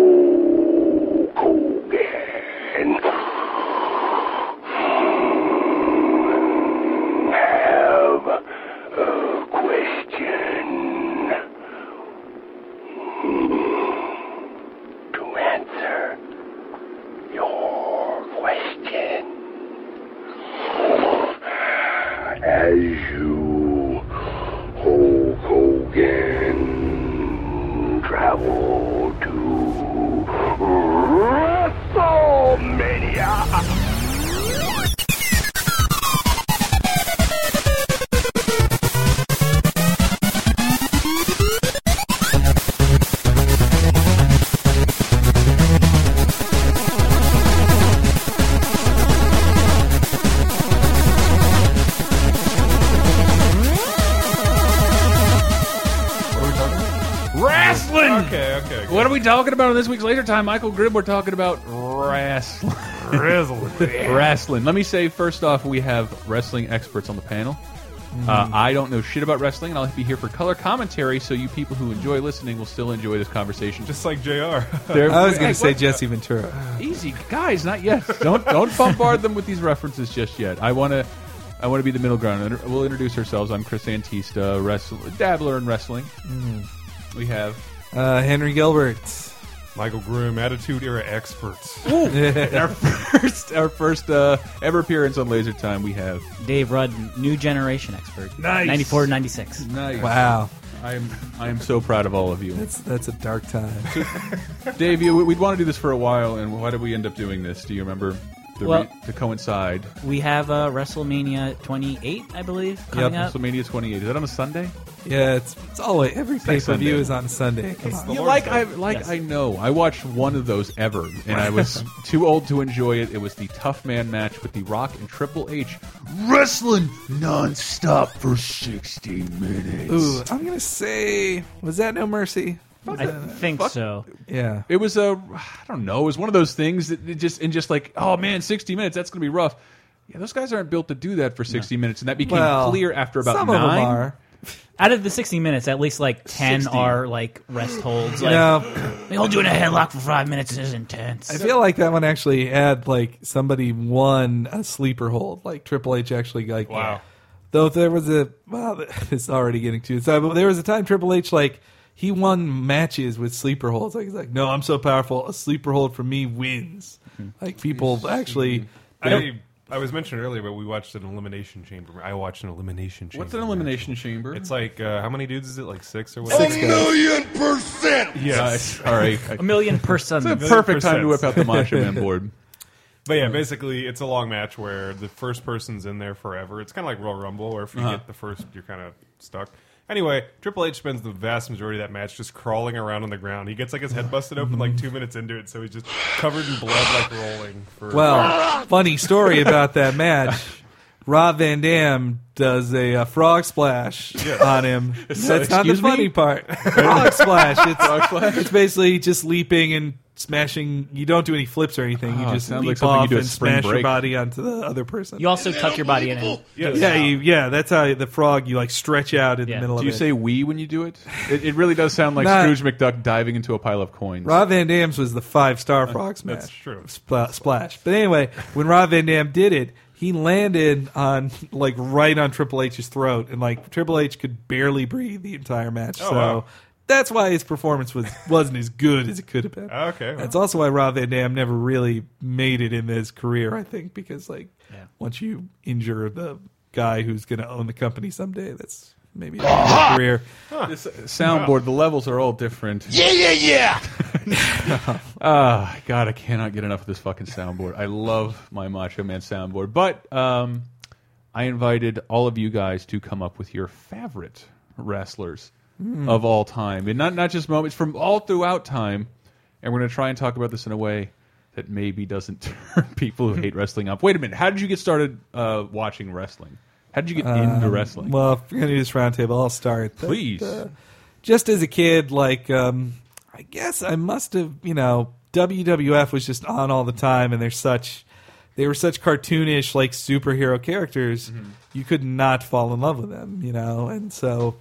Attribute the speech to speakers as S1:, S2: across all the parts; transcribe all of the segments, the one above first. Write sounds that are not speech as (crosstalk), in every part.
S1: ho, Hogan. Have a question to answer your question. As you, Hulk Hogan, travel to WrestleMania.
S2: Wrestling.
S3: Okay, okay.
S2: What are we talking about on this week's Laser Time, Michael Grimm? We're talking about wrestling.
S3: Grizzled.
S2: (laughs) wrestling. Let me say first off, we have wrestling experts on the panel.
S3: Mm-hmm.
S2: Uh, I don't know shit about wrestling, and I'll be here for color commentary, so you people who enjoy listening will still enjoy this conversation.
S3: Just like JR.
S2: They're-
S4: I was
S2: (laughs)
S4: going
S2: Hey,
S4: to say
S2: what-
S4: Jesse Ventura.
S2: easy, guys. Not yet.
S5: (laughs)
S2: Don't don't bombard them with these references just yet. I want to. I want to be the middle ground. Inter- We'll introduce ourselves. I'm Chris Antista, wrestler, dabbler in wrestling. We have
S4: Mm-hmm. Uh, Henry Gilbert.
S3: Michael Groom, Attitude Era Experts.
S2: (laughs) our first, our first uh, ever appearance on Laser Time. We have
S6: Dave Rudd, new generation expert.
S3: Nice.
S6: 94 96.
S2: nice.
S4: Wow.
S2: I am I am so proud of all of you,
S4: That's that's a
S2: (laughs)
S4: dark time.
S2: Dave. You, we'd want to do this for a while, and why did we end up doing this? Do you remember? The
S6: Well-
S2: re- to coincide
S6: We have uh, WrestleMania 28, I believe, coming up.
S2: WrestleMania 28 is that on a Sunday?
S4: Yeah, it's, it's always every pay per
S2: Sunday.
S4: view is on Sunday. Come on.
S2: You
S3: Lord's
S2: like
S3: Day.
S2: I like
S6: Yes.
S2: I know I watched one of those ever, and I (laughs) was too old to enjoy it. It was the Tough Man match with The Rock and Triple H wrestling nonstop for 60 minutes.
S4: Ooh, I'm gonna say, was that No Mercy?
S6: I think so.
S4: Yeah,
S2: It was a I don't know. It was one of those things that it just and just like oh man, sixty minutes that's gonna be rough. Yeah, those guys aren't built to do that for sixty minutes, and that became
S4: Well,
S2: clear after about
S4: some
S2: nine.
S4: of them are.
S6: Out of the 60 minutes, at least like 10 are like rest holds. Like, (clears throat)
S4: No,
S6: they hold you in a headlock for five minutes. This is intense.
S4: I feel like that one actually had like somebody won a sleeper hold. Like Triple H actually like
S3: Wow.
S4: Though there was a well, (laughs) it's already getting too. So but there was a time Triple H like he won matches with sleeper holds. Like he's like, no, I'm so powerful. A sleeper hold for me wins.
S6: Hmm.
S4: Like people actually.
S3: I, I was mentioned earlier, but we watched an Elimination Chamber. I watched an Elimination Chamber.
S2: What's an
S3: match.
S2: elimination chamber?
S3: It's like, uh, how many dudes is it? Like six or whatever?
S4: Six guys.
S3: Yes.
S2: (laughs) all right.
S6: a
S3: (laughs)
S6: million persons.
S2: Perfect time to whip out the
S4: (laughs)
S2: Macho Man board.
S3: But
S4: Mm-hmm.
S3: yeah, basically, it's a long match where the first person's in there forever. It's kind of like Royal Rumble, where if
S4: Uh-huh.
S3: you get the first, you're kind of stuck. Anyway, Triple H spends the vast majority of that match just crawling around on the ground. He gets like his head busted open like two minutes into it, so he's just covered in blood, like rolling. For
S4: (laughs) Well, funny story (laughs) about that match. Rob Van Dam does a, uh frog splash
S2: (laughs)
S4: on him. That's not the
S2: excuse me?
S4: funny part. Frog splash. It's, it's basically just leaping and smashing. You don't do any flips or anything. You
S2: Oh, it
S4: just
S2: sounds
S4: leap
S2: like something you
S4: off
S2: do at
S4: and
S2: spring
S4: smash
S2: break.
S4: your body onto the other person.
S6: You also tuck your body in. And,
S3: Yes.
S4: yeah, you, yeah. That's how the frog. You like stretch out in
S6: Yeah.
S4: the middle
S2: Do
S4: of
S2: you
S4: it.
S2: say "we" when you do it? It, it really does sound like
S4: Nah.
S2: Scrooge McDuck diving into a pile of coins.
S4: Rob Van Dam's was the five star frog smash.
S3: that's true.
S4: Spla- splash. But anyway, when Rob Van Dam did it, he landed on like right on Triple H's throat, and like Triple H could barely breathe the entire match. so
S3: Oh, wow.
S4: that's why his performance was wasn't as good as it could have been.
S3: Okay, well.
S4: That's also why Rob Van Dam never really made it in his career, I think, because like once you injure the guy who's going to own the company someday, that's maybe a career.
S2: This soundboard, the levels are all different.
S1: Yeah, yeah, yeah.
S2: (laughs) Ah, God, I cannot get enough of this fucking soundboard. I love my Macho Man soundboard. But um, I invited all of you guys to come up with your favorite wrestlers of all time. And not, not just moments, from all throughout time. And we're going to try and talk about this in a way that maybe doesn't (laughs) turn people who hate wrestling off. Wait a minute. How did you get started uh, watching wrestling? How did you get into wrestling?
S4: Um, Well, if we're gonna do this roundtable, I'll start. But,
S2: Please.
S4: uh, just as a kid, like um, I guess I must have, you know, WWF was just on all the time, and they're such, they were such cartoonish like
S2: Mm-hmm.
S4: superhero characters. You could not fall in love with them, you know, and so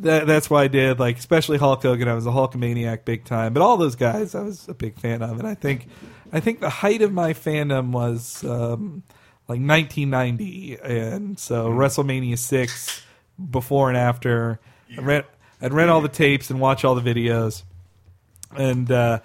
S4: that, that's why I did like especially Hulk Hogan. I was a Hulkamaniac big time, but all those guys I was a big fan of, and I think I think the height of my fandom was um, like 1990, and so WrestleMania six before and after. I read I'd rent all the tapes and watch all the videos and uh,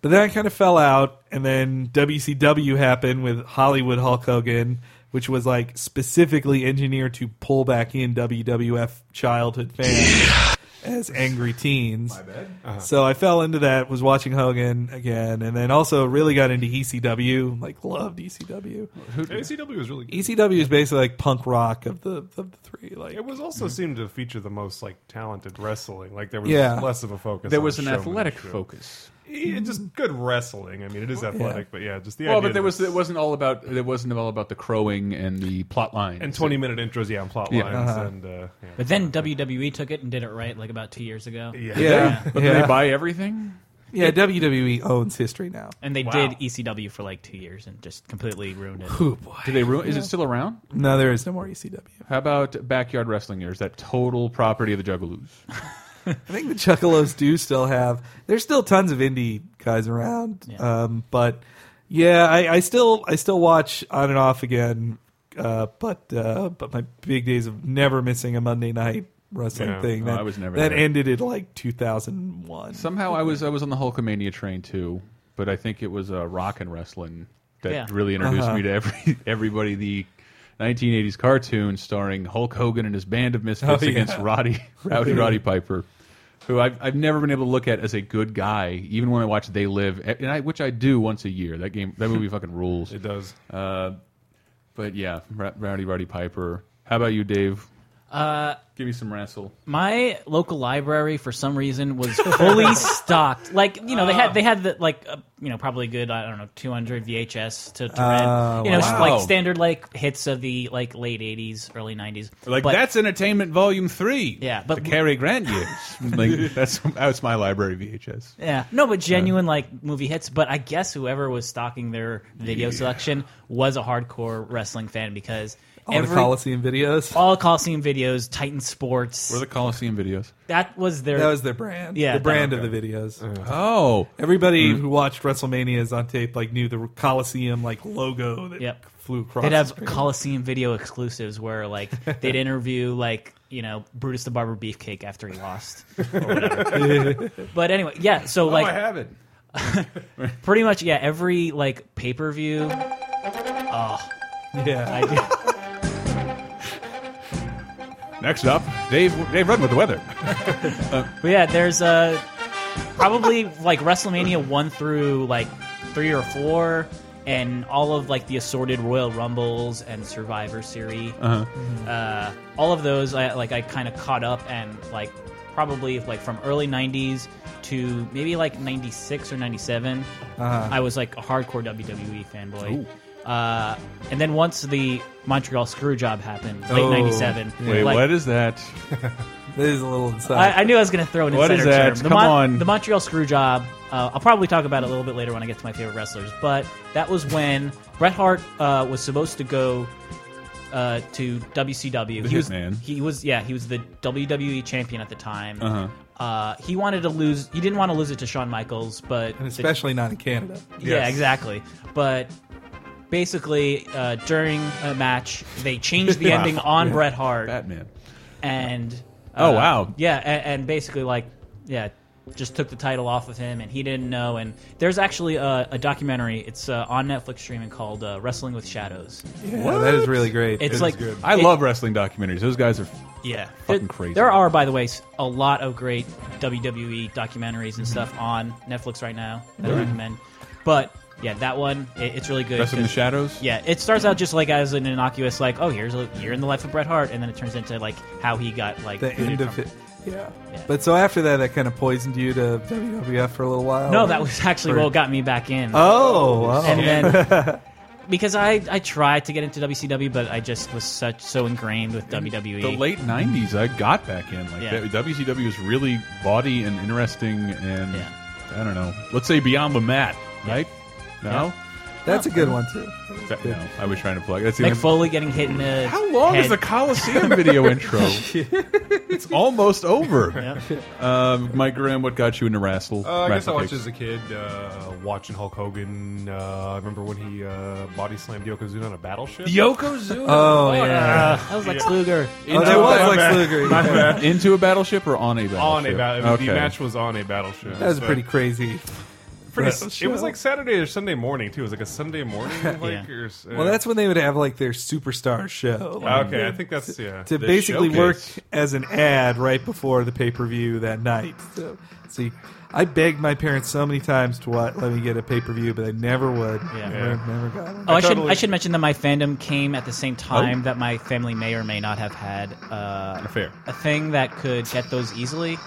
S4: but then I kind of fell out, and then WCW happened with Hollywood Hulk Hogan, which was like specifically engineered to pull back in WWF childhood fans as angry teens. My bad. Uh-huh. So I fell into that, was watching Hogan again, and then also really got into ECW, like loved E ECW.
S3: ACW was really good.
S4: ECW is basically like punk rock of the of the three, like
S3: It was
S2: mm-hmm.
S3: also seemed to feature the most like talented wrestling. Like there was
S4: Yeah.
S3: less of a focus.
S2: There
S3: on
S2: was an athletic
S3: showmanship.
S2: focus. Mm-hmm. Oh,
S3: Yeah, just good wrestling. I mean, it is athletic, but yeah, just the
S2: Well,
S3: idea
S2: but
S3: that
S2: there was
S3: it's-
S2: it wasn't all about it wasn't all about the crowing and the plot lines
S3: and twenty minute intros, yeah, and plot
S2: Yeah.
S3: lines,
S4: Uh-huh.
S3: and uh, yeah.
S6: But then WWE took it and did it right, like about two years ago.
S3: yeah.
S4: yeah, yeah,
S2: Did
S4: yeah,
S2: they buy everything?
S4: WWE E owns history now.
S6: And they
S3: Wow.
S6: did ECW for like two years and just completely ruined it.
S4: Oh boy!
S2: Did they ruin? Is it still around?
S4: No, there is no more E ECW.
S2: How about backyard wrestling? Or is that total property of the Juggalos?
S4: I (laughs) think the Chuckalos do still have. There's still tons of indie guys around,
S6: Yeah.
S4: um, but yeah, I, I still I still watch on and off again. Uh, but uh, but my big days of never missing a Monday night wrestling
S3: Yeah.
S4: thing
S2: No,
S4: that
S2: I was never
S4: that
S2: there.
S4: ended in like 2001.
S2: Somehow I was I was on the Hulkamania train too, but I think it was uh, rock and wrestling that
S6: Yeah.
S2: really introduced me to every (laughs) everybody the 1980s cartoon starring Hulk Hogan and his band of misfits
S4: Oh, yeah.
S2: against Roddy Rowdy Roddy Piper, who I've I've never been able to look at as a good guy, even when I watch They Live, and I which I do once a year. That game that movie fucking rules. Uh,
S3: it does.
S2: But yeah, Ra- Rowdy Roddy Piper. How about you, Dave? Uh, Give me some wrestle.
S6: My local library, for some reason, was
S4: (laughs)
S6: fully stocked. Like you know, they had they had the, like uh, you know probably a good I don't know 200 VHS to, to rent.
S4: Oh,
S6: you know,
S2: wow.
S6: like standard like hits of the like late 80s, early 90s.
S2: Like
S6: But-
S2: that's Entertainment Volume Three.
S6: Yeah, but-
S2: the Cary Grant
S6: (laughs)
S2: years. like that's that's my library VHS.
S6: Yeah, no, but genuine like movie hits. But I guess whoever was stocking their video selection was a hardcore wrestling fan because
S4: all
S6: every
S4: the Coliseum videos.
S6: all Coliseum videos, Titan Sports,
S2: Were the Coliseum videos?
S6: that was their
S4: that was their brand.
S6: Yeah,
S4: the brand
S6: that-
S4: of the videos.
S2: Oh,
S4: Everybody who watched WrestleManias on tape like knew the Coliseum like logo that
S6: Yep.
S4: flew across.
S6: They'd
S4: the
S6: have
S4: screen.
S6: Coliseum video exclusives where like they'd interview like you know Brutus the Barber Beefcake after he lost. Or whatever. but anyway, yeah. So
S2: oh,
S6: like
S2: I have it.
S6: (laughs) pretty much yeah every like pay per view.
S4: yeah.
S6: I do.
S2: Next up, Dave Dave Rudden with the
S6: (laughs)
S2: weather.
S6: But yeah, there's uh, probably like WrestleMania one through like three or four, and all of like the assorted Royal Rumbles and Survivor Series.
S2: Uh-huh.
S6: Uh, all of those, I like I kind of caught up and like probably like from early '90s to maybe like '96 or '97. I was like a hardcore WWE fanboy. Uh, and then once the Montreal Screwjob happened, late
S4: Oh,
S6: '97,
S2: Wait,
S6: like,
S2: what is
S4: (laughs)
S2: that?
S4: This is a little inside.
S6: I, I knew I was going to throw an
S2: What
S6: insider
S2: is that?
S6: term. The
S2: Come on.
S6: The Montreal Screwjob. Uh, I'll probably talk about it a little bit later when I get to my favorite wrestlers. But that was when Bret Hart uh, was supposed to go uh, to WCW.
S2: The
S6: he was,
S2: Hitman.
S6: He was yeah. He was the WWE champion at the time.
S2: Uh-huh.
S6: Uh, he wanted to lose. He didn't want to lose it to Shawn Michaels, but
S4: and
S6: the-
S4: especially not in Canada.
S6: yeah, exactly. But basically, uh, during a match, they
S2: (laughs)
S6: changed the ending on Bret Hart
S2: Batman.
S6: and uh,
S2: Oh, wow.
S6: yeah, and, and basically like yeah, just took the title off of him, and he didn't know. And there's actually a, a documentary. It's uh, on Netflix streaming called uh, Wrestling with Shadows.
S4: Yeah, that is really great.
S6: It's like
S2: I
S6: it-
S2: love wrestling documentaries. Those guys are.
S6: yeah,
S2: Fucking
S6: There-
S2: crazy.
S6: There are, by the way, s- a lot of great WWE documentaries and stuff
S2: Mm-hmm.
S6: on Netflix right now that I recommend. But yeah, that one it, it's really good.
S2: Wrestling in the
S6: 'cause-
S2: Shadows?
S6: Yeah, it starts out just like as an innocuous, like, oh, here's a year in the life of Bret Hart, and then it turns into like how he got like
S4: the
S6: booted
S4: end of
S6: from-
S4: it. Yeah.
S6: Yeah.
S4: But so after that, that kind of poisoned you to WWF for a little while.
S6: No, that was actually
S4: For-
S6: what got me back in.
S4: Oh, wow.
S6: and then because I I tried to get into WCW, but I just was such so ingrained with E. WWE.
S2: The late '90s, I got back in. Like
S6: Yeah.
S2: that- WCW was really body and interesting, and
S6: Yeah.
S2: I don't know. Let's say beyond the mat, right? No.
S6: Yeah.
S4: (laughs) That's a good one too.
S2: That- no, I was trying to plug. That's the
S6: Mick
S2: only-
S6: Foley getting hit in the
S2: How long is
S6: head.
S2: the Coliseum
S6: (laughs)
S2: video intro? it's almost over. Um, Mike Graham, what got you into wrestle?
S3: Uh, I guess I
S2: wrestle
S3: watched
S2: kicks?
S3: as a kid, uh, watching Hulk Hogan. Uh, I remember when he uh, body slammed Yokozuna on a battleship.
S2: Yokozuna.
S4: Oh yeah,
S6: that was Lex Luger.
S4: oh, that was Lex Luger. yeah.
S2: Into a battleship or on a battleship?
S3: on a battleship.
S2: Okay.
S3: The match was on a battleship.
S4: That was
S3: so-
S4: pretty crazy.
S3: pretty-
S4: battleship.
S3: It was like Saturday or Sunday morning too. It was like a Sunday
S2: (laughs)
S3: morning. Like,
S6: Yeah.
S3: or s- uh,
S4: Well, that's when they would have like their superstar show. Like,
S3: okay. I think that's yeah.
S4: to
S2: The
S4: basically
S2: showcase.
S4: work as an ad right before the pay per view that night. So, see, I begged my parents so many times to what, let me get a pay per view, but I never would.
S6: Yeah.
S4: Never, never got one.
S6: Oh, I should
S3: totally-
S6: I should mention that my fandom came at the same time that my family may or may not have had uh,
S2: Affair.
S6: a thing that could get those easily.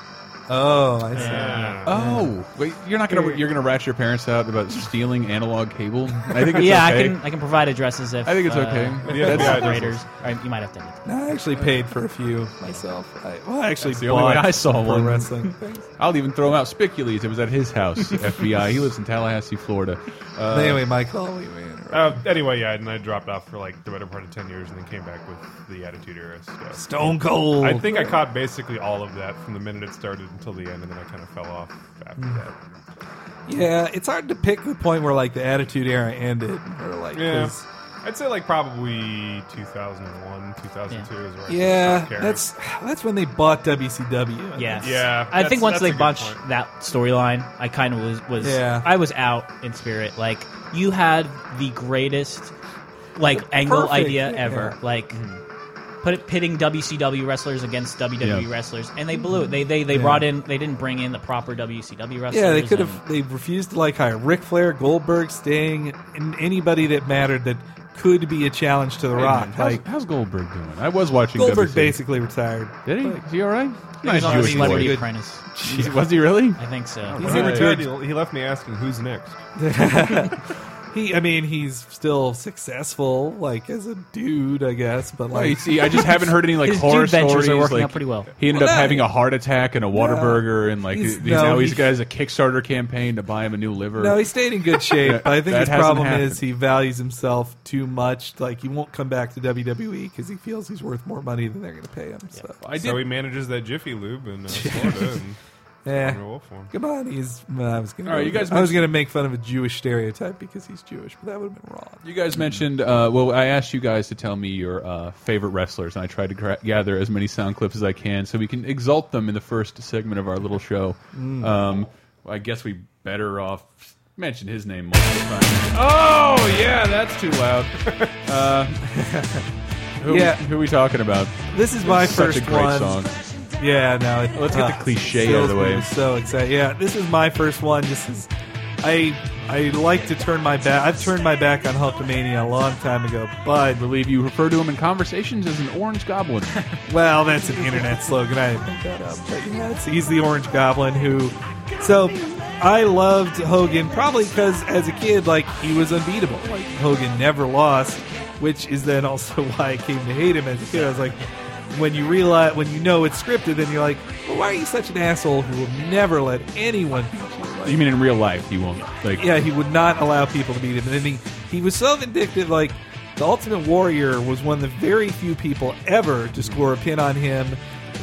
S4: Oh, I see.
S2: Oh, wait, you're not gonna you're gonna rat your parents out about stealing analog cable. I think it's
S6: yeah,
S2: okay.
S6: I can I can provide addresses if
S2: I think it's
S6: uh,
S2: okay.
S3: Yeah,
S6: if
S3: yeah,
S6: operators. All right, you might have to. Edit.
S4: No, I actually paid for a few myself. I, well, I actually
S2: the only
S4: bought
S2: way I saw
S4: pro
S2: one.
S4: wrestling things.
S2: (laughs) I'll even throw him out. Spicules. It was at his house. FBI. He lives in Tallahassee, Florida. Uh,
S4: anyway, Michael, we were
S3: Uh, anyway, yeah, and I dropped off for like the better part of ten years, and then came back with the Attitude Era stuff.
S4: Stone Cold.
S3: I think I caught basically all of that from the minute it started until the end, and then I kind of fell off after
S4: Hmm.
S3: that.
S4: yeah, it's hard to pick the point where like the Attitude Era ended, or like 'cause-
S3: I'd say like probably 2001, 2002 is where I
S4: yeah,
S3: stopped caring.
S4: that's that's when they bought WCW.
S6: Yes.
S3: Yeah,
S6: I
S3: that's-
S6: think once
S3: that's a
S6: they
S3: good
S6: bunched
S3: point.
S6: that storyline, I kind of was was
S4: Yeah.
S6: I was out in spirit. Like you had the greatest like angle
S4: perfect,
S6: idea
S4: yeah. Mm-hmm.
S6: ever. Like put it pitting WCW wrestlers against WWE
S2: Yeah.
S6: wrestlers, and they blew it. They they they
S4: Yeah.
S6: brought in. They didn't bring in the proper WCW wrestlers.
S4: Yeah, they could
S6: and-
S4: have. They refused to like hire Ric Flair, Goldberg, Sting, and anybody that mattered that could be a challenge to The
S2: hey,
S4: Rock.
S2: man, how's,
S4: like
S2: how's Goldberg doing? I was watching
S4: Goldberg,
S2: WC.
S4: basically retired.
S2: Did he? Is he all right?
S6: He was on
S2: Jewish
S6: Celebrity
S2: boy.
S6: Apprentice.
S2: He's- Was he really?
S6: I think so.
S4: He's
S3: When he
S4: in a
S3: retired,
S4: good-
S3: he, he left me asking who's next.
S4: (laughs) He, I mean, he's still successful, like as a dude, I guess.
S2: (laughs)
S4: But
S2: Well, you
S4: like,
S2: see, I just haven't heard any
S4: (laughs)
S2: like
S6: (laughs) His
S2: horror
S6: Jude ventures
S2: stories.
S6: are working
S2: like,
S6: out pretty well.
S2: He ended
S4: Well,
S2: up
S4: no,
S2: having
S4: he-
S2: a heart attack and a Whataburger, and like
S4: He's-
S2: he's,
S4: no,
S2: now he's
S4: he-
S2: got a Kickstarter campaign to buy him a new liver.
S4: no, he stayed in good
S2: (laughs)
S4: shape.
S2: Yeah,
S4: but I think
S2: that
S4: his
S2: hasn't
S4: problem
S2: happened.
S4: is he values himself too much. Like he won't come back to WWE because he feels he's worth more money than they're going to pay him. So
S2: I did.
S3: So he manages that Jiffy Lube
S4: (laughs)
S3: in uh, Florida and
S4: yeah.
S3: Wonder Wolf for him.
S4: Come on, he's. uh, well, I was gonna.
S2: All right,
S4: go
S2: you
S4: with
S2: guys
S4: that. I was gonna make fun of a Jewish stereotype because he's Jewish, but that would have been wrong.
S2: you guys mentioned. Uh, well, I asked you guys to tell me your uh, favorite wrestlers, and I tried to gra gather as many sound clips as I can so we can exalt them in the first segment of our little show.
S4: Mm.
S2: Um, I guess we better off mention his name multiple times. Oh yeah, that's
S3: (laughs)
S2: too loud. uh,
S4: (laughs)
S2: (laughs) who,
S4: Yeah.
S2: who are we talking about?
S4: This is my
S2: Such
S4: first
S2: a great
S4: one.
S2: song.
S4: Yeah, no. it-
S2: Let's get the
S4: ah,
S2: cliche
S4: fills
S2: out of the
S4: me
S2: way.
S4: with So excited. Yeah, this is my first one. This is. I I like to turn my back. I've turned my back on Hulkamania a long time ago, but
S2: I believe you refer to him in conversations as an orange goblin.
S4: (laughs) well, that's an internet slogan. I didn't make that up, but yeah, it's, he's the Orange Goblin who. So, I loved Hogan probably because as a kid, like he was unbeatable. Like Hogan never lost, which is then also (laughs) why I came to hate him as a kid. I was like, when you realize when you know it's scripted, then you're like, well, why are you such an asshole who will never let anyone beat you? Like,
S2: you mean in real life he won't? Like
S4: yeah, he would not allow people to beat him. And then he, he was so vindictive, like the Ultimate Warrior was one of the very few people ever to score a pin on him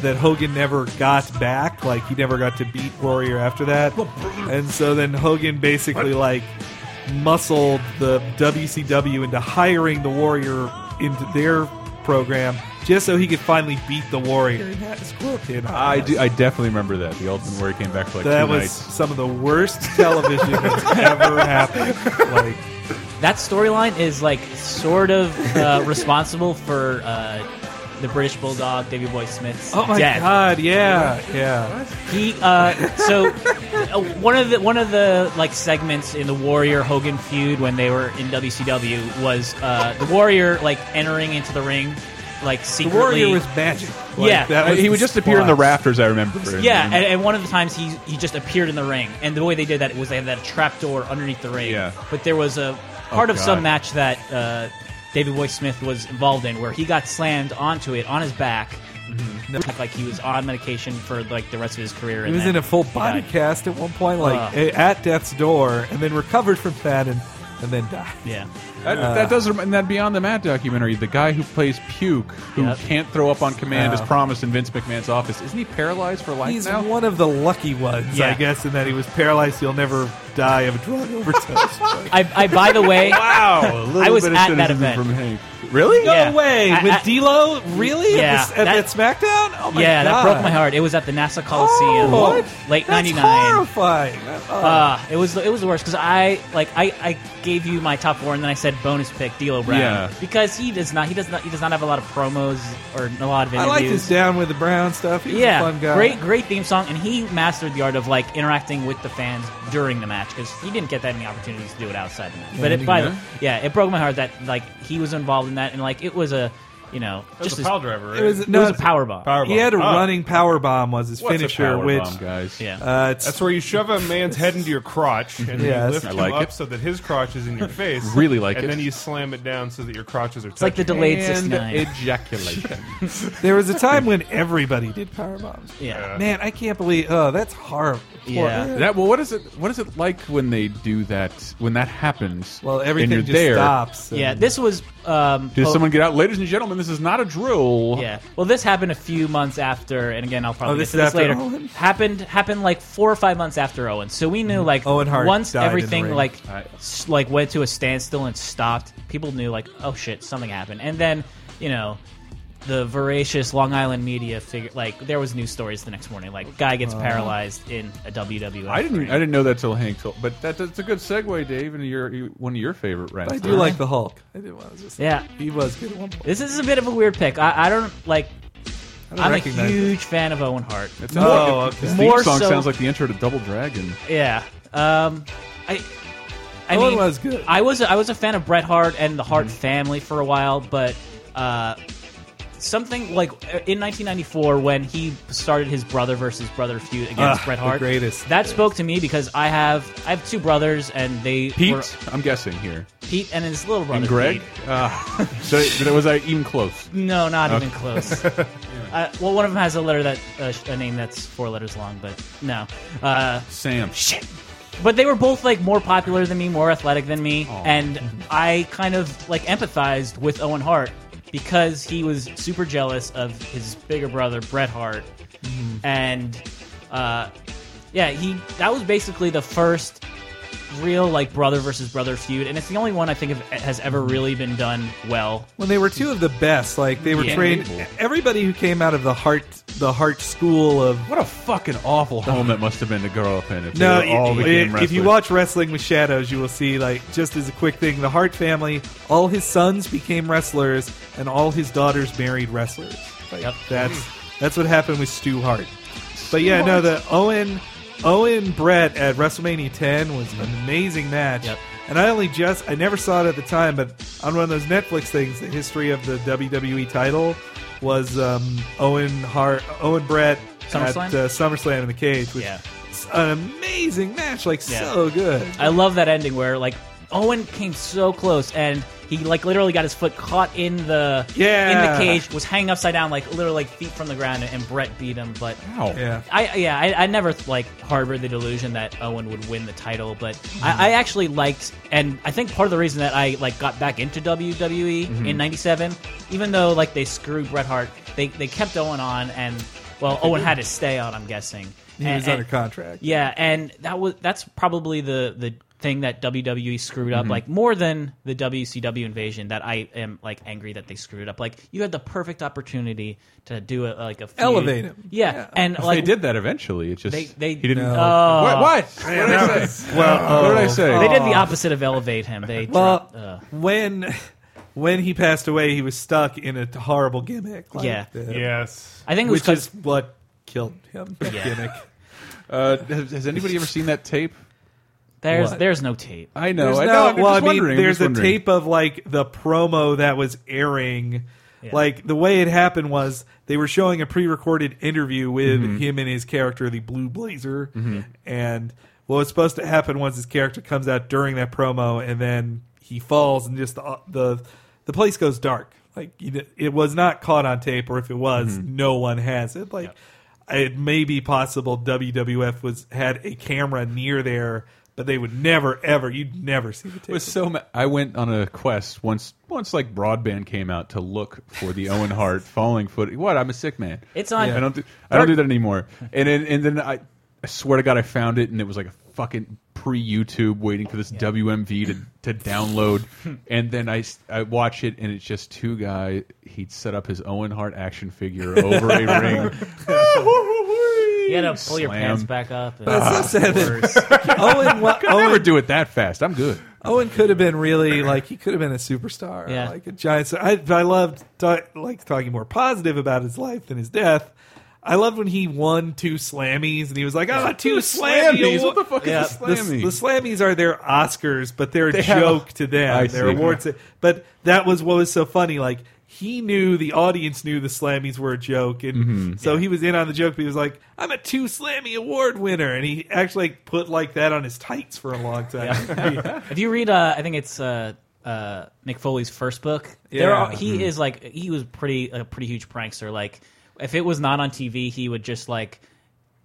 S4: that Hogan never got back. Like he never got to beat Warrior after that. And so then Hogan basically like muscled the WCW into hiring the Warrior into their program just so he could finally beat the Warrior and had to score a pin on
S2: I
S4: him.
S2: do. I definitely remember that the Ultimate Warrior came back for like
S4: That
S2: two
S4: was
S2: nights.
S4: some of the worst television
S2: (laughs)
S4: that's ever happened. Like
S6: that storyline is like sort of
S4: (laughs)
S6: uh, responsible for uh, the British Bulldog Davy Boy Smith's
S4: Oh my
S6: death.
S4: god! Yeah, yeah.
S6: He uh, so uh, one of the one of the like segments in the Warrior Hogan feud when they were in WCW was uh, the Warrior like entering into the ring like
S4: The
S6: secretly.
S4: warrior was magic. Like,
S6: Yeah.
S4: that was
S2: he
S4: the
S2: would just appear in the
S4: spot.
S2: rafters. I remember. and-
S6: yeah, and, and one of the times he he just appeared in the ring, and the way they did that was they had that trap door underneath the ring.
S2: Yeah.
S6: But there was a part
S2: Oh,
S6: of some
S2: God.
S6: match that uh, David Boy Smith was involved in where he got slammed onto it on his back, like, like he was on medication for like the rest of his career.
S4: Mm-hmm. He was in a full body
S6: Yeah.
S4: cast at one point, like
S6: Ugh.
S4: a- at death's door, and then recovered from that and and then Uh, die.
S6: Yeah.
S2: That, that does remind that Beyond the Mat documentary. The guy who plays Puke, who
S6: Yep.
S2: can't throw up on command, is
S4: Oh.
S2: promised in Vince McMahon's office. Isn't he paralyzed for life
S4: He's
S2: now?
S4: one of the lucky ones, I
S6: Yeah.
S4: guess, in that he was paralyzed. He'll never die of a drug (laughs) overdose. But-
S6: I, I by the
S2: (laughs)
S6: way,
S2: Wow, a little
S6: I was
S2: bit of
S6: at that
S2: cynicism
S6: event.
S2: from Hank. Really?
S4: no
S6: Yeah.
S4: way!
S6: I-
S4: With
S6: I-
S4: D'Lo, really?
S6: Yeah,
S4: at, the, at,
S6: that-
S4: at SmackDown? Oh my
S6: yeah,
S4: god!
S6: that broke my heart. It was at the NASA Coliseum,
S4: Oh, what?
S6: late
S4: That's
S6: '99.
S4: horrifying.
S6: Uh, it was it was the worst because I like I, I gave you my top four and then I said bonus pick D'Lo Brown
S2: Yeah.
S6: because he does not he does not he does not have a lot of promos or a lot of interviews.
S4: I like his down with the brown stuff. He was
S6: yeah,
S4: a fun guy.
S6: great great theme song and he mastered the art of like interacting with the fans during the match because he didn't get that many opportunities to do it outside the match. but
S4: he
S6: it, by the,
S2: didn't.
S6: yeah, it broke my heart that like he was involved in that and like it was a you know
S3: That was
S6: just
S3: a
S6: as-
S3: pile driver. Right?
S4: It was,
S6: it
S4: no,
S6: was a power bomb.
S3: Power
S4: He had a
S3: bomb. Ah.
S4: running power bomb was his
S2: What's a
S4: finisher,
S2: power
S4: which
S2: bomb, guys?
S6: yeah.
S4: uh, it's
S3: That's where you shove a man's head into your crotch and
S4: Yeah,
S3: you
S4: that's-
S3: lift
S2: I
S3: him
S2: like
S3: up
S2: it.
S3: so that his crotch is in
S2: (laughs)
S3: your face.
S2: Really like
S3: and
S2: it.
S3: then you slam it down so that your crotches are
S6: it's like the delayed
S2: And
S3: (laughs)
S6: 69.
S2: ejaculation.
S4: There was a time when everybody did power bombs.
S6: yeah.
S4: Man, I can't believe. Oh, that's horrible.
S6: Yeah.
S2: that well, what is it? What is it like when they do that? When that happens?
S4: Well,
S2: and
S4: everything
S2: you're
S4: just
S2: there,
S4: stops. and-
S6: Yeah, this was um
S2: Does
S6: po-
S2: someone get out, ladies and gentlemen? This is not a drill.
S6: Yeah. Well, this happened a few months after, and again, I'll probably
S4: Oh, this
S6: get to
S4: is
S6: this
S4: after
S6: later.
S4: Owen? Mm-hmm.
S6: Happened happened like four or five months after Owen, so we knew like
S4: Owen Hart
S6: once
S4: died in the
S6: everything
S4: ring.
S6: like
S2: Right.
S6: s- like went to a standstill and stopped, people knew like oh shit something happened, and then you know. The voracious Long Island media figure, like there was news stories the next morning, like guy gets paralyzed in a WWF.
S2: I didn't.
S6: ring.
S2: I didn't know that till Hank told. But that, that's a good segue, Dave, into your you- one of your favorite rants.
S4: I do like the Hulk. I did. I was just
S6: Yeah.
S4: He was good at one point.
S6: This is a bit of a weird pick. I, I don't like.
S4: I don't
S6: I'm a
S4: recognize it.
S6: huge fan of Owen Hart.
S2: It sounds
S4: Oh,
S2: like- His
S4: okay.
S2: theme
S6: More
S2: song
S6: so-
S2: sounds like the intro to Double Dragon.
S6: Yeah. Um, I. I
S4: Owen
S6: mean,
S4: was good. Mm-hmm.
S6: I was I was a fan of Bret Hart and the Hart family for a while, but uh, something like in 1994 when he started his brother versus brother feud against
S4: Ah,
S6: Bret
S4: the
S6: Hart,
S4: greatest.
S6: that spoke to me because I have I have two brothers and they
S2: Pete,
S6: were-
S2: I'm guessing here,
S6: Pete and his little brother
S2: and Greg.
S6: Pete.
S2: Uh, (laughs) so so was I even close?
S6: No, not even close. uh, well, one of them has a letter that uh, sh- a name that's four letters long, but no. Uh,
S2: Sam,
S6: shit. But they were both like more popular than me, more athletic than me, and I kind of like empathized with Owen Hart because he was super jealous of his bigger brother Bret Hart, and uh, yeah, he that was basically the first real like brother versus brother feud, and it's the only one I think of, has ever really been done well.
S4: when they were two of the best. Like they were
S6: Yeah.
S4: trained. Everybody who came out of the Hart, the Hart school of
S2: what (laughs) a fucking awful home it must have been to grow up in. If
S4: No,
S2: they all
S4: i-
S2: became
S4: i- if you
S2: wrestlers.
S4: watch Wrestling with Shadows, you will see, like, just as a quick thing, the Hart family, all his sons became wrestlers, and all his daughters married wrestlers. Like,
S6: Yep.
S4: That's that's what happened with Stu Hart. But yeah, no, the Owen Owen Brett at WrestleMania 10 was an amazing match.
S6: Yep.
S4: And I only just I never saw it at the time, but on one of those Netflix things, the history of the WWE title was um, Owen Hart, Owen Brett
S6: SummerSlam?
S4: at uh, SummerSlam in the cage, which
S6: Yeah.
S4: it's an amazing match, like
S6: Yeah.
S4: so good.
S6: I love that ending where like Owen came so close and he like literally got his foot caught in the
S4: Yeah.
S6: in the cage, was hanging upside down, like literally like feet from the ground, and, Brett beat him. But
S2: Wow.
S4: Yeah.
S6: I yeah, I, I never like harbored the delusion that Owen would win the title, but
S4: Hmm.
S6: I, I actually liked, and I think part of the reason that I like got back into WWE
S4: Mm-hmm.
S6: in '97, even though like they screwed Bret Hart, they they kept Owen on, and well, Owen had to stay on, I'm guessing.
S4: He
S6: And-
S4: was under
S6: and-
S4: contract.
S6: yeah, and that was that's probably the the thing that WWE screwed
S2: Mm-hmm.
S6: up, like more than the WCW invasion. That I am like angry that they screwed up. Like you had the perfect opportunity to do a like a feud.
S4: Elevate him.
S6: Yeah,
S4: Yeah.
S6: and
S2: They
S6: like
S2: did that eventually. It just
S6: They- they-
S2: he didn't.
S4: No.
S6: Oh.
S2: what? What? what did I say?
S4: Oh.
S2: Well, uh, what did I say?
S6: They did the opposite of elevate him. They
S4: Well,
S6: dropped, uh,
S4: when when he passed away, he was stuck in a horrible gimmick. Like
S6: Yeah.
S4: the-
S3: Yes.
S6: I think it was
S4: which
S6: because
S4: is what killed him. that
S6: Yeah.
S4: Gimmick.
S2: Uh, has, has anybody ever seen that tape?
S6: there's
S4: what?
S6: there's no tape.
S2: I know.
S4: There's
S2: I know.
S4: no-
S2: I'm just
S4: well, I mean,
S2: wondering, I'm
S4: there's
S2: just
S4: a
S2: wondering.
S4: tape of like the promo that was airing. Like the way it happened was they were showing a pre-recorded interview with
S2: Mm-hmm.
S4: him and his character, the Blue Blazer, and what was supposed to happen was his character comes out during that promo, and then he falls, and just the the, the place goes dark. Like you know, it was not caught on tape, or if it was, no one has it. Like it may be possible WWF was had a camera near there but they would never, ever, you'd never see the
S2: It was
S4: tape.
S2: so. Ma I went on a quest once. Once like broadband came out to look for the Owen
S6: (laughs)
S2: Hart falling foot. What? I'm a sick man.
S6: It's on-
S2: I don't. Do, I don't do that anymore. And then, and then I, I swear to God, I found it, and it was like a fucking pre YouTube waiting for this WMV to to download. and then I s- I watch it, and it's just two guy. He'd set up his Owen Hart action figure over a ring.
S6: (laughs) You gotta pull your
S2: Slam.
S6: pants back up. And
S4: That's so sad that-
S6: Worse.
S4: (laughs) Owen, wa-
S2: I'll never
S4: Owen,
S2: do it that fast. I'm good.
S4: Owen could have been really like he could have been a superstar,
S6: Yeah.
S4: like a giant. star. I I loved ta- like talking more positive about his life than his death. I loved when he won two Slammies and he was like, "Oh, two Slammies!
S2: What the fuck
S6: Yeah,
S2: is a
S4: The,
S2: slammy?
S4: the Slammies are their Oscars, but they're
S2: They
S4: a
S2: have-
S4: joke to them.
S2: I
S4: They're
S2: see.
S4: awards. that- But that was what was so funny. Like he knew the audience knew the Slammies were a joke, and so he was in on the joke. But he was like, "I'm a two Slammy award winner," and he actually put like that on his tights for a long time.
S6: (laughs) If you read, uh, I think it's uh, uh, Nick Foley's first book. There
S4: Yeah. Hmm.
S6: are, he is like he was pretty a pretty huge prankster. Like if it was not on TV, he would just like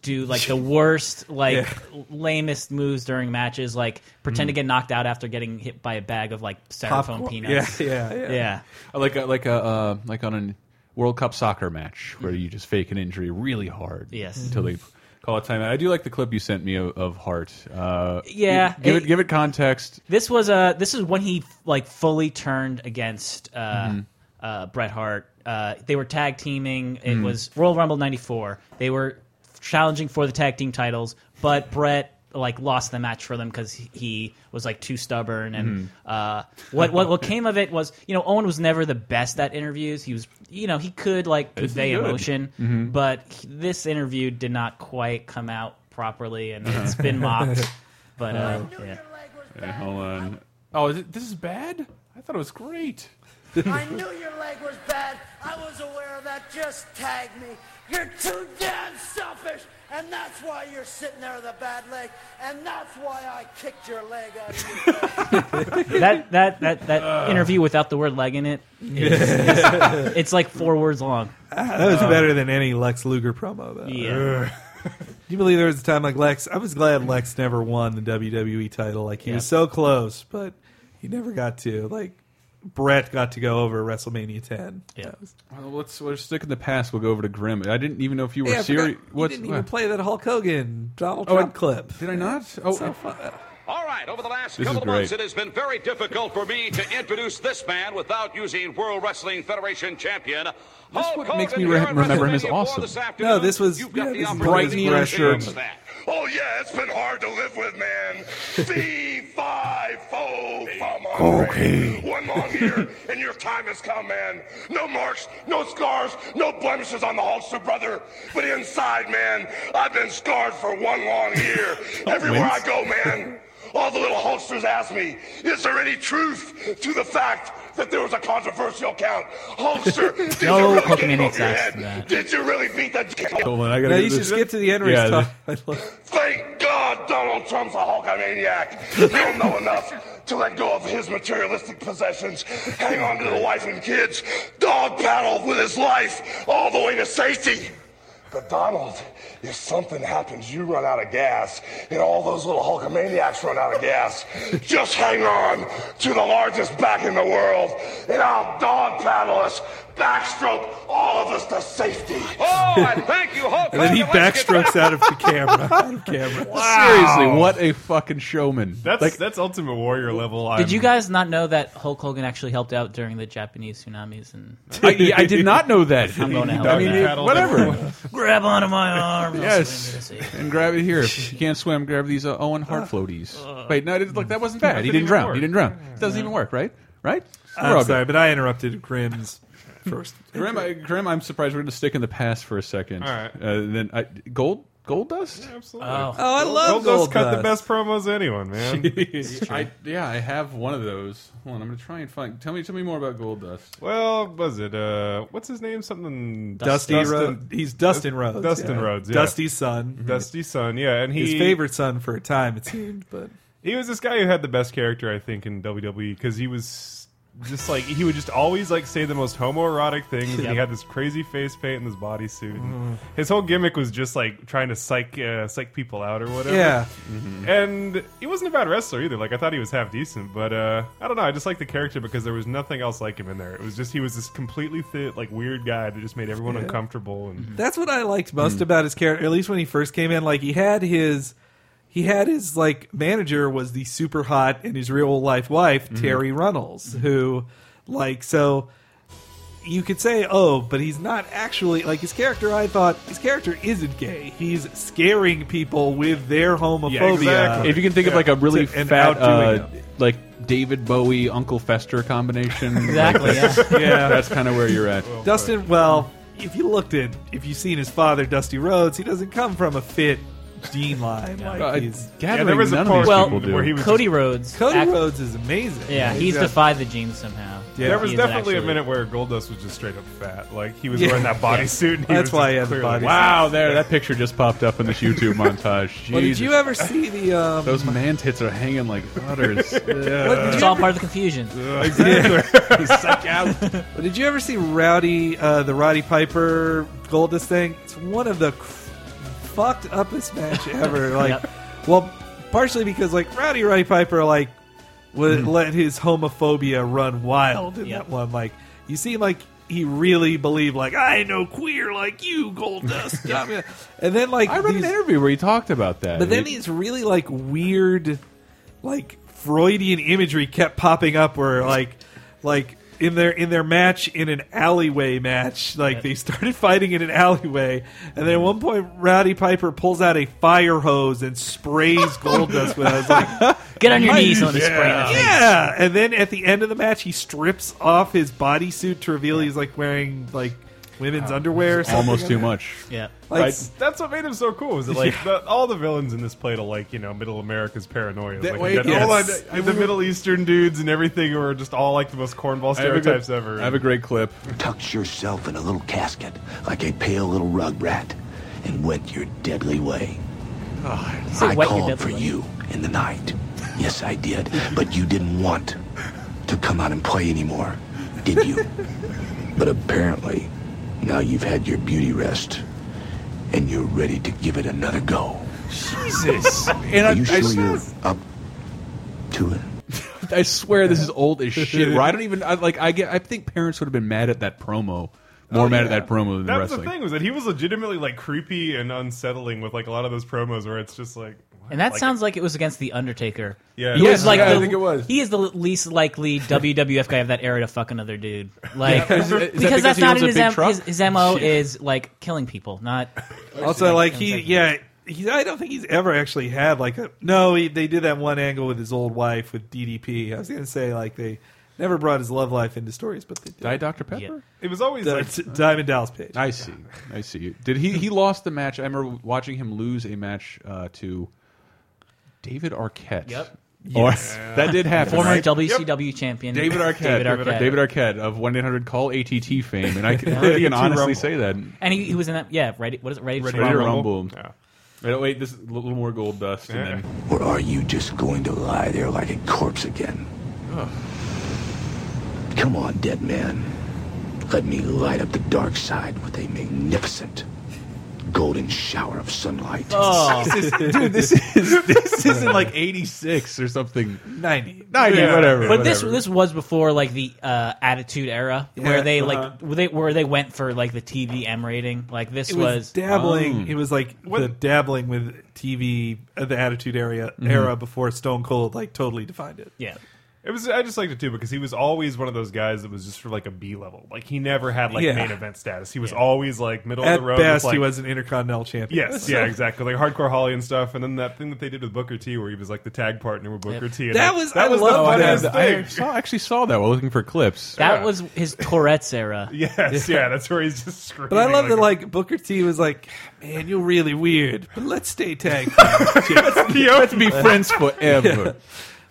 S6: do like
S4: (laughs)
S6: the worst, like lamest moves during matches. Like pretend to get knocked out after getting hit by a bag of like styrofoam
S4: Hmm. Popcorn.
S6: (laughs) peanuts.
S4: Yeah, yeah, yeah.
S2: like a, like a uh, like on a World Cup soccer match where you just fake an injury really hard.
S6: Yes.
S2: Until they call a timeout. I do like the clip you sent me of, of Hart. Uh,
S6: Yeah,
S2: Give it,
S6: it-
S2: give it context.
S6: This was uh this is when he like fully turned against uh, uh, Bret Hart. Uh, they were tag teaming. It was Royal Rumble '94. They were challenging for the tag team titles, but Bret like lost the match for them because he was like too stubborn. And uh, what what what came of it was you know Owen was never the best at interviews. He was you know he could like
S2: This is
S6: convey
S2: good.
S6: emotion, but he- this interview did not quite come out properly, and (laughs)
S2: Uh-huh.
S6: it's
S2: (laughs)
S6: been mocked. But uh, yeah.
S2: Hey, Uh-huh. hold on. Oh, is it, this is bad. I thought it was
S4: (laughs)
S2: great.
S7: (laughs) I
S2: (laughs)
S7: knew your leg was bad. I was aware of that. Just tag me. You're too damn selfish, and that's why you're sitting there with a bad leg, and that's why I kicked your leg out of you.
S6: (laughs) that that that that interview without the word leg in it
S4: (laughs)
S6: is- is- it's like four words long
S4: Ah, That was better than any Lex Luger promo, though.
S6: yeah
S4: Do you believe there was a time like Lex? I was glad Lex never won the WWE title. Like, he was so close, but he never got to. Like, Brett got to go over WrestleMania 10.
S6: Yeah.
S4: That was-
S2: Well, let's we'll stick in the past. We'll go over to Grim. I didn't even know if you were
S4: Hey, I forgot,
S2: serious.
S4: you
S2: What's-
S4: didn't even
S2: what?
S4: play that Hulk Hogan Donald
S2: Oh, I-
S4: Trump clip.
S2: Did I not? Oh,
S4: So fun.
S5: All right, over the last
S2: This is
S5: couple of months,
S2: great.
S5: it has been very difficult for me to introduce this man without using World Wrestling Federation champion. This
S2: what makes me re- remember him as awesome.
S4: No, this was- yeah, this is
S2: bright neon shirt.
S1: Oh yeah, it's been hard to live with, man. Fee fi fo fum
S8: Okay.
S1: One long year, and your time has come, man. No marks, no scars, no blemishes on the Hulkster, brother. But inside, man, I've been scarred for one long year. Everywhere I go, man. All the little Hulksters ask me, is there any truth to the fact that there was a controversial count?
S9: (laughs)
S1: Hulkster, did
S6: No
S1: you really
S6: Hulkamaniacs
S1: get it over your
S6: asked
S1: head?
S6: that.
S1: Did you really beat that?
S2: Hold on, I gotta
S4: No,
S2: do
S4: you
S2: this.
S4: should skip to the end race
S2: Yeah, (laughs)
S4: talk.
S2: the-
S4: (laughs) I love-
S1: Thank God Donald Trump's a Hulkamaniac. He'll know enough to let go of his materialistic possessions, hang on to the wife and kids, dog paddle with his life all the way to safety. But Donald, if something happens, you run out of gas, and all those little Hulkamaniacs run out of gas. Just hang on to the largest back in the world, and I'll dog paddle us, backstroke all of us to safety.
S5: Oh, and thank you, Hulk
S4: And then he
S5: Hogan. Let's get
S4: backstrokes out of the camera. (laughs) Out of camera.
S2: Seriously, what a fucking showman!
S3: That's
S2: like
S3: that's Ultimate Warrior level.
S6: did (laughs) you guys not know that hulk hogan actually helped out during the japanese tsunamis and
S2: I, I did not know that.
S6: i'm going to hell
S2: I mean,
S6: now.
S2: it- (laughs) whatever.
S6: grab onto my arm
S2: Yes, and grab it here. If you can't swim, grab these uh, Owen Hart floaties. Wait, no, it didn't- look, that wasn't bad. He
S3: didn't
S2: didn't
S3: even
S2: drown.
S3: work.
S2: He didn't drown. It doesn't even work, right? Right? We're all
S4: I'm
S2: good.
S4: sorry, but I interrupted Grimm's
S2: (laughs)
S4: first.
S2: Grim, I, Grim, I'm surprised we're going to stick in the past for a second.
S3: All right.
S2: Uh, then I, gold, gold dust.
S3: Absolutely.
S6: oh
S4: Oh, I love
S3: Goldust
S4: Gold
S3: cut the best promos of anyone, (laughs)
S2: (laughs)
S3: man.
S2: I, yeah, I have one of those. Hold on, I'm going to try and find. Tell me, tell me more about gold dust.
S3: well, was it uh, what's his name? Something
S4: Dusty
S3: Dustin-
S4: Ro- He's Dustin Rhodes.
S3: Dustin Rhodes, yeah.
S4: Dusty's son.
S3: Dusty Sun, yeah, and he
S4: His favorite son for a time, it seemed, but
S3: E, He was this guy who had the best character, I think, in WWE because he was just like he would just always like say the most homoerotic things, and
S6: Yep.
S3: he had this crazy face paint and this bodysuit.
S4: Mm-hmm.
S3: and His whole gimmick was just like trying to psych uh, psych people out or whatever. Mm-hmm.
S4: Yeah.
S3: and he wasn't a bad wrestler either. Like I thought he was half decent, but uh, I don't know. I just like the character because there was nothing else like him in there. It was just he was this completely thi- like weird guy that just made everyone uncomfortable.
S2: Mm-hmm.
S3: And
S4: Mm-hmm. That's what I liked
S2: Mm.
S4: most about his character, at least when he first came in. Like he had his, he had his like manager was the super hot in his real life wife
S2: Mm-hmm.
S4: Terry Runnels, who, like, so you could say, oh, but he's not actually like his character. I thought his character isn't gay. He's scaring people with their homophobia.
S3: exactly.
S2: If you can think of like a really
S4: And
S2: fat,
S4: outdoing
S2: uh,
S4: them.
S2: like David Bowie, Uncle Fester combination, (laughs)
S6: Exactly. Yeah.
S2: yeah, that's kind of where you're at.
S4: Dustin, well, if you looked at, if you've seen his father, Dusty Rhodes, he doesn't come from a fit Dean line. Like
S2: Uh,
S4: he's,
S2: gathering
S3: Yeah, there was a
S2: none
S3: part
S2: of these
S6: Well,
S2: people do.
S3: where he was
S6: Cody Rhodes.
S4: Cody
S6: act-
S4: Rhodes is amazing.
S6: Yeah, he's
S4: a-
S6: defied the genes somehow.
S4: Yeah.
S3: there was
S6: He is
S3: definitely a
S6: actually-
S3: minute where Goldust was just straight up fat. Like he was
S4: Yeah.
S6: (laughs)
S3: wearing that bodysuit. and he
S4: That's
S3: was
S4: why
S3: just
S4: he had the
S3: clearly-
S4: bodysuit.
S2: Wow,
S4: (laughs)
S2: there, that picture just popped up in this YouTube montage. Jesus.
S4: Well, did you ever see the? Um,
S2: Those man tits are hanging like
S3: (laughs)
S4: (laughs)
S2: butters.
S4: what- did,
S6: It's
S4: you
S6: all
S4: ever,
S6: part of the confusion.
S4: (laughs) did you ever see Rowdy, uh, the Roddy Piper Goldust thing? It's one of the cr- fucked uppest
S6: (laughs)
S4: match ever. Like,
S6: Yep.
S4: well, partially because like Rowdy Roddy Piper like would let his homophobia run wild in
S6: Yep.
S4: that one. Like, you seem like he really believed like I know queer like you (laughs) Goldust, I'm gonna-" and then like
S2: I read
S4: these-
S2: an interview where he talked about that.
S4: But then
S2: He-
S4: these really like weird, like Freudian imagery kept popping up, where like, like in their in their match in an alleyway match, like they started fighting in an alleyway, and then at one point Rowdy Piper pulls out a fire hose and sprays Goldust with. it. I was like,
S6: (laughs) Get on your knees on the spray in the face.
S4: yeah. And then at the end of the match, he strips off his bodysuit to reveal he's like wearing like women's underwear. Or something
S2: almost
S4: like
S2: too
S4: that.
S2: much.
S6: Yeah.
S4: Like,
S3: Like, that's what made him so cool.
S6: (laughs)
S3: Was it like the, all the villains in this played a like you know Middle America's paranoia.
S2: That-
S3: like,
S2: wait,
S3: you got
S4: yes.
S3: all the- the Middle Eastern dudes and everything who were just all like the most cornball
S2: I have, a good-
S3: stereotypes ever.
S2: I have a great clip.
S8: tucked yourself in a little casket like a pale little rug rat and went your deadly way.
S6: Say
S8: I
S6: what you
S8: called
S6: did
S8: for
S6: like.
S8: you in the night. Yes, I did. But you didn't want to come out and play anymore, did you? but apparently, now you've had your beauty rest and you're ready to give it another go.
S2: And I,
S8: Are you
S2: I
S8: sure you're
S2: s-
S8: up to it?
S2: I swear this is old (laughs) as shit. Where I don't even I, like. I get. I think parents would have been mad at that promo, more mad at that promo than
S3: Oh, That
S2: the
S3: was the
S2: wrestling.
S3: thing was that he was legitimately like creepy and unsettling with like a lot of those promos where it's just like.
S6: And that
S3: like-
S6: sounds like it was against the Undertaker.
S3: Yeah.
S6: he
S3: Yes,
S6: was like
S2: yeah, I
S6: the,
S2: think it was.
S6: He is the least
S2: (laughs)
S6: likely WWF guy of that era to fuck another dude. Like
S2: Is- is that
S6: because,
S2: because
S6: that's
S2: he
S6: not
S2: owns
S6: in
S2: a
S6: his,
S2: big
S6: M-
S2: truck?
S6: his his mo is like killing people, not
S4: Also, like he,
S6: Sounds like-
S4: yeah, he, I don't think he's ever actually had like a. No, he, they did that one angle with his old wife with DDP. I was gonna say like they never brought his love life into stories, but they did.
S2: Die Dr Pepper.
S6: Yeah.
S3: It was always
S4: The-
S3: like
S4: t- Diamond Dallas Page.
S2: I see. I see. Did he? He lost the match. I remember watching him lose a match uh, to David Arquette.
S6: Yep.
S2: Or, (laughs)
S4: (laughs)
S2: that did happen.
S6: former
S2: right?
S6: WCW champion
S2: David Arquette.
S6: David Arquette.
S2: David Arquette of one eight hundred call ATT fame, and I (laughs) can, I can honestly say that.
S6: and he, he was in that. Yeah, ready. What is it? Ready,
S3: Ready
S6: to
S2: Ready to
S6: Rumble.
S2: rumble.
S3: Yeah.
S2: Wait, wait, this is a little more gold dust, and then
S8: Or are you just going to lie there like a corpse again?
S2: (laughs)
S8: Come on, dead man. Let me light up the dark side with a magnificent golden shower of sunlight.
S6: Oh,
S2: dude,
S6: (laughs)
S2: this is this isn't like eighty six or something.
S4: Ninety.
S2: Ninety, whatever.
S6: but this
S2: whatever.
S6: this was before like the uh, Attitude Era,
S4: Yeah,
S6: where they
S4: uh-huh.
S6: like where they where they went for like the TV M rating. Like this
S4: It
S6: (laughs)
S4: was,
S6: was,
S3: Oh.
S4: dabbling. It was like the dabbling with TV, uh, the Attitude Area
S3: Mm-hmm.
S4: era before Stone Cold like totally defined it.
S6: yeah.
S3: It was. I just liked it too because he was always one of those guys that was just for like a B level. Like he never had like
S4: Yeah.
S3: main event status. He was always like middle
S4: At
S3: of the road.
S4: best,
S3: with, like,
S4: he was an Intercontinental champion. (laughs)
S3: Yes, yeah, exactly. Like hardcore Holly and stuff, and then that thing that they did with Booker T, where he was like the tag partner with Booker T. And
S4: That
S3: like,
S4: was-
S3: that
S4: I
S3: was the
S4: love that.
S2: I,
S3: funniest
S2: had-
S3: thing.
S2: I saw, actually saw that while looking for clips.
S6: That was his Tourette's era.
S2: (laughs)
S3: Yes, yeah, that's where (laughs) he's just screaming.
S4: But I love that,
S3: a-
S4: like Booker T was like, "Man, you're really weird, but let's stay tag." team."
S2: (laughs) Let's be friends (laughs) forever.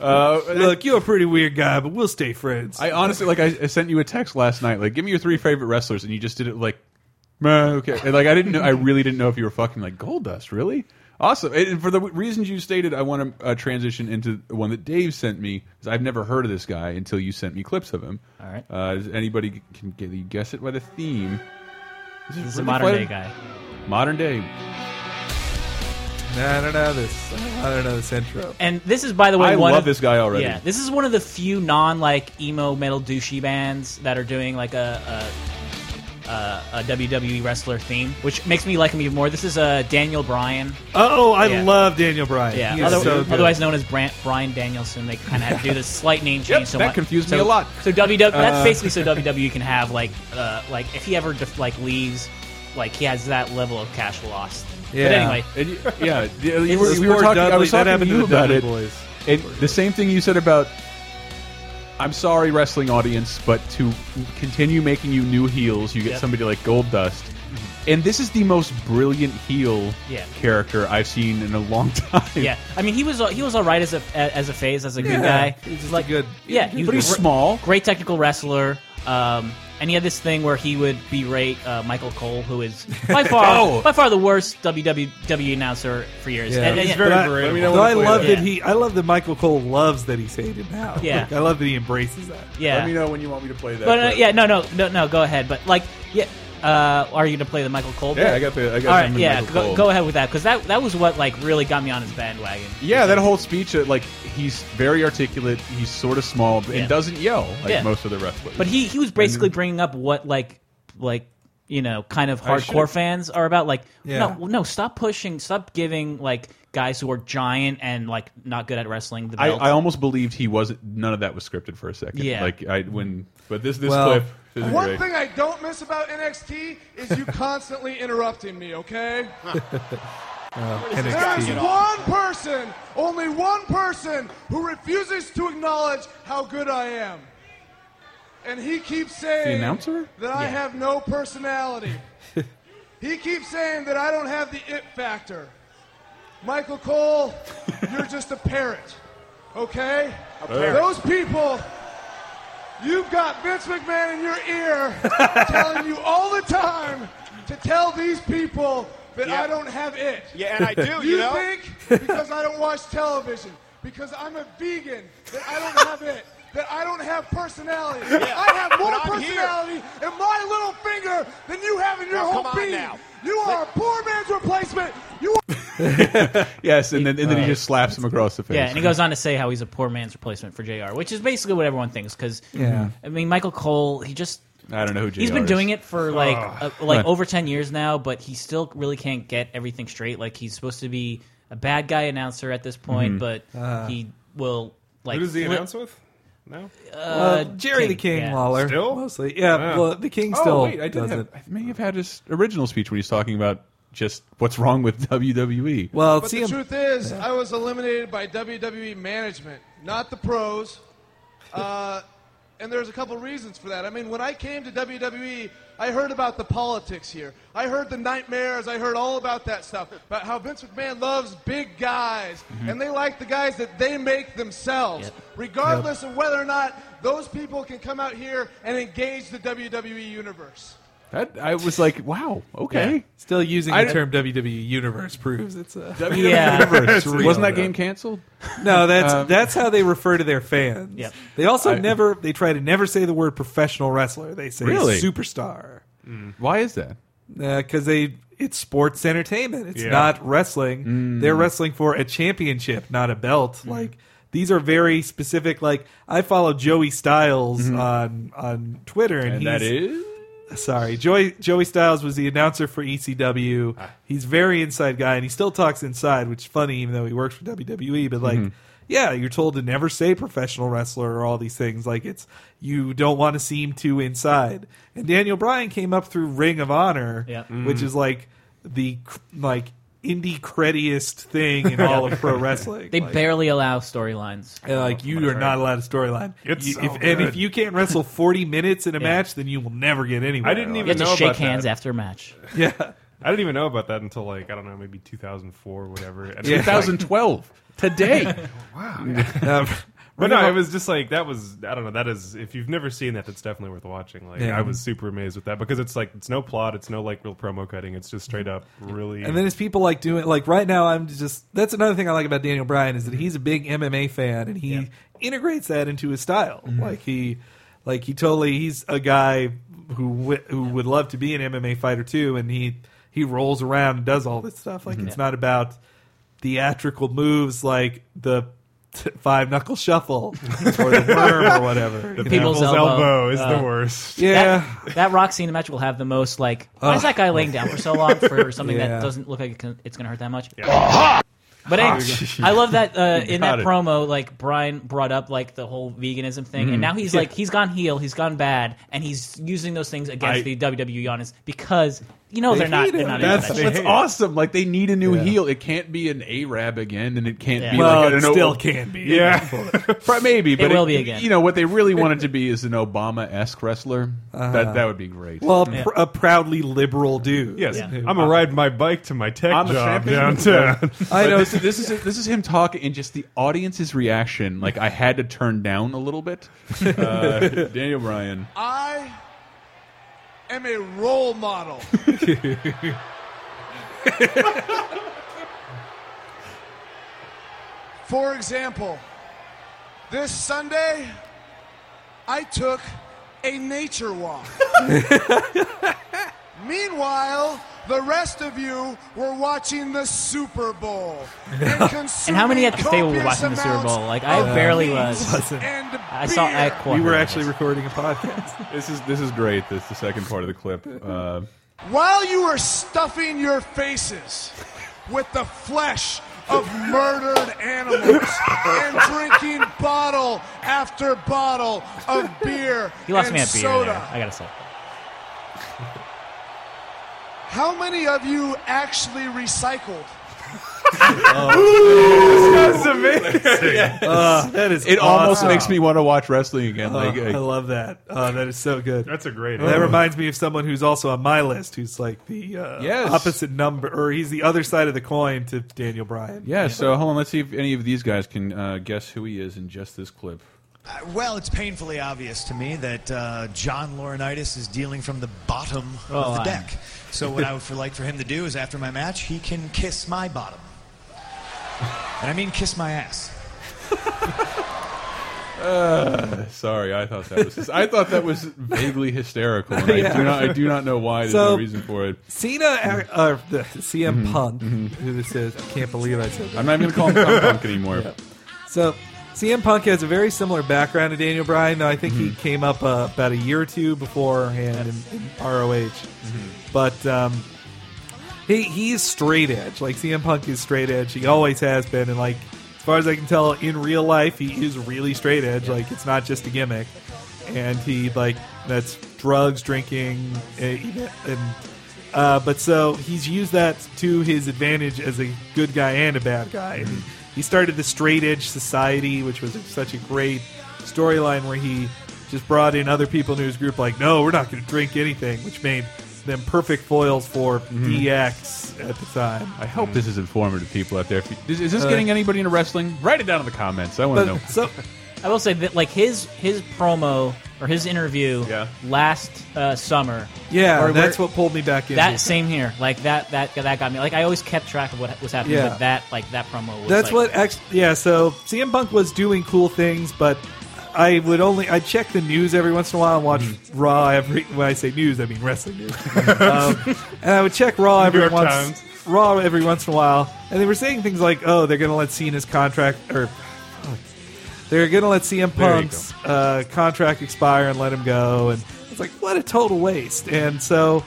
S2: Uh,
S4: Look, you're a pretty weird guy, but we'll stay friends.
S2: I honestly like. I, I sent you a text last night. Like, give me your three favorite wrestlers, and you just did it like, "Meh, okay. And, like, I didn't know. I really didn't know if you were fucking like Goldust. Really? Awesome. And for the reasons you stated, I want to uh, transition into the one that Dave sent me because I've never heard of this guy until you sent me clips of him.
S6: All right.
S2: Uh, does anybody can can you guess it by the theme? Is
S6: This is a modern day guy.
S2: Modern day.
S4: I don't know this. I don't know this intro.
S6: And this is, by the way,
S2: I
S6: one
S2: love
S6: of,
S2: this guy already.
S6: Yeah, this is one of the few non like emo metal douchey bands that are doing like a a, a, a WWE wrestler theme, which makes me like him even more. This is uh, Daniel Bryan,
S4: Oh, I
S6: Yeah.
S4: love Daniel Bryan.
S6: yeah,
S4: He is
S6: other-
S4: so good.
S6: otherwise known as Bran- Bryan Danielson. They kind of had to do this slight name change. so
S2: that
S6: much.
S2: confused
S6: so,
S2: me a lot.
S6: So WWE,
S4: Uh,
S6: that's basically so WWE can have like uh, like if he ever def- like leaves, like he has that level of cash loss.
S4: Yeah.
S6: But anyway,
S2: And you,
S6: (laughs)
S2: yeah, you
S4: This
S2: were, we were
S4: poor
S2: talking. I
S4: Dudley-
S2: was talking
S4: that
S2: to
S4: happened
S2: you
S4: to the
S2: about
S4: Dudley
S2: it.
S4: Boys.
S2: And the same thing you said about. I'm sorry, wrestling audience, but to continue making you new heels, you get
S6: Yep. Mm-hmm.
S2: somebody like Gold Dust. And this is the most brilliant heel
S6: Yeah.
S2: character I've seen in a long (laughs) time.
S6: yeah, I mean he was he was all right as a as a phase as a good
S4: Yeah,
S6: guy.
S4: he's just a
S6: like
S4: good-
S6: yeah,
S4: he's
S6: he was
S2: But he's
S6: gr-
S2: small.
S6: great technical wrestler. Um, and he had this thing where he would berate uh, Michael Cole, who is
S4: (laughs)
S6: by far
S2: Oh.
S6: by far the worst WWE announcer for years.
S4: Yeah.
S6: And- and-
S4: He's
S3: very
S4: But I-
S3: relatable.
S4: Though I love
S6: Yeah.
S4: that he. I love that Michael Cole loves that he's hated now.
S6: Yeah.
S4: Like, I love that he embraces that.
S6: yeah.
S2: Let me know when you want me to play that.
S6: But uh,
S2: clip.
S6: yeah, no, no, no, no. Go ahead. But like, yeah, uh, are you gonna play the Michael Cole?
S2: Yeah,
S6: bit?
S2: I got the. I got
S6: All right,
S2: him and
S6: yeah,
S2: Michael
S6: go,
S2: Cole.
S6: go ahead with that because that that was what like really got me on his bandwagon.
S2: Yeah, that whole speech, uh, like he's very articulate. He's sort of small and
S6: Yeah.
S2: doesn't yell like
S6: Yeah.
S2: most of the wrestlers.
S6: But he he was basically bringing up what like like you know kind of hardcore
S2: should've-
S6: fans are about. Like,
S4: Yeah.
S6: no, no, stop pushing, stop giving like guys who are giant and like not good at wrestling the
S2: I,
S6: belt.
S2: I almost believed he wasn't. None of that was scripted for a second.
S6: Yeah.
S2: Like I when, but this this
S4: Well,
S2: clip is
S10: One
S2: great.
S10: thing I don't miss about NXT is
S2: (laughs)
S10: you constantly interrupting me, okay?
S2: Uh,
S10: There is
S4: NXT.
S10: one person, only one person, who refuses to acknowledge how good I am. And he keeps saying
S2: The announcer?
S10: that I
S6: Yeah.
S10: have
S2: (laughs)
S10: no personality. he keeps saying that I don't have the it factor.
S2: (laughs)
S10: Michael Cole, you're just a parrot. Okay? Those people, you've got Vince McMahon in your ear (laughs) telling you all the time to tell these people that I don't have it.
S11: Yeah, and I
S10: (laughs)
S11: do, you,
S10: You
S11: know?
S10: think because I don't watch television, because I'm a vegan, that I don't have it, that I don't have personality. I have more
S11: But I'm here.
S10: personality in my little finger than you have in your
S11: Now,
S10: whole
S11: come on
S10: being.
S11: now.
S10: You are a poor man's replacement. You are
S2: Yes, and then and then he just slaps him across the face.
S6: Yeah, and he goes on to say how he's a poor man's replacement for JR, which is basically what everyone thinks. Because
S4: Yeah.
S6: I mean, Michael Cole, he just
S2: I don't know who JR
S6: he's been
S2: is.
S6: doing it for like uh, like
S2: Right.
S6: over 10 years now but he still really can't get everything straight like he's supposed to be a bad guy announcer at this point
S2: Mm-hmm.
S6: but
S2: Uh.
S6: he will like
S3: Who does he
S6: flip- uh,
S3: announce with? No.
S2: Uh,
S4: Well, Jerry the King
S6: yeah.
S4: Lawler.
S3: Still?
S4: Mostly. Yeah.
S3: Yeah.
S4: Well, the King
S2: Oh
S4: still
S2: wait, I did
S4: does
S2: have.
S4: it.
S2: I may have had his original speech when he's talking about just what's wrong with E. WWE.
S4: Well,
S10: But
S4: see
S10: the
S4: him.
S10: truth is, I was eliminated by WWE management, not the pros. Uh, and there's a couple reasons for that. I mean, when I came to WWE, I heard about the politics here. I heard the nightmares. I heard all about that stuff. About how Vince McMahon loves big guys,
S4: Mm-hmm.
S10: and they like the guys that they make themselves,
S6: Yep.
S10: regardless of whether or not those people can come out here and engage the WWE universe.
S2: that I was like, wow, okay.
S4: Still using
S2: I-
S4: the term WWE E Universe proves it's a
S2: WWE
S6: Yeah.
S2: (laughs) Universe.
S4: real,
S2: Wasn't that
S4: though.
S2: game canceled?
S4: no. That's
S2: Um,
S4: that's how they refer to their fans.
S6: Yep.
S4: They also
S2: I-
S4: never they try to never say the word professional wrestler. They say
S2: Really?
S4: superstar
S3: (laughs)
S2: Why is that?
S4: because they it's sports entertainment. It's
S3: Yeah.
S4: not wrestling.
S2: Mm.
S4: They're wrestling for a championship, not a belt. Like these are very specific. Like I follow Joey Styles on on Twitter, and,
S2: Mm-hmm. And
S4: he's,
S2: that is
S4: Sorry, Joey Joey Styles was the announcer for ECW. He's very inside guy, and he still talks inside, which is funny, even though he works for WWE. But like, yeah, you're told to never say professional wrestler or all these things. Like, it's you don't want to seem too inside. And Daniel Bryan came up through Ring of Honor,
S6: Yep.
S4: which is like the cr- like indie creddiest thing in all of pro wrestling.
S6: they
S4: Like,
S6: barely allow storylines
S4: and like you are not allowed to storyline.
S3: It's
S4: You-
S3: so
S4: if, and if
S3: good.
S4: you can't wrestle forty minutes in a match, then you will never get anywhere.
S3: I didn't
S4: Like,
S6: you
S3: even
S6: have to
S3: know
S6: shake
S3: about
S6: hands
S3: that.
S6: after a match
S4: Yeah.
S3: I didn't even know about that until like I don't know, (laughs)
S4: E. (laughs)
S3: maybe 2004, or whatever. And it was like-
S2: (laughs) 2012. Today,
S4: Um,
S3: But
S4: Ring (laughs)
S3: no,
S4: of Hon-
S3: it was just like that was I don't know that is if you've never seen that that's definitely worth watching. Like
S4: Yeah.
S3: I was super amazed with that because it's like it's no plot, it's no like real promo cutting, it's just straight up really.
S4: And then it's people like doing like right now. I'm just that's another thing I like about Daniel Bryan is that he's a big MMA fan and he integrates that into his style. Like he, like he totally he's a guy who w- who would love to be an MMA fighter too, and he he rolls around and does all this stuff. Like it's not about theatrical moves like the. (laughs) t- Five knuckle shuffle or the worm or whatever. you know?
S6: people's elbow.
S3: is the worst.
S4: yeah,
S6: Oh, uh, That, that rock scene match will have the most like. Why is that guy laying down for so long
S4: (laughs)
S6: for something
S4: Yeah.
S6: that doesn't look like it can- it's going to hurt that much? But anyway, I love that uh, in that
S2: it.
S6: promo, like Brian brought up like the whole veganism thing, and now he's like he's gone heel, he's gone bad, and he's using those things against
S2: I-
S6: the WWE honest because you know they are
S4: hate
S6: not
S4: him.
S6: they're not into
S2: That's
S6: that
S3: they
S6: shit.
S2: that's
S3: hate it.
S2: awesome. Like they need a new
S4: Yeah.
S2: heel. It can't be an Arab again, and it can't
S6: Yeah.
S2: be
S4: well,
S2: like an
S4: it
S2: O-
S4: still can be. (laughs)
S2: Yeah, (laughs) Pro- maybe, but
S6: will be again.
S2: You know what they really wanted to be is an Obama-esque wrestler. That that would be great.
S4: Uh-huh. Well, a, pr- a proudly liberal dude.
S3: Yes,
S6: Yeah.
S3: I'm gonna ride my bike to my tech
S2: I'm a
S3: job
S2: champion. (laughs)
S3: downtown.
S4: I know.
S2: this, this is this is him talking and just the audience's reaction. Like I had to turn down a little
S4: (laughs)
S2: bit. Uh, Daniel Bryan.
S10: I am a role model. For example, this Sunday, I took a nature walk. Meanwhile, the rest of you were watching the Super Bowl. And,
S6: And how many at this table were
S10: consuming
S6: watching the Super
S10: copious
S6: Bowl?
S2: (laughs)
S6: Like I
S10: amounts of
S6: barely
S10: beans
S6: was.
S10: and
S6: I saw I
S10: beer.
S4: we
S6: quite
S4: were actually recording a podcast.
S2: (laughs) This is this is great. This is the second part of the clip. Uh,
S10: While you are stuffing your faces with the flesh of murdered animals and drinking bottle after bottle of beer
S6: He lost
S10: and
S6: me at beer.
S10: soda,
S6: There, I gotta say.
S10: how many of you actually recycled?
S4: that is
S2: it almost makes me want to watch wrestling again. Like
S4: I
S2: I,
S4: love that. Oh, that is so good.
S3: That's a great.
S4: that reminds me of someone who's also on my list, who's like the uh,
S2: Yes.
S4: opposite number, or he's the other side of the coin to Daniel Bryan.
S2: yeah. So hold on. Let's see if any of these guys can uh, guess who he is in just this clip.
S11: Well, it's painfully obvious to me that uh, John Laurinaitis is dealing from the bottom
S6: Oh,
S11: of the
S6: I-
S11: deck. So what I would for, like for him to do is after my match, he can kiss my bottom. And I mean kiss my ass.
S2: Uh, Sorry, I thought that was I thought that was vaguely hysterical. (laughs) And I do not I do not know why. There's no
S4: So-
S2: reason for it. Mm-hmm.
S4: Cena, uh, uh, the CM Punk, who this is. I can't believe I said that.
S2: I'm not even gonna call him punk
S4: (laughs)
S2: anymore.
S4: So, CM Punk has a very similar background to Daniel Bryan, though I think he came up uh, about a year or two beforehand in, in ROH. But um, he he's straight edge. Like CM Punk is straight edge. He always has been, and like as far as I can tell, in real life, he is really straight edge. Like it's not just a gimmick. And he like that's drugs, drinking, uh, and uh, but so he's used that to his advantage as a good guy and a bad guy. And he started the Straight Edge Society, which was such a great storyline where he just brought in other people into his group, like, no, we're not going to drink anything, which made them perfect foils for DX at the time.
S2: I hope this is informative to people out there. If you, is, is this getting anybody into wrestling? Write it down in the comments. I want (laughs) to know.
S4: But, so
S6: (laughs) I will say that like his his promo or his interview
S2: Yeah.
S6: last uh, summer.
S4: yeah,
S6: Or
S4: that's
S6: where-
S4: what pulled me back in.
S6: That same here, like that that that got me. Like I always kept track of what was happening,
S4: Yeah.
S6: but that like that promo was.
S4: That's
S6: like,
S4: what actually, yeah. So CM Punk was doing cool things, but I would only I check the news every once in a while and watch
S3: Mm-hmm.
S4: Raw every. When I say news, I mean
S3: (laughs)
S4: wrestling news. um, and I would check Raw every
S3: York
S4: once
S3: Times.
S4: Raw every once in a while, and they were saying things like, "Oh, they're going to let Cena's contract or." fuck. They're gonna let CM
S3: There you
S4: Punk's uh, contract expire and let him go, and it's like what a total waste. And so,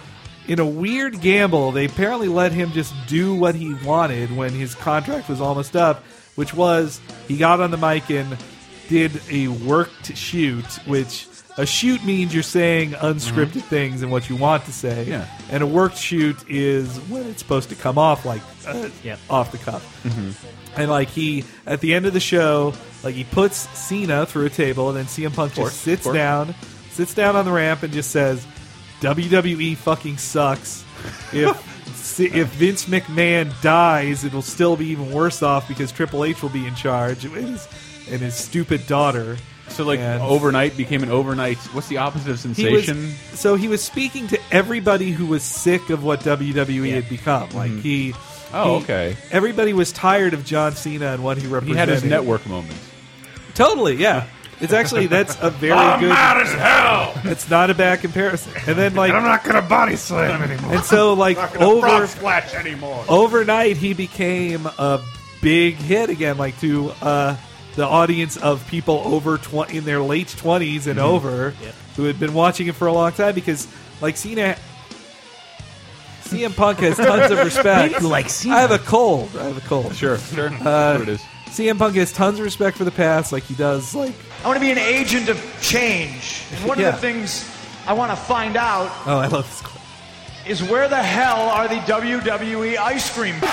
S4: in a weird gamble, they apparently let him just do what he wanted when his contract was almost up, which was he got on the mic and did a worked shoot, which a shoot means you're saying unscripted things and what you want to say,
S2: Yeah.
S4: and a worked shoot is when it's supposed to come off like uh,
S6: Yep.
S4: off the cuff. And like he at the end of the show, like he puts Cena through a table, and then CM Punk just sits down, sits down on the ramp, and just says, "WWE fucking sucks. If si- if Vince McMahon dies, it'll still be even worse off because Triple H will be in charge." It was and his stupid daughter.
S2: So like
S4: And-
S2: overnight became an overnight. What's the opposite of
S4: He was,
S2: sensation?
S4: so he was speaking to everybody who was sick of what WWE had become. Like he,
S2: Oh,
S4: he-
S2: okay.
S4: Everybody was tired of John Cena and what he
S2: He
S4: represented.
S2: had his network moment.
S4: Totally, yeah. It's actually that's a very good.
S1: as hell!
S4: It's not a bad comparison. And then like,
S1: not gonna body slam anymore.
S4: and so like over
S1: splash anymore.
S4: overnight he became a big hit again like to uh, the audience of people over 20 in their late 20s
S2: Mm-hmm.
S4: and over who had been watching it for a long time because like cena CM Punk has tons
S2: (laughs)
S4: of respect.
S6: like Cena.
S4: I have a cold. I have a cold.
S2: Sure, sure. That's what it is.
S4: CM Punk has tons of respect for the past, like he does. Like,
S11: I want to be an agent of change. And one
S4: Yeah.
S11: of the things I want to find out
S4: oh, I love this. Cold.
S11: is where the hell are the WWE ice cream?
S2: (laughs)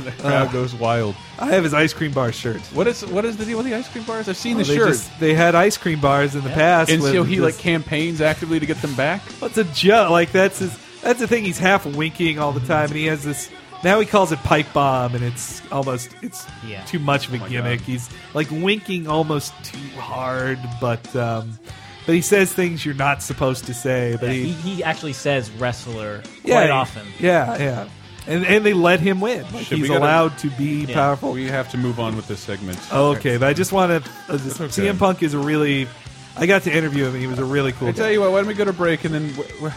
S2: The crowd goes wild.
S4: I have his ice cream bar shirt.
S2: What is what is the deal with the ice cream bars? I've seen the
S4: they
S2: shirt.
S4: just- they had ice cream bars in the past,
S2: and
S4: with
S2: so he
S4: this-
S2: like campaigns actively to get them back.
S4: What's a joke? Like that's his. That's the thing. He's half winking all the time, and he has this. Now he calls it pipe bomb, and it's almost it's
S6: Yeah.
S4: too much
S2: Oh
S4: of a gimmick. He's like winking almost too hard, but um, but he says things you're not supposed to say. But
S6: He,
S4: he,
S6: he actually says wrestler
S4: yeah,
S6: quite
S4: he-
S6: often.
S4: yeah, yeah, and and they let him win. Like,
S2: Should we
S4: he's
S2: go to-
S4: allowed to be
S6: Yeah.
S4: powerful.
S2: We have to move on with this segment.
S4: Okay, but I just want to. Uh, just-
S2: That's okay.
S4: CM Punk is a really. I got to interview him. and He was a really cool.
S2: I
S4: guy.
S2: tell you what, why don't we go to break and then w- w-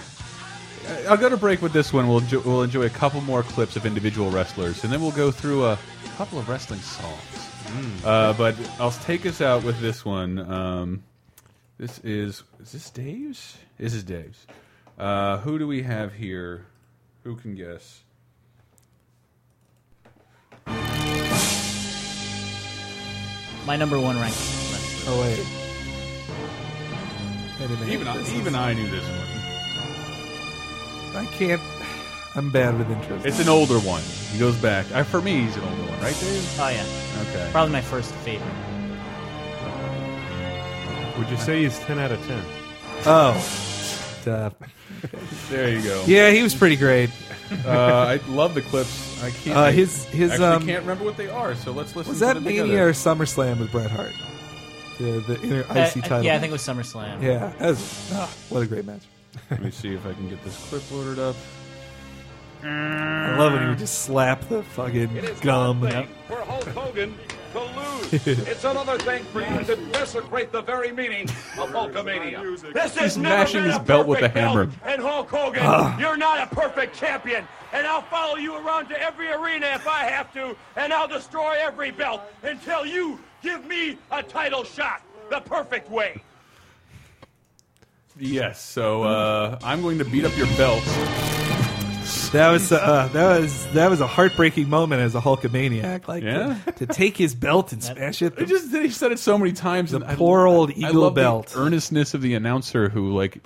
S2: I'll go to break with this one. We'll enjoy, we'll enjoy a couple more clips of individual wrestlers, and then we'll go through a couple of wrestling songs. Uh, but I'll take us out with this one. Um, this is is this Dave's? This is Dave's. Uh, who do we have here? Who can guess?
S6: My number one ranking.
S4: Oh wait. Wait a minute.
S2: Even I,
S4: This is-
S2: even I knew this one.
S4: I can't. I'm bad with intros.
S2: It's an older one. He goes back. I, for me, he's an older one, E, right, Dave?
S6: Oh yeah,
S2: Okay.
S6: probably my first favorite.
S3: Would you say he's 10 out of 10? (laughs)
S4: oh. Duh.
S2: There you go.
S4: Yeah, he was pretty great.
S2: Uh, I love the clips. I can't.
S4: Uh,
S2: I
S4: his- his,
S2: actually
S4: um,
S2: can't remember what they are. So let's listen.
S4: (laughs) Was
S2: to
S4: that
S2: them
S4: Mania
S2: together.
S4: or SummerSlam with Bret Hart? The, the inner
S6: Uh,
S4: icy title.
S6: yeah, I think it was SummerSlam.
S4: Yeah, that was- ah, what a great match.
S2: Let me see if I can get this clip loaded up.
S5: Mm.
S4: I love when he would just slap the fucking gum.
S5: thing for Hulk Hogan to lose. it's another thing for you to desecrate the very meaning of Hulkamania. This
S2: He's mashing his belt with a hammer.
S5: And Hulk Hogan,
S2: Ah.
S5: you're not a perfect champion. And I'll follow you around to every arena if I have to, and I'll destroy every belt until you give me a title shot the perfect way.
S2: Yes. So uh, I'm going to beat up your belt.
S4: That was uh, that was that was a heartbreaking moment as a Hulkamaniac. Like
S2: Yeah?
S4: to, to take his belt and smash it.
S2: It just he said it so many times.
S4: The
S2: and I-
S4: poor old
S2: I
S4: eagle
S2: love the
S4: belt.
S2: earnestness of the announcer who like,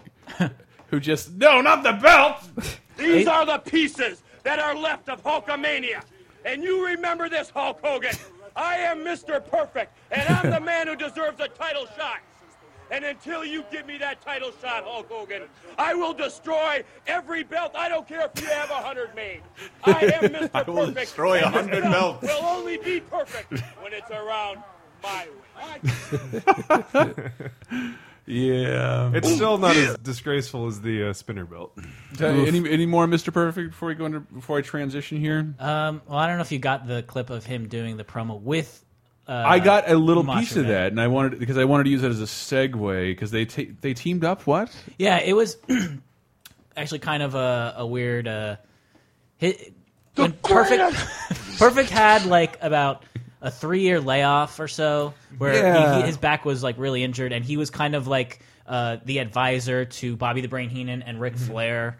S2: who just no, not the belt.
S5: (laughs) These are the pieces that are left of Hulkamania. And you remember this, Hulk Hogan. I am Mr. Perfect, and I'm
S2: (laughs)
S5: the man who deserves a title shot. And until you give me that title shot, Hulk Hogan, I will destroy every belt. I don't care if you have a hundred made. I am Mr.
S2: I will
S5: Perfect.
S2: destroy
S5: and this
S2: 100
S5: belt
S2: belts.
S5: Will only be perfect when it's around my way.
S2: Yeah.
S3: It's still not as disgraceful as the uh, (laughs) spinner belt.
S2: any any more Mr. Perfect before we go into before I transition here?
S6: Um, well, I don't know if you got the clip of him doing the promo with. Uh,
S2: I got a little
S6: Macho
S2: piece of
S6: Man.
S2: that, and I wanted because I wanted to use that as a segue because they ta they teamed up. What?
S6: Yeah, it was (clears throat) actually kind of a, a weird. Uh, hit, when perfect, (laughs) perfect had like about a three-year layoff or so, where he- he,
S4: Yeah.
S6: his back was like really injured, and he was kind of like uh, the advisor to Bobby the Brain Heenan and Ric Flair.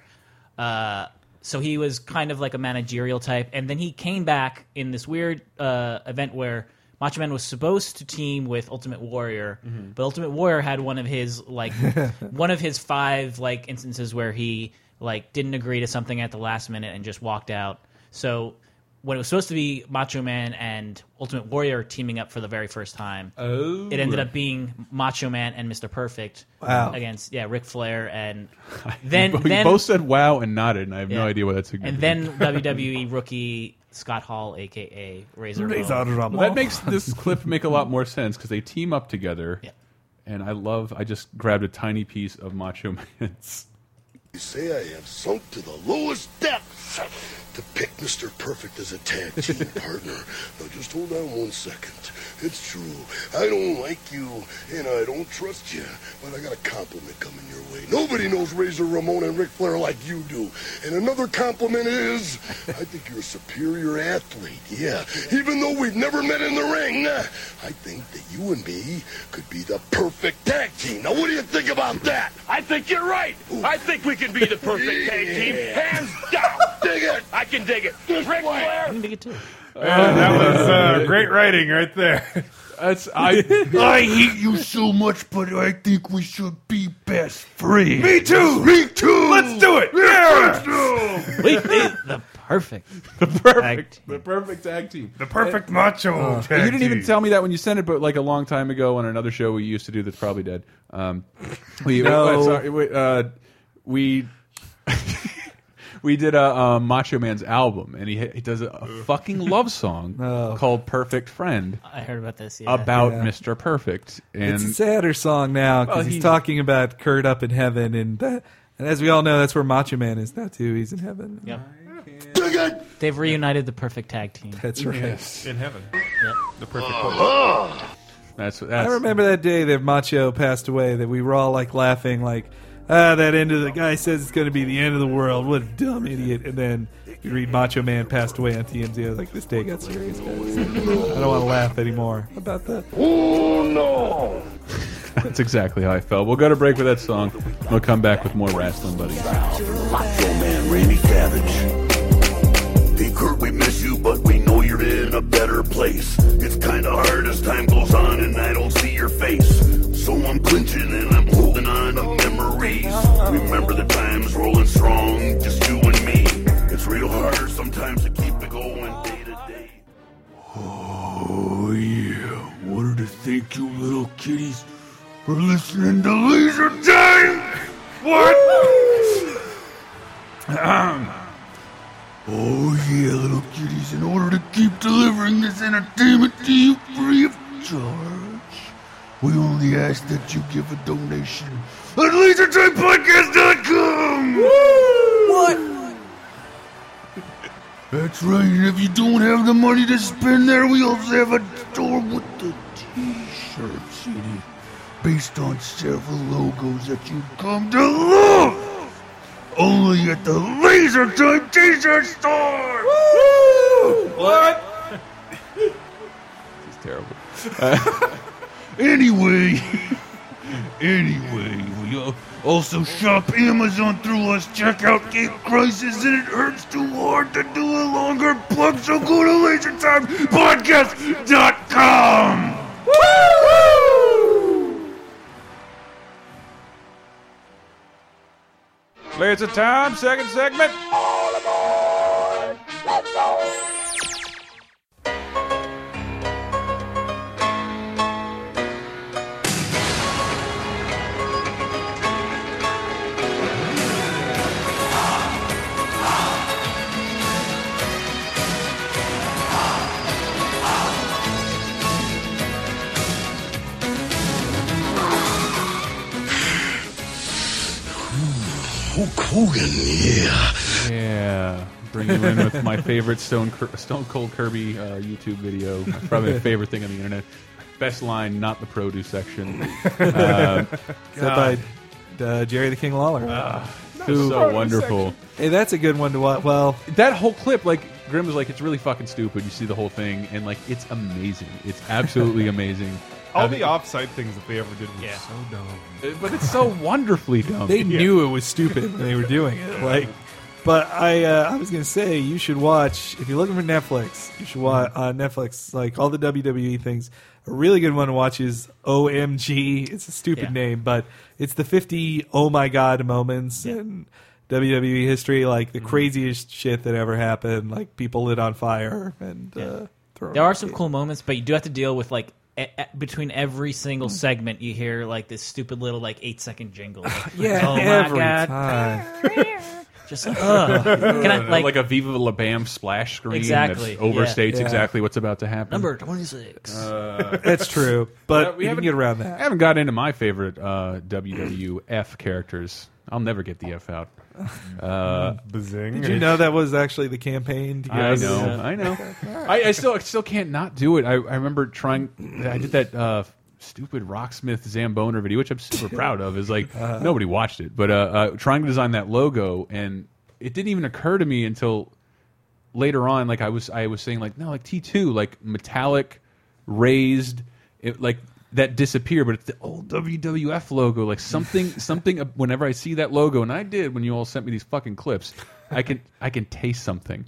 S6: Uh, so he was kind of like a managerial type, and then he came back in this weird uh, event where Macho Man was supposed to team with Ultimate Warrior, but Ultimate Warrior had one of his like one of his five like instances where he like didn't agree to something at the last minute and just walked out. So when it was supposed to be Macho Man and Ultimate Warrior teaming up for the very first time,
S2: Oh,
S6: it ended up being Macho Man and Mr. Perfect
S4: Wow.
S6: against yeah Ric Flair and then
S2: We
S6: then
S2: both said wow and nodded, and I have no
S6: Yeah. (laughs)
S2: idea what that's.
S6: and then WWE E rookie Scott Hall, aka Razor. Ramon.
S2: Well, that makes this clip make a lot more sense because they team up together.
S6: Yeah.
S2: And I love. I just grabbed a tiny piece of Macho Man's.
S1: You say I have sunk to the lowest depths to pick Mr. Perfect as a tag team partner. Now just hold on one second. It's true. I don't like you and I don't trust you, but I got a compliment coming your way. Nobody knows Razor Ramon and Ric Flair like you do. And another compliment is I think you're a superior athlete. Yeah. Even though we've never met in the ring, I think that you and me could be the perfect tag team. Now what do you think about that?
S5: I think you're right. I think we can be the perfect tag team, hands down.
S1: Dig it!
S5: I can dig it. Ric Flair,
S6: Didn't think it too.
S3: Oh, that was uh, great writing right (laughs) there.
S2: That's
S3: (laughs)
S2: I.
S1: I hate you so much, but I think we should be best friends. Me too. Me too. Let's do it. Yeah. Let's do.
S6: We did the perfect.
S2: perfect. (laughs) The perfect tag team.
S3: The perfect macho.
S4: Oh,
S2: Uh,
S3: (laughs)
S2: you didn't even tell me that when you sent it, but like a long time ago on another show we used to do that's probably dead. Um, we
S4: No.
S2: uh, sorry, we, uh, we (laughs) we did a, uh Macho Man's album, and he he does a, a fucking love
S4: (laughs)
S2: song called "Perfect Friend"
S6: I heard about this. Yeah.
S2: about
S4: Oh. Yeah.
S2: Mr. Perfect, and
S4: It's a sadder song now because
S2: Well,
S4: he's
S2: he-
S4: talking about Kurt up in heaven, and that, and as we all know, that's where Macho Man is now too. He's in heaven.
S6: Yeah.
S1: Dig it.
S6: They've reunited the perfect tag team.
S4: That's right.
S3: In heaven. The perfect
S2: that's, that's
S4: I remember that day that Macho passed away. That we were all like laughing, like ah, that end of the guy says it's going to be the end of the world. What a dumb idiot! And then you read Macho Man passed away on TMZ. I was like, this day got (laughs) serious. Guys. I don't want to laugh anymore about that.
S1: Oh no.
S2: That's exactly how I felt. We'll go to break with that song. We'll come back with more wrestling, buddies.
S1: Macho Man Randy Savage. Hey Kurt, we miss you, but we know you're in a better place. It's kinda hard as time goes on and I don't see your face. So I'm clinching and I'm holding on to memories. Remember the times rolling strong, just you and me. It's real hard sometimes to keep it going day to day. Oh yeah, wanted to thank you little kitties for listening to Leisure Time! What? (clears throat) Oh yeah, little kitties, in order to keep delivering this entertainment to you free of charge, we only ask that you give a donation at LaserTimePodcast.com! What? That's right, and if you don't have the money to spend there, we also have a store with the t-shirt CD based on several logos that you come to love! only at the Laser Time T-shirt store. What?
S2: It's terrible.
S1: (laughs) Anyway, (laughs) anyway, we al- also shop Amazon through us. Check out Game Crisis, and it hurts too hard to do a longer plug. So go to LaserTimePodcast.com.
S2: It's a time, second segment.
S1: (sighs) Hulk Hogan, yeah.
S2: Yeah, bring you in with my favorite Stone Cur- Stone Cold Kirby uh, YouTube video. Probably my favorite thing on the internet. Best line, not the produce
S4: (laughs)
S2: section. Uh,
S4: Is that by uh, Jerry the King Lawler?
S2: Ah, Who so wonderful.
S4: hey, that's a good one to watch. Well,
S2: That whole clip, like Grim was like, it's really fucking stupid. You see the whole thing, and like, it's amazing. It's
S4: (laughs)
S2: absolutely amazing.
S3: All the offside things that they ever did were
S6: Yeah.
S3: so dumb.
S2: But it's so wonderfully dumb.
S4: they knew it was stupid when they were doing it. Like, but I, uh, I was gonna say you should watch if you're looking for Netflix. You should watch on Netflix like all the WWE things. A really good one to watch is OMG. It's a stupid
S6: Yeah.
S4: name, but it's the 50 oh my god moments in WWE history, like
S2: Mm-hmm.
S4: the craziest shit that ever happened, like people lit on fire and uh, thrown
S6: There
S4: out
S6: are
S4: of
S6: some
S4: the-
S6: cool moments, but you do have to deal with like e- e- between every single segment, you hear like this stupid little like eight second jingle. Like,
S4: yeah
S6: oh my
S4: every
S6: god,
S4: time.
S6: Oh (laughs) Just like, ugh. Can
S2: (laughs)
S6: I,
S2: like,
S6: like,
S2: a Viva La Bam splash screen
S6: Exactly,
S2: that
S6: yeah.
S2: overstates
S4: Yeah.
S2: exactly what's about to happen.
S6: number 26.
S4: Uh, (laughs)
S2: (laughs)
S4: That's true, but
S2: we
S4: we you
S2: haven't-
S4: can get around that.
S2: I haven't got into my favorite uh, WWF characters. I'll never get the F
S4: (laughs)
S2: out. Uh,
S3: Bazing.
S4: Did you know that was actually the campaign? To get
S2: I
S4: us-
S2: know, I know. I, I still, I still can't not do it. I, I remember trying. I did that uh, stupid Rocksmith Zamboner video, which I'm super proud of. Is
S4: (laughs)
S2: like nobody watched it, but uh, uh, trying to design that logo, and it didn't even occur to me until later on. Like I was, I was saying like no, like T two, like metallic, raised, it, like that disappear, but it's the old WWF logo, like something, something. uh, Whenever I see that logo, and I did when you all sent me these fucking clips, I can, I can taste something.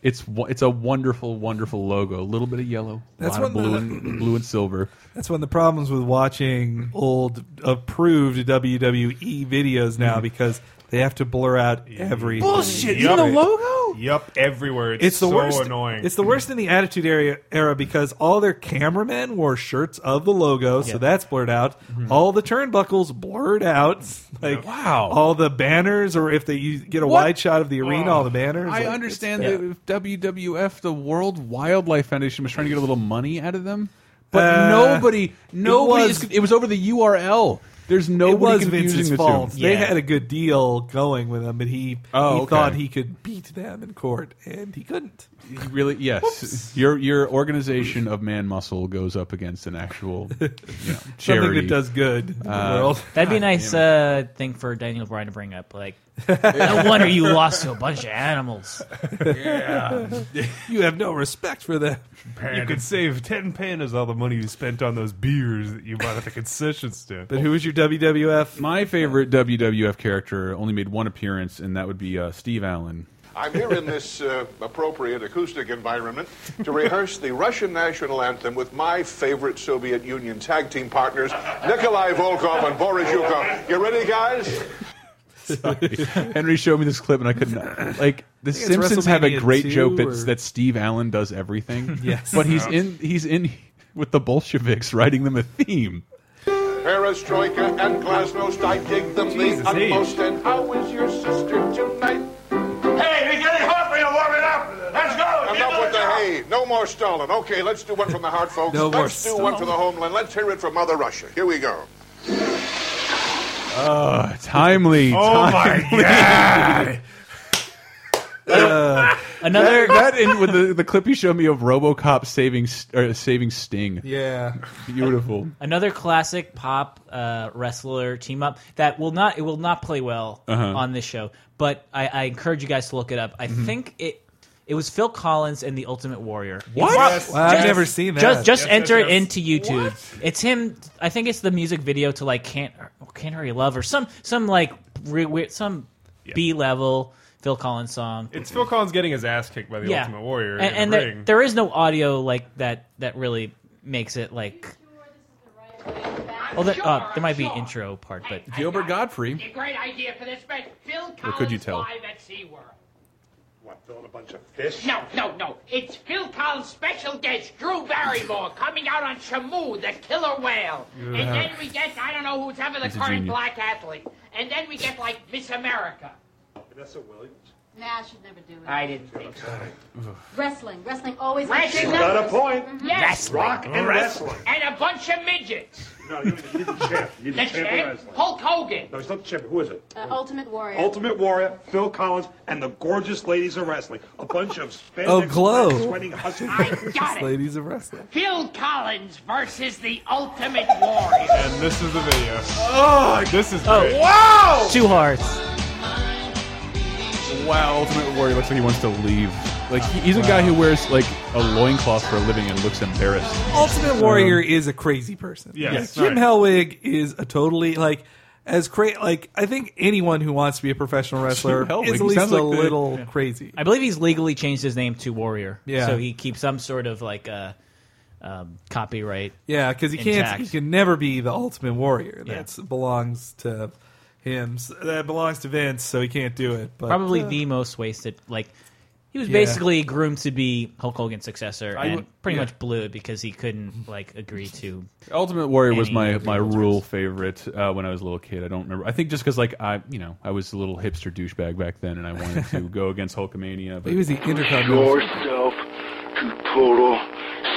S2: It's wo- it's a wonderful, wonderful logo. A little bit of yellow, a
S4: That's
S2: lot of
S4: one
S2: blue
S4: that-
S2: and blue and silver.
S4: That's one of the problems with watching old approved WWE videos now because they have to blur out every
S3: Bullshit, even the logo? Yup, everywhere. It's,
S4: It's the
S3: so
S4: worst.
S3: annoying.
S4: It's the worst in the Attitude Era, era because all their cameramen wore shirts of the logo, so
S6: Yeah.
S4: that's blurred out. All the turnbuckles blurred out. Like
S2: Wow.
S4: all the banners, or if they you get a
S2: What? Oh.
S4: wide shot of the arena, all the banners.
S2: I
S4: like,
S2: understand
S4: it's-
S2: that if WWF, the World Wildlife Foundation, was trying to get a little money out of them, but
S4: Uh,
S2: nobody, nobody,
S4: was-
S2: is- it was over the URL. There's nobody
S4: It was
S2: confusing
S4: Vince's
S2: the
S4: fault.
S2: two.
S4: They
S6: Yeah.
S4: had a good deal going with him, but he
S2: Oh,
S4: he
S2: okay.
S4: thought he could beat them in court, and he couldn't.
S2: You really, yes. Your your organization of man muscle goes up against an actual you know, charity. Uh,
S4: (laughs) Something that does good in the world.
S6: Uh, (laughs) That'd be a nice uh, thing for Daniel Bryan to bring up. Like, no wonder you lost to a bunch of animals.
S4: (laughs) You have no respect for them.
S3: you could save 10 pandas all the money you spent on those beers that you bought at the concession stand.
S4: But who was your WWF?
S2: My favorite WWF character only made one appearance, and that would be uh, Steve Allen.
S12: I'm here in this uh, appropriate acoustic environment to rehearse the Russian national anthem with my favorite Soviet Union tag team partners, Nikolai Volkov and Boris Yukov. You ready, guys?
S2: (laughs) Henry showed me this clip, and I (laughs) couldn't. Like the
S4: it's
S2: Simpsons have a
S4: WrestleMania
S2: great
S4: 2
S2: joke that
S4: or-
S2: that Steve Allen does (laughs) everything.
S4: Yes.
S2: but he's in he's in (laughs) with the Bolsheviks writing them a theme.
S12: Perestroika and Glasnost, I dig them the utmost. And how is your sister tonight?
S1: Hey, we're getting hungry and warming up. Let's go.
S12: Enough with the hay. No more Stalin. Okay, let's do one from the heart, folks.
S4: No more
S12: let's do one for the homeland. Let's hear it from Mother Russia. Here we go.
S2: Uh, timely.
S3: Oh my god!
S2: (laughs)
S6: Another
S2: That in with the, the clip you showed me of RoboCop saving S- or saving Sting.
S4: Yeah.
S2: Beautiful.
S6: another classic pop uh, wrestler team up that will not it will not play well
S3: Uh-huh.
S6: on this show. But I, I encourage you guys to look it up. I
S3: Mm-hmm.
S6: think it it was Phil Collins and the Ultimate Warrior.
S2: What?
S4: Wow, I've never seen that.
S6: Just just enter
S3: yes,
S6: it into YouTube. It's him. I think it's the music video to like can't can't hurry love or some some like re, weird some B level Phil Collins song.
S3: It's Phil Collins getting his ass kicked by the Ultimate Warrior
S6: and,
S3: in
S6: and
S3: the
S6: there-
S3: ring.
S6: there is no audio like that that really makes it like. Well, there, uh, there might be intro part, but
S2: Gilbert Godfrey.
S13: Great idea for this match. Phil Collins
S2: could you tell?
S13: live at SeaWorld.
S1: What, throwing a bunch of fish?
S13: No, no, no. It's Phil Collins' special guest, Drew
S1: (laughs)
S13: Barrymore, coming out on Shamu, the killer whale. And then we get, I don't know who's ever the
S2: a
S13: current
S2: genius.
S13: black athlete. And then we get, like, Miss America.
S1: Vanessa Williams.
S14: Nah, I should never do it.
S13: I didn't think so.
S14: Wrestling. Wrestling always
S13: Wrestling.
S1: Got a point.
S14: Mm-hmm.
S13: Yes,
S1: Rock and wrestling.
S13: and a bunch of midgets.
S1: No, you need the champ. You need
S13: The
S1: the champ of
S13: champ,
S1: wrestling.
S13: Hulk Hogan.
S1: No, he's not the champ. Who is it?
S14: Uh, Ultimate Warrior.
S1: Ultimate Warrior, Phil Collins, and the gorgeous ladies of wrestling. A bunch of spandex,
S4: Oh, Glow.
S1: black, sweating hussies.
S13: I (laughs) got it.
S4: Ladies of wrestling.
S13: Phil Collins versus the Ultimate Warrior.
S3: and this is the video. Oh, this is great.
S6: two hearts.
S2: Wow, Ultimate Warrior looks like he wants to leave. Like he- he's a guy who wears like a loincloth for a living and looks embarrassed.
S4: Ultimate Warrior is a crazy person.
S3: Yes, yes.
S4: Jim
S3: right.
S4: Hellwig is a totally like as crazy. Like I think anyone who wants to be a professional wrestler
S2: Hellwig,
S4: is
S2: he
S4: at least
S2: sounds
S4: a
S2: like the-
S4: little crazy.
S6: I believe he's legally changed his name to Warrior.
S4: Yeah.
S6: So he keeps some sort of like uh, um, copyright.
S4: Yeah, because he can't.
S6: Intact.
S4: He can never be the Ultimate Warrior.
S6: Yeah.
S4: That belongs to him. So- That belongs to Vince, so he can't do it. But
S6: Probably
S4: uh,
S6: the most wasted. Like He was
S4: Yeah.
S6: basically groomed to be Hulk Hogan's successor,
S2: I
S6: and
S2: would-
S6: pretty
S2: yeah.
S6: much blew it because he
S4: Mm-hmm.
S6: couldn't like agree to.
S2: Ultimate Warrior was
S6: any
S2: my
S6: agreeable
S2: my rule favorite uh, when I was a little kid. I don't remember. I think just because like I you know I was a little hipster douchebag back then, and I wanted
S3: (laughs)
S2: to go against Hulkamania. But
S4: He was the intercontinental.
S15: yourself to total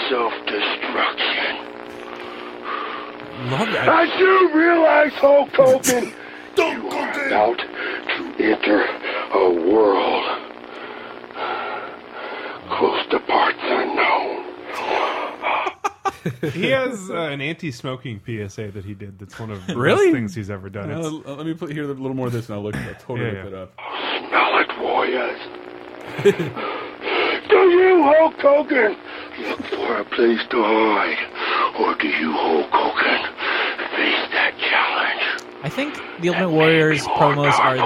S15: self-destruction.
S2: Love that.
S15: I do realize, Hulk
S2: (laughs)
S15: Hogan, you are about to enter a world close to parts unknown.
S3: (laughs) he has uh, an anti-smoking PSA that he did. That's one of the
S2: Really?
S3: best things he's ever done.
S2: Uh,
S3: It's-
S2: l- let me put, hear a little more of this, and I'll look. I'll totally
S3: Yeah,
S2: look
S3: yeah.
S2: it up.
S15: Smell it,
S2: (laughs)
S15: warriors. do you, Hulk Hogan, look for a place to hide? Or do you, Hulk Hogan, face that challenge?
S6: I think the Ultimate Warrior's promos are the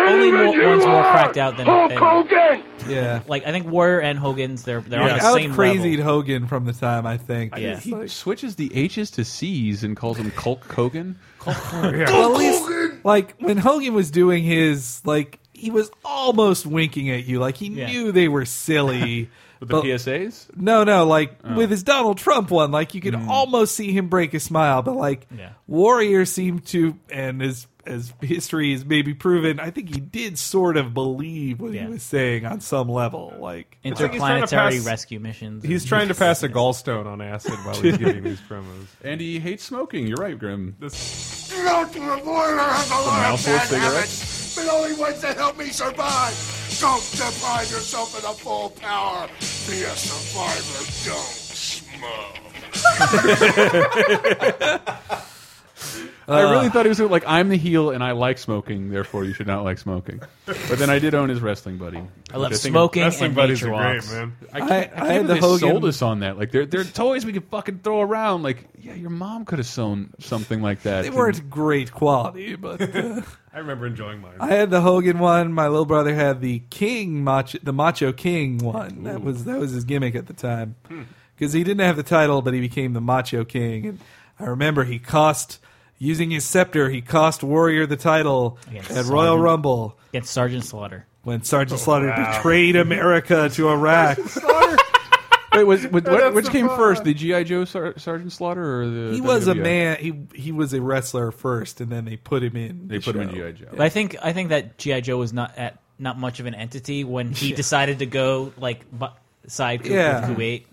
S6: only more, ones more cracked out than.
S15: Hulk
S6: than-
S15: Hogan!
S6: (laughs)
S9: (laughs)
S4: Yeah.
S6: Like I think Warrior and Hogan's they're they're on
S4: Yeah.
S6: the
S4: Out
S6: same
S4: crazied
S6: level.
S4: Hogan from the time I think.
S6: Yeah.
S2: He switches the H's to C's and calls him Hulk Hogan.
S3: (laughs)
S4: Well, at least, like when Hogan was doing his, like he was almost winking at you, like he knew they
S3: (laughs)
S4: were silly.
S2: With the PSAs?
S4: No, no, like
S6: Oh.
S4: with his Donald Trump one, like you could
S6: Mm.
S4: almost see him break a smile, but like Warrior seemed to, and as as history has maybe proven, I think he did sort of believe what he was saying on some level, like
S3: It's like he's trying to pass- He's trying
S6: (laughs)
S3: to pass a gallstone on acid while he's
S2: (laughs)
S3: giving these promos.
S2: And he hates smoking. You're right, Grim.
S1: The ultimate warrior has a lot of
S2: mouthful of
S1: bad habits, but only ones that help me survive. Don't deprive yourself of the full power. Be a survivor. Don't smoke.
S2: I really
S1: Uh.
S2: thought he was like, I'm the heel and I like smoking, therefore you should not like smoking. But then I did own his wrestling buddy.
S6: I love
S2: which think-
S6: smoking Wrestling and buddies nature are great, walks. man.
S2: I can't,
S6: I-
S2: I can't
S6: I
S2: believe
S6: had the
S2: they
S6: Hogan-
S2: sold us on that. Like they're, they're toys we could fucking throw around. Like yeah, your mom could have sewn something like that.
S4: They weren't great
S3: (laughs)
S4: quality, but uh,
S3: I remember enjoying mine.
S4: I had the Hogan one. My little brother had the King Macho, the Macho King one. That was that was his gimmick at the time,
S6: Hmm.
S4: because he didn't have the title, but he became the Macho King. And I remember he cost using his scepter. He cost Warrior the title
S6: Against
S4: at Royal
S6: Sergeant-
S4: Rumble
S6: against Sergeant Slaughter. Oh,
S4: when Sergeant Slaughter
S6: wow.
S4: betrayed America
S6: (laughs)
S4: to Iraq.
S2: Wait, was, was,
S4: That's
S2: what, which
S4: the
S2: came
S4: fun.
S2: first, the GI Joe Sar- Sergeant Slaughter or the? E?
S4: He was a
S2: WWF?
S4: man. He he was a wrestler first, and then they put him in.
S2: They
S4: the
S2: put him in
S4: show.
S2: G.I. Joe.
S6: But I think I think that GI Joe was not at not much of an entity when he
S4: Yeah.
S6: decided to go like bu- side Ku-
S4: Yeah.
S6: with Kuwait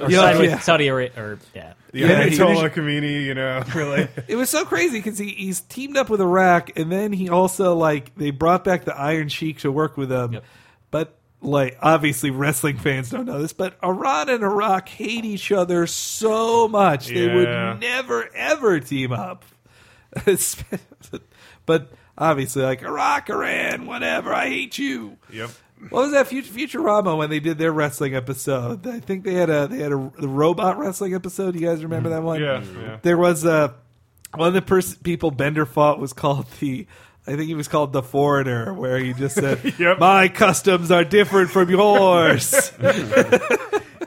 S6: or
S4: Yeah,
S6: side
S4: yeah.
S6: with Saudi Arabia or yeah.
S3: The Ayatollah Khomeini, you
S4: (laughs)
S3: know, (laughs) really.
S4: It was so crazy because he, he's teamed up with Iraq, and then he also like they brought back the Iron Sheik to work with them. But like obviously wrestling fans don't know this, but Iran and Iraq hate each other so much they
S3: Yeah.
S4: would never ever team up. (laughs) but obviously, like Iraq, Iran, whatever, I hate you.
S3: Yep.
S4: What was that Fut- Futurama when they did their wrestling episode? I think they had a they had a the robot wrestling episode. You guys remember that one?
S3: Yeah, yeah.
S4: There was a one of the pers- people Bender fought was called the. I think he was called the foreigner, where he
S3: (laughs)
S4: just said, "My customs are different from yours." (laughs)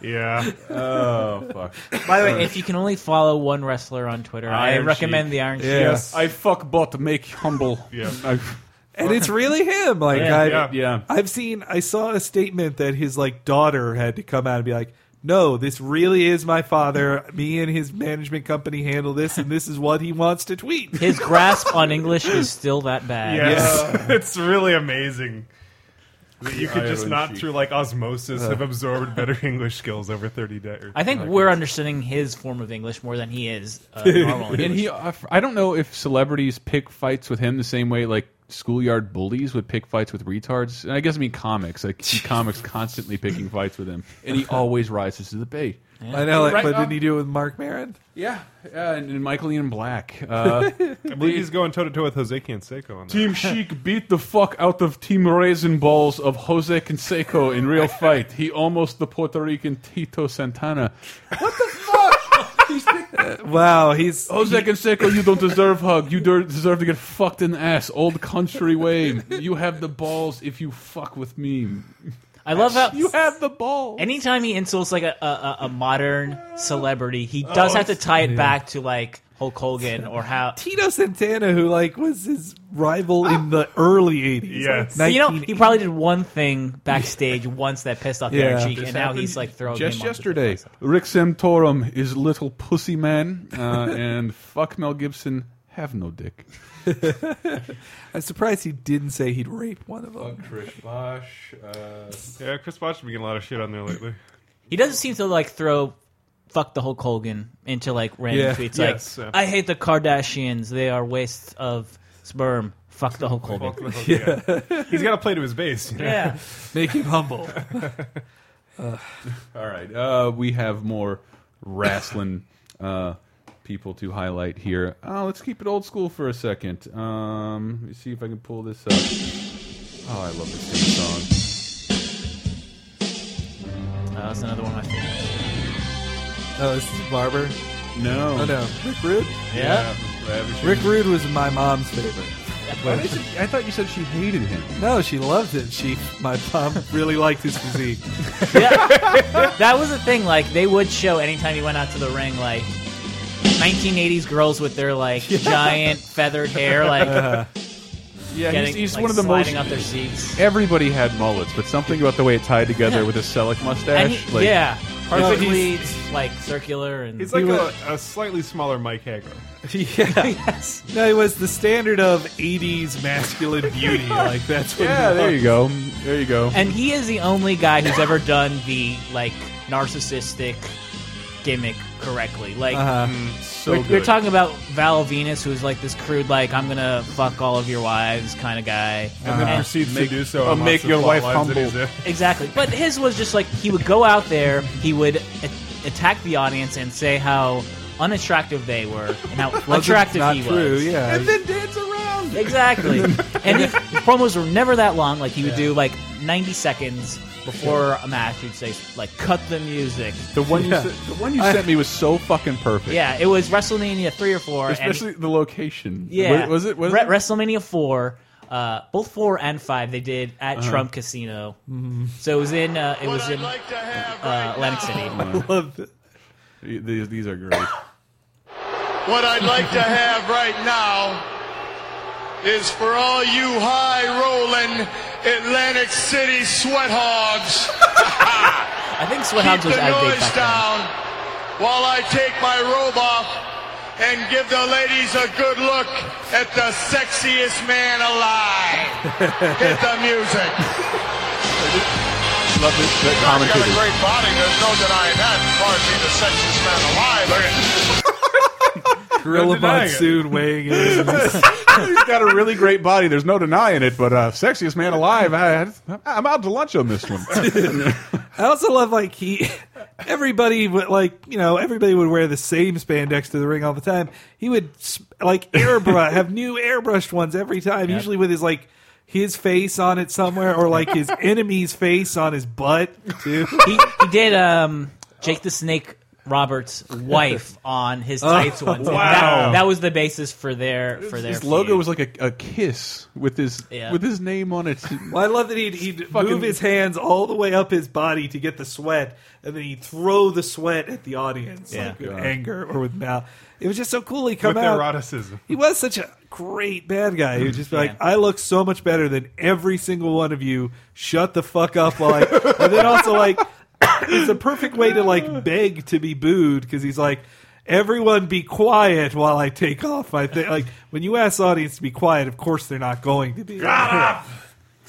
S3: yeah.
S2: Oh fuck.
S6: By the way, if you can only follow one wrestler on Twitter, I
S2: Iron
S6: recommend
S2: Sheik.
S6: the Iron Sheik.
S2: Yes, I fuck bot make humble.
S3: Yeah.
S2: (laughs) I-
S4: and it's really him. Like
S2: Yeah,
S4: I,
S2: yeah, yeah.
S4: I've seen. I saw a statement that his like daughter had to come out and be like, "No, this really is my father. Me and his management company handle this, and this is what he wants to tweet."
S6: His grasp on English is still that bad.
S3: Yes. (laughs) it's really
S2: (laughs)
S3: amazing. That you could
S6: The
S3: just
S6: Iron
S3: not
S6: Sheik.
S3: through like osmosis have
S6: Uh.
S4: Uh-huh.
S3: absorbed better (laughs) English skills over thirty days. Uh-huh.
S6: I think we're understanding his form of English more than he is
S2: (laughs)
S6: uh, normal
S2: and
S6: English.
S2: he, I don't know if celebrities pick fights with him the same way like schoolyard bullies would pick fights with retards. And I guess I mean comics,
S4: (laughs)
S2: like see comics constantly picking fights with him, and he always rises to the bait.
S4: I know, like,
S2: Right,
S4: but
S2: um,
S4: didn't he do it with Mark Maron?
S2: Yeah, yeah, and, and Michael Ian Black.
S4: (laughs)
S2: Uh,
S3: I believe he's going toe to toe with Jose Canseco on that.
S2: Team Sheik beat the fuck out of Team Raisin Balls of Jose Canseco in
S4: (laughs)
S2: real fight. He almost the Puerto Rican Tito Santana.
S6: Uh,
S4: Wow, he's
S2: Jose Canseco. You don't deserve hug.
S4: (laughs)
S2: You der- deserve to get fucked in the ass. Old country way. You have the balls if you fuck with me.
S6: I love how
S2: you have the ball.
S6: Anytime he insults like a a, a, a modern celebrity, he does
S2: Oh,
S6: have to tie it back to like Hulk Hogan or how
S4: Tito Santana, who like was his rival in the early '80s.
S6: Yes.
S4: like,
S6: you know, he probably did one thing backstage once that pissed off
S2: Yeah.
S6: Eric Cheek,
S2: This
S6: and now
S2: happened
S6: he's like throwing
S2: Just
S6: him off the
S2: yesterday, Rick Santorum is little pussy man, uh, and fuck Mel Gibson, have no dick.
S4: (laughs) I'm surprised he didn't say he'd rape one of them.
S2: Chris Bosh. Uh,
S3: yeah, Chris Bosh has been getting a lot of shit on there lately.
S6: He doesn't seem to like throw fuck the Hulk Hogan into like random
S3: Yeah.
S6: tweets
S3: Yes,
S6: like
S3: yeah.
S6: I hate the Kardashians, they are wastes of sperm. Fuck the Hulk Hogan. (laughs)
S3: yeah. He's got to play to his base. you know?
S6: Yeah.
S4: Make him humble. (laughs)
S2: All right. Uh, we have more wrestling uh, people to highlight here. Uh, let's keep it old school for a second. Um, let me see if I can pull this up. Oh, I love this theme
S6: song. Uh, that's another one of my favorites.
S4: Oh, this is Barber.
S2: No.
S4: Oh no, Rick Rude.
S2: Yeah. Yeah, Ravish.
S4: Rick Rude was my mom's favorite.
S2: Why did you- I thought you said she hated him.
S4: No, she loved it. She, my mom, (laughs) really liked
S2: (laughs)
S4: his physique.
S6: that was the thing. Like they would show anytime you went out to the ring, like 1980s girls with their like giant feathered hair, like
S2: Uh-huh. Yeah,
S6: getting-
S2: he's, he's
S6: like,
S2: one of the
S6: sliding
S2: most.
S6: up their seats.
S2: Everybody had mullets, but something about the way it tied together with his Selleck
S6: And
S2: mustache.
S6: he-
S2: like,
S6: yeah,
S3: It's-
S6: perfectly
S3: he's-
S6: it's, like circular and
S3: He's like a, a slightly smaller Mike
S2: (laughs)
S3: Hager.
S4: yeah. yes. No, it was the standard of '80s masculine
S3: (laughs)
S4: beauty. Like that's what.
S6: Yeah,
S4: he
S6: there
S4: was.
S6: you go.
S2: There you go.
S6: And he is the only guy who's ever done the like narcissistic gimmick correctly. Like
S4: Uh-huh. Mm, so
S6: we're,
S4: good.
S6: we're talking about Val Venus, who's like this crude, like I'm gonna fuck all of your wives kind of guy,
S3: And then proceeds to do so. on lots of plot lines that he's in.
S6: Exactly. But his was just like he would go out there, he would a- attack the audience and say how unattractive they were and how
S4: Wasn't-
S6: unattractive
S4: not
S6: he was.
S4: true, yeah. And
S2: then dance around. (laughs)
S6: Exactly.
S4: And
S6: and his, his promos were never that long. Like he would
S4: Yeah.
S6: do like 90 seconds before a match. He'd say like cut the music.
S2: The one you
S6: Yeah.
S2: se- the one you sent me was so fucking perfect.
S6: Yeah, it was WrestleMania three or four. and-
S2: especially the location. Wa-
S6: Yeah,
S2: was it? Was
S6: Re-
S2: it?
S6: WrestleMania four? Uh, both four and five they did at
S2: Uh-huh.
S6: Trump Casino.
S2: Mhm.
S6: So it was in uh, it was in uh, Atlantic
S2: (laughs)
S6: City.
S2: I love These, these are
S6: (laughs)
S2: great.
S16: What I'd like to have right now is for all you high rolling Atlantic City
S3: (laughs)
S16: sweat hogs.
S6: I think sweat hogs
S16: Keep
S6: was
S16: the
S6: outdated
S16: noise
S6: back then.
S16: down while I take my robe off and give the ladies a good look at the sexiest man alive. Hit the music.
S2: Love this that
S16: John's got
S2: commentary.
S16: a great body. There's no denying that. As far as being the sexiest man alive. Look at-
S4: Gorilla Monsoon weighing
S2: (laughs)
S4: in.
S2: He's got a really great body. There's no denying it. But uh, sexiest man alive. I, I'm out to lunch on this one.
S4: I also love like he. Everybody would like you know everybody would wear the same spandex to the ring all the time. He would s- like airbrush have new airbrushed ones every time,
S6: Yeah.
S4: usually with his like his face on it somewhere or like
S2: (laughs)
S4: his enemy's face on his butt too.
S6: he, he did um, Jake the Snake
S2: (laughs)
S6: Roberts' wife on his
S4: Oh,
S6: tights once. and
S2: wow.
S6: That, that was the basis for their (laughs) for their
S2: His
S6: feud.
S2: logo was like a, a kiss with his
S6: Yeah.
S2: with his name on it.
S4: Well, I love that he'd, he'd move his hands all the way up his body to get the sweat, and then he'd throw the sweat at the audience,
S3: Yeah.
S4: like with
S3: God.
S4: anger or with mouth. It was just so cool. He come
S3: With
S4: out
S3: eroticism.
S4: He was such a great bad guy. He would just be
S3: Yeah.
S4: like, "I look so much better than every single one of you. Shut the fuck up!" While I, and then also like, (coughs) it's a perfect way to like beg to be booed because he's like. Everyone be quiet while I take off. I think like when you ask the audience to be quiet, of course they're not going to be.
S6: (laughs)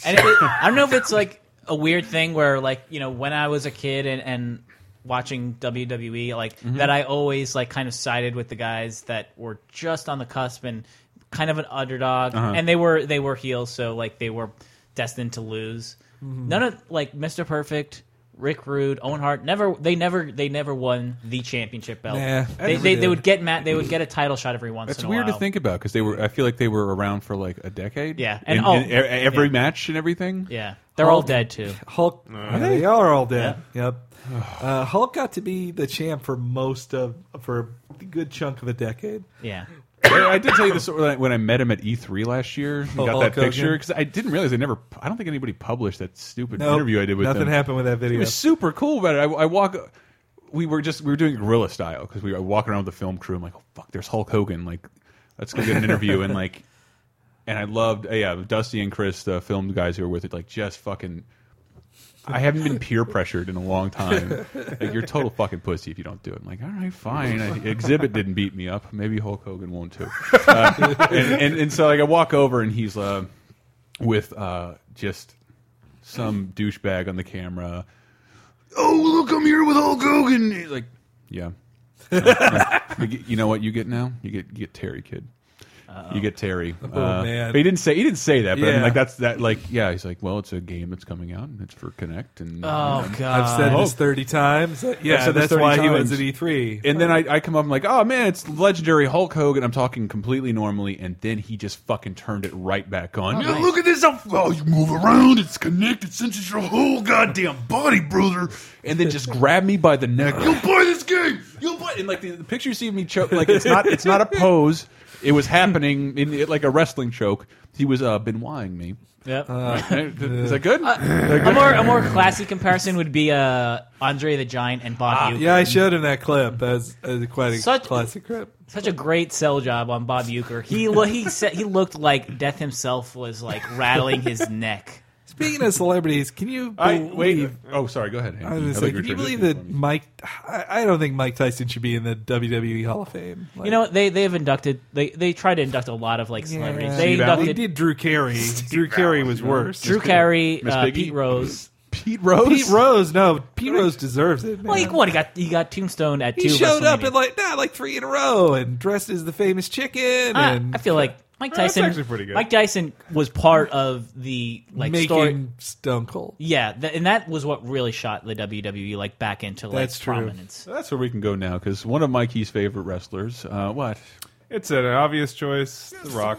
S6: And it, I don't know if it's like a weird thing where like you know when I was a kid and, and watching WWE like
S2: Mm-hmm.
S17: Mhm.
S6: that I always like kind of sided with the guys that were just on the cusp and kind of an underdog
S17: Uh-huh.
S6: and they were they were heels so like they were destined to lose.
S2: Mm-hmm.
S17: Mhm.
S6: None of like Mr. Perfect. Rick Rude, Owen Hart, never they never they never won the championship belt.
S2: Nah,
S6: they,
S2: never
S6: they, they
S2: did.
S6: would get Matt, they would get a title shot every once
S2: That's
S6: in a while.
S2: weird to think about because they were. I feel like they were around for like a decade.
S6: Yeah,
S2: and,
S6: and all-
S2: and e- every
S6: yeah.
S2: match and everything.
S6: Yeah, they're all dead too.
S4: Hulk,
S2: Are
S4: are
S2: they?
S4: they? are all dead. Yep. Uh, Hulk got to be the champ for most of for a good chunk of a decade.
S6: Yeah.
S2: I I did tell you this when I, when I met him at E3 last year. and
S4: Oh,
S2: got
S4: Hulk
S2: that picture
S4: Hogan?
S2: because I didn't realize they never. I don't think anybody published that stupid
S4: Nope.
S2: interview I did with
S4: Nothing
S2: them.
S4: happened with that video.
S2: It was super cool, but I, I walk we were just we were doing guerrilla style because we were walking around with the film crew. I'm like, oh fuck, there's Hulk Hogan. Like, let's go get an interview and like, and I loved uh, yeah, Dusty and Chris, the film guys who were with it, like just fucking. I haven't been peer pressured in a long time. Like, you're a total fucking pussy if you don't do it. I'm like, all right, fine. I, exhibit didn't beat me up. Maybe Hulk Hogan won't too. Uh, and, and and so like I walk over and he's uh, with uh, just some douchebag on the camera. Oh, look, I'm here with Hulk Hogan. He's like, yeah. Uh, You get- you know what you get now? You get you get Terry kid. You get Terry. Uh,
S4: Oh, man.
S2: But he didn't say he didn't say that. But I mean,
S4: Yeah.
S2: like that's that like yeah. He's like, well, it's a game that's coming out and it's for Connect and
S4: Oh,
S2: you know.
S4: God. I've said this 30 times. Yeah,
S2: Mm-hmm. I've said this
S4: that's why he
S2: 30
S4: was
S2: times.
S4: at E E3.
S2: And then I, I come up and like, oh man, it's legendary Hulk Hogan. I'm talking completely normally, and then he just fucking turned it right back on.
S15: Yeah, Look at this. I'm, oh, you move around. It's connected. Senses your whole goddamn body, brother.
S2: and then just grabbed me by the neck. You'll
S15: play this game.
S2: You'll play. And like the, the picture you see of me choke, like it's not it's not a pose. It was happening in the- like a wrestling choke. He was uh, Benoiting me.
S6: (laughs) Yep.
S2: Uh,
S4: (laughs) Uh,
S2: Is that good?
S6: Uh, a more a more classy comparison would be uh, Andre the Giant and Bob Euchre.
S4: Ah, yeah, I showed him that clip. That's uh, quite a
S6: Such-
S4: classic clip.
S6: Such a great sell job on Bob Euchre. He lo- he said he looked like death himself was like rattling
S4: (laughs)
S6: his neck.
S4: Speaking of celebrities, can you
S2: I-
S4: believe,
S2: wait, oh, sorry, go ahead, Hank.
S4: I was gonna
S2: I thought
S4: say,
S2: you were
S4: can you believe
S2: transitioning
S4: that Mike? I, I don't think Mike Tyson should be in the WWE Hall of Fame.
S6: you know they they have inducted they they try to induct a lot of like celebrities.
S4: Yeah.
S6: They
S4: Steve Allen.
S6: inducted
S4: They did Drew Carey. Drew Carey was worse.
S6: Drew Carey,
S4: Miss
S6: uh,
S4: Piggy?
S6: Pete Rose.
S2: Pete
S4: Rose? Pete Rose, no, Pete Rose deserves it. Man.
S6: Well, he, what he got he got tombstone at
S4: he
S6: two.
S4: showed up
S6: WrestleMania.
S4: at like nah, like three in a row and dressed as the famous chicken.
S6: I-
S4: and
S6: I feel like Mike
S4: That's
S6: Tyson.
S4: actually pretty good.
S6: Mike Tyson was part of the like
S4: making
S6: story.
S4: Stone Cold.
S6: Yeah, th- and that was what really shot the WWE like back into like
S4: That's true.
S6: prominence.
S2: That's where we can go now because one of Mikey's favorite wrestlers. Uh, what?
S3: It's an obvious choice. The Rock.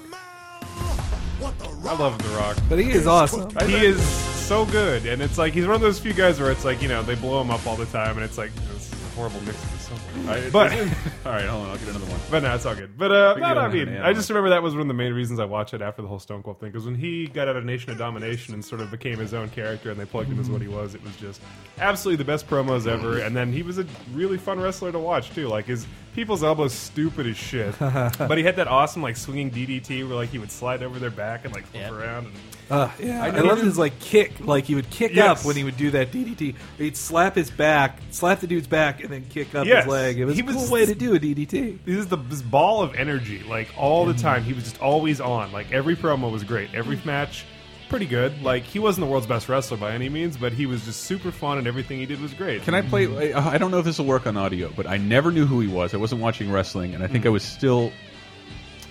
S3: I love The Rock.
S4: But he is awesome.
S3: He is so good. And it's like, he's one of those few guys where it's like, you know, they blow him up all the time. And it's like, this is a horrible mix of something.
S2: I-
S3: but, (laughs)
S2: all right, hold on, I'll get another one.
S3: But no, it's all good. But, uh,
S2: We can
S3: no,
S2: go
S3: no, I
S2: hand in
S3: mean,
S2: hand
S3: I
S2: on
S3: just remember that was one of the main reasons I watched it after the whole Stone Cold thing. Because when he got out of Nation of Domination and sort of became his own character and they plugged him as what he was, it was just absolutely the best promos ever. And then he was a really fun wrestler to watch, too. Like, his people's elbows stupid as shit.
S4: Uh-huh.
S3: but he had that awesome, like, swinging DDT where, like, he would slide over their back and, like, flip around. And,
S4: Uh, yeah, I,
S3: I
S4: love
S3: needed-
S4: his like kick. Like he would kick
S3: Yes.
S4: up when he would do that DDT. He'd slap his back, slap the dude's back, and then kick up
S3: Yes.
S4: his leg. It was
S3: He
S4: a
S3: was-
S4: cool way to do a DDT.
S3: This is the this ball of energy, like all the time. He was just always on. Like every promo was great. Every match, pretty good. Like he wasn't the world's best wrestler by any means, but he was just super fun, and everything he did was great. Mm-hmm.
S2: Can I play? I I don't know if this will work on audio, but I never knew who he was. I wasn't watching wrestling, and I
S6: Hmm.
S2: think I was still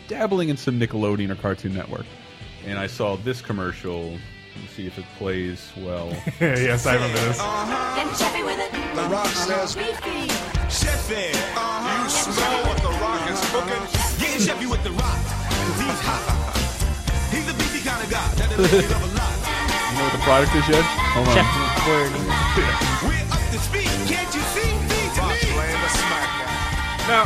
S2: dabbling in some Nickelodeon or Cartoon Network. And I saw this commercial. Let's see if it plays well.
S3: (laughs) yes, I remember this.
S15: Get Chevy with it. The Rock says, Chevy, you smell what The Rock is cooking? Getting Chevy with The Rock, 'cause he's hot. He's a beefy kind of guy. That is a lot.
S2: You know what the product is yet? Hold on. (laughs)
S15: We're up to speed. Can't you see? See to me.
S3: Now,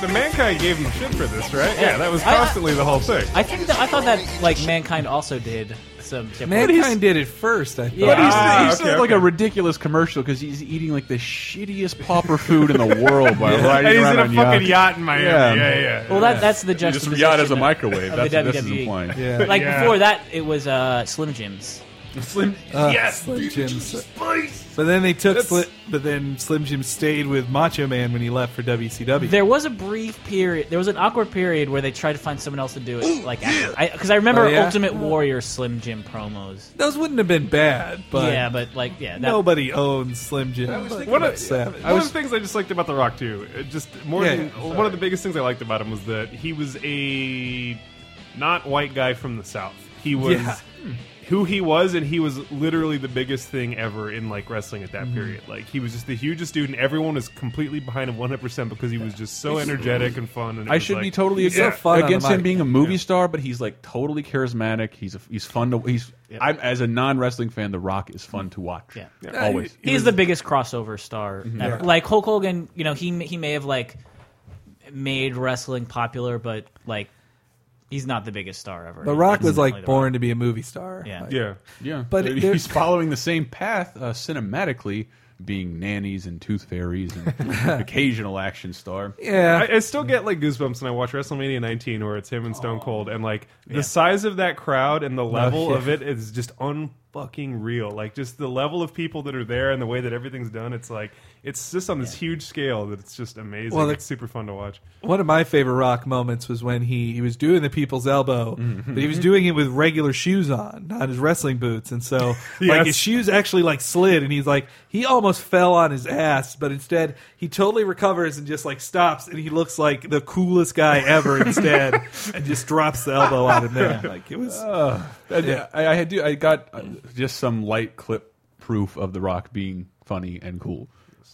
S3: the mankind gave him shit for this, right?
S6: Yeah.
S3: Yeah, that was
S6: I- I-
S3: constantly the whole thing.
S6: I think that, I thought that like mankind also did some. different-
S4: Mankind did it first. I thought.
S2: But he's,
S6: Ah,
S2: he's
S6: okay,
S2: like
S6: okay.
S2: a ridiculous commercial because he's eating like the shittiest pauper food
S3: (laughs)
S2: in the world by
S3: Yeah.
S2: riding
S3: And he's
S2: around
S3: in a
S2: on
S3: fucking yacht in Miami. Yeah, yeah, yeah.
S6: Well, that that's the
S2: You just
S6: juxtaposition.
S2: yacht as a
S6: of-
S2: microwave.
S6: of
S2: That's
S6: the
S2: what this is
S6: WWE.
S2: implying. Yeah.
S6: Like
S2: Yeah.
S6: before that, it was uh, Slim Jims.
S2: Slim,
S4: Uh, Slim Jim. But then they took. Sli- but then Slim Jim stayed with Macho Man when he left for WCW.
S6: There was a brief period. There was an awkward period where they tried to find someone else to do it. Like, because I, 'cause I remember
S4: Oh, yeah?
S6: Ultimate Warrior Slim Jim promos.
S4: Those wouldn't have been bad, but
S6: yeah, but like, yeah, that,
S4: nobody owns Slim Jim.
S3: I was
S4: but
S3: thinking one of,
S4: Savage.
S3: one of the things I just liked about The Rock too, it just more
S4: Yeah,
S3: than
S4: yeah.
S3: one of the biggest things I liked about him was that he was a not white guy from the South. He was
S4: Yeah.
S3: who he was, and he was literally the biggest thing ever in like wrestling at that
S4: Mhm.
S3: period. Like he was just the hugest dude, and everyone was completely behind him one hundred percent because he was just so energetic and fun. And it
S2: I
S3: was
S2: should
S3: like-
S2: be totally
S3: Yeah.
S2: against, against him being a movie star, but he's like totally charismatic. He's a, he's fun to he's. I'm as a non wrestling fan, The Rock is fun to watch.
S6: Yeah.
S2: always.
S6: He's the biggest crossover star.
S2: Mhm.
S6: ever.
S2: Yeah.
S6: Like Hulk Hogan, you know, he he may have like made wrestling popular, but like he's not the biggest star ever.
S4: The Rock
S6: That's
S4: was like
S6: definitely The Rock.
S4: born to be a movie star.
S6: Yeah.
S4: Like-
S2: yeah, yeah.
S4: But
S2: But
S4: it-
S2: he's following the same path uh, cinematically being nannies and tooth fairies
S4: (laughs)
S2: and occasional action star.
S3: I, I still get like goosebumps when I watch WrestleMania 19, where it's him and Stone Cold, and like the size of that crowd and the level
S2: yeah.
S3: of it is just unfucking real. Like just the level of people that are there and the way that everything's done, it's like it's just on this huge scale that it's just amazing.
S4: Well,
S3: it's super fun to watch.
S4: One of my favorite rock moments was when he, he was doing the people's elbow,
S3: Mhm.
S4: but he was doing it with regular shoes on, not his wrestling boots. And so, like,
S3: Yes.
S4: his shoes actually, like, slid, and he's like, he almost fell on his ass, but instead, he totally recovers and just, like, stops, and he looks like the coolest guy ever instead, and just drops the elbow on him there. Like, it was.
S2: Uh, I,
S4: Yeah.
S2: I, I had to- I got uh, just some light clip proof of The Rock being funny and cool.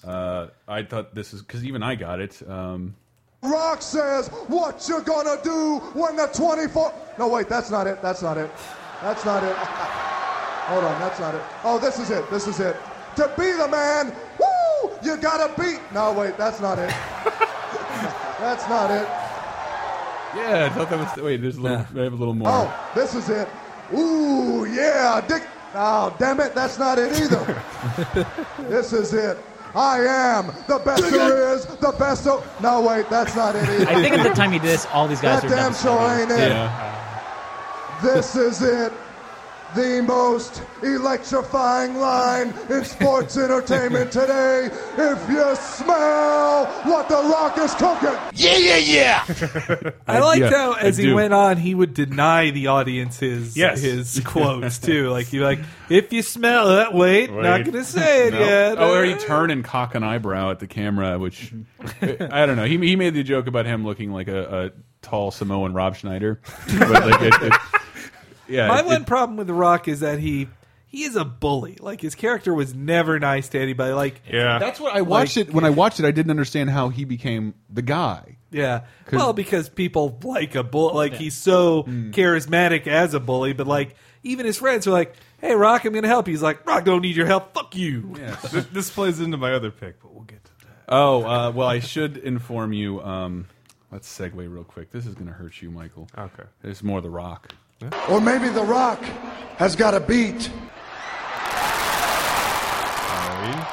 S2: Uh, I thought this is because even I got it. Um,
S15: Rock says, "What you gonna do when the 24?" No, wait, that's not it. That's not it. That's not it. (laughs) Hold on, that's not it. Oh, this is it. This is it. To be the man, woo! You gotta beat. No, wait, that's not it. (laughs) that's not it.
S2: yeah, I thought that was. Wait, there's a little. I have a little more.
S15: Oh, this is it. Ooh, yeah, Dick. Oh, damn it, that's not
S6: (laughs)
S15: it either. this is it. I am the best there is, the best. o no, wait, that's not it either.
S6: I think at the time he did this, all these guys
S15: That
S6: were
S15: damn sure ain't it.
S6: Yeah.
S15: This is it. The most electrifying line
S6: (laughs)
S15: in sports entertainment today. If you smell what The Rock is cooking.
S4: Yeah, yeah,
S15: yeah.
S4: I liked
S15: yeah,
S4: how
S15: I
S4: as he
S15: do.
S4: went on, he would deny the audience his
S3: Yes.
S4: his quotes too. Like you like, if you smell that, wait, not
S2: Wait.
S4: gonna say
S2: (laughs)
S4: it
S2: No.
S4: yet.
S2: Oh,
S4: (laughs)
S2: or he turn and cock an eyebrow at the camera, which I don't know. He he made the joke about him looking like a, a tall Samoan Rob Schneider. (laughs) But like, it- it- yeah,
S4: My
S2: it-
S4: one problem with The Rock is that he he is a bully. Like his character was never nice to anybody. Like
S2: that's what I watched it. When I watched it, I didn't understand how he became the guy.
S4: Yeah.
S2: 'Cause-
S4: Well, because people like a bull. Like he's so charismatic as a bully, but like even his friends are like, "Hey, Rock, I'm gonna help." you." He's like, "Rock, don't need your help. Fuck you."
S3: this, this plays into my other pick, but we'll get to
S2: Oh uh, well, I should inform you. Um, let's segue real quick. This is going to hurt you, Michael. Okay, there's more The Rock.
S15: Or maybe The Rock has got a beat.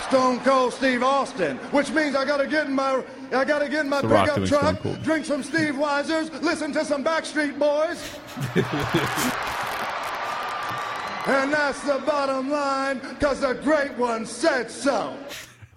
S15: Stone Cold Steve Austin, which means I gotta get in my I gotta get in my
S9: The Rock
S15: pickup
S9: doing
S15: truck,
S9: Stone Cold.
S15: drink some Steve Weisers, listen to some Backstreet Boys,
S6: (laughs)
S15: and that's the bottom line, cause the great one said so.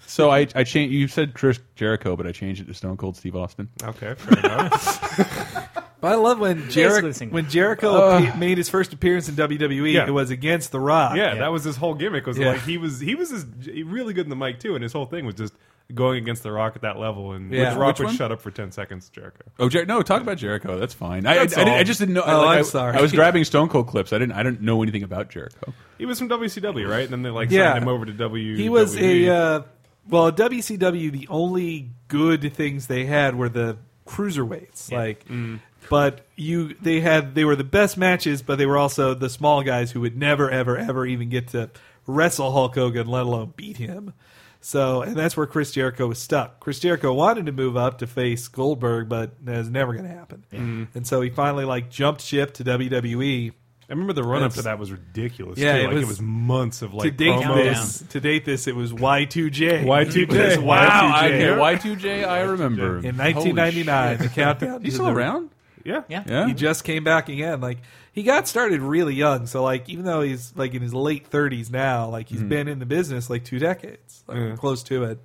S2: So I I changed. You said Chris Jericho, but I changed it to Stone Cold Steve Austin.
S3: Okay, fair enough.
S4: But I love when
S3: Basically
S4: Jericho
S3: the same.
S4: when Jericho
S3: Uh.
S4: appe- made his first appearance in WWE.
S3: Yeah.
S4: It was against The Rock.
S3: yeah, that was his whole gimmick. Was
S4: Yeah.
S3: like he was he was his, really good in the mic too, and his whole thing was just going against the Rock at that level, and
S2: Yeah.
S3: the Rock
S2: Which
S3: would
S2: one?
S3: shut up for ten seconds, Jericho.
S2: (laughs) Oh Jer no! Talk about Jericho. That's fine. I,
S3: That's
S2: I, I, didn't-
S3: all.
S2: I just didn't know.
S3: Oh,
S2: like,
S3: I'm
S2: I-
S3: sorry.
S2: I was grabbing Stone Cold clips. I didn't. I didn't know anything about Jericho.
S3: He was from WCW, right? And then they like
S4: Yeah.
S3: signed him over to W. E.
S4: He was a uh, well at WCW. The only good things they had were the cruiserweights, like.
S3: Mm.
S4: But you, they had they were the best matches, but they were also the small guys who would never, ever, ever even get to wrestle Hulk Hogan, let alone beat him. So, and that's where Chris Jericho was stuck. Chris Jericho wanted to move up to face Goldberg, but that was never going to happen.
S3: Mm-hmm.
S4: And so he finally like jumped ship to E. WWE.
S3: I remember the run up to that was ridiculous.
S4: Yeah,
S3: too.
S4: it
S3: Like,
S4: was-
S3: it was months of
S4: to
S3: like
S4: date
S3: promos.
S4: this, to date this, it was Y2J.
S3: Y2J.
S4: Because, wow,
S3: Y2J.
S4: I-
S3: Yeah.
S2: Y2J, I remember.
S4: In
S2: Holy
S4: 1999, the
S2: shit.
S4: countdown.
S2: He's
S4: to
S2: still
S4: the-
S2: around?
S3: Yeah.
S6: Yeah.
S2: Yeah.
S4: He just came back again. Like he got started really young. So like even though he's like in his late 30s now, like he's
S2: Mhm.
S4: been in the business like two decades, like,
S3: Yeah.
S4: close to it.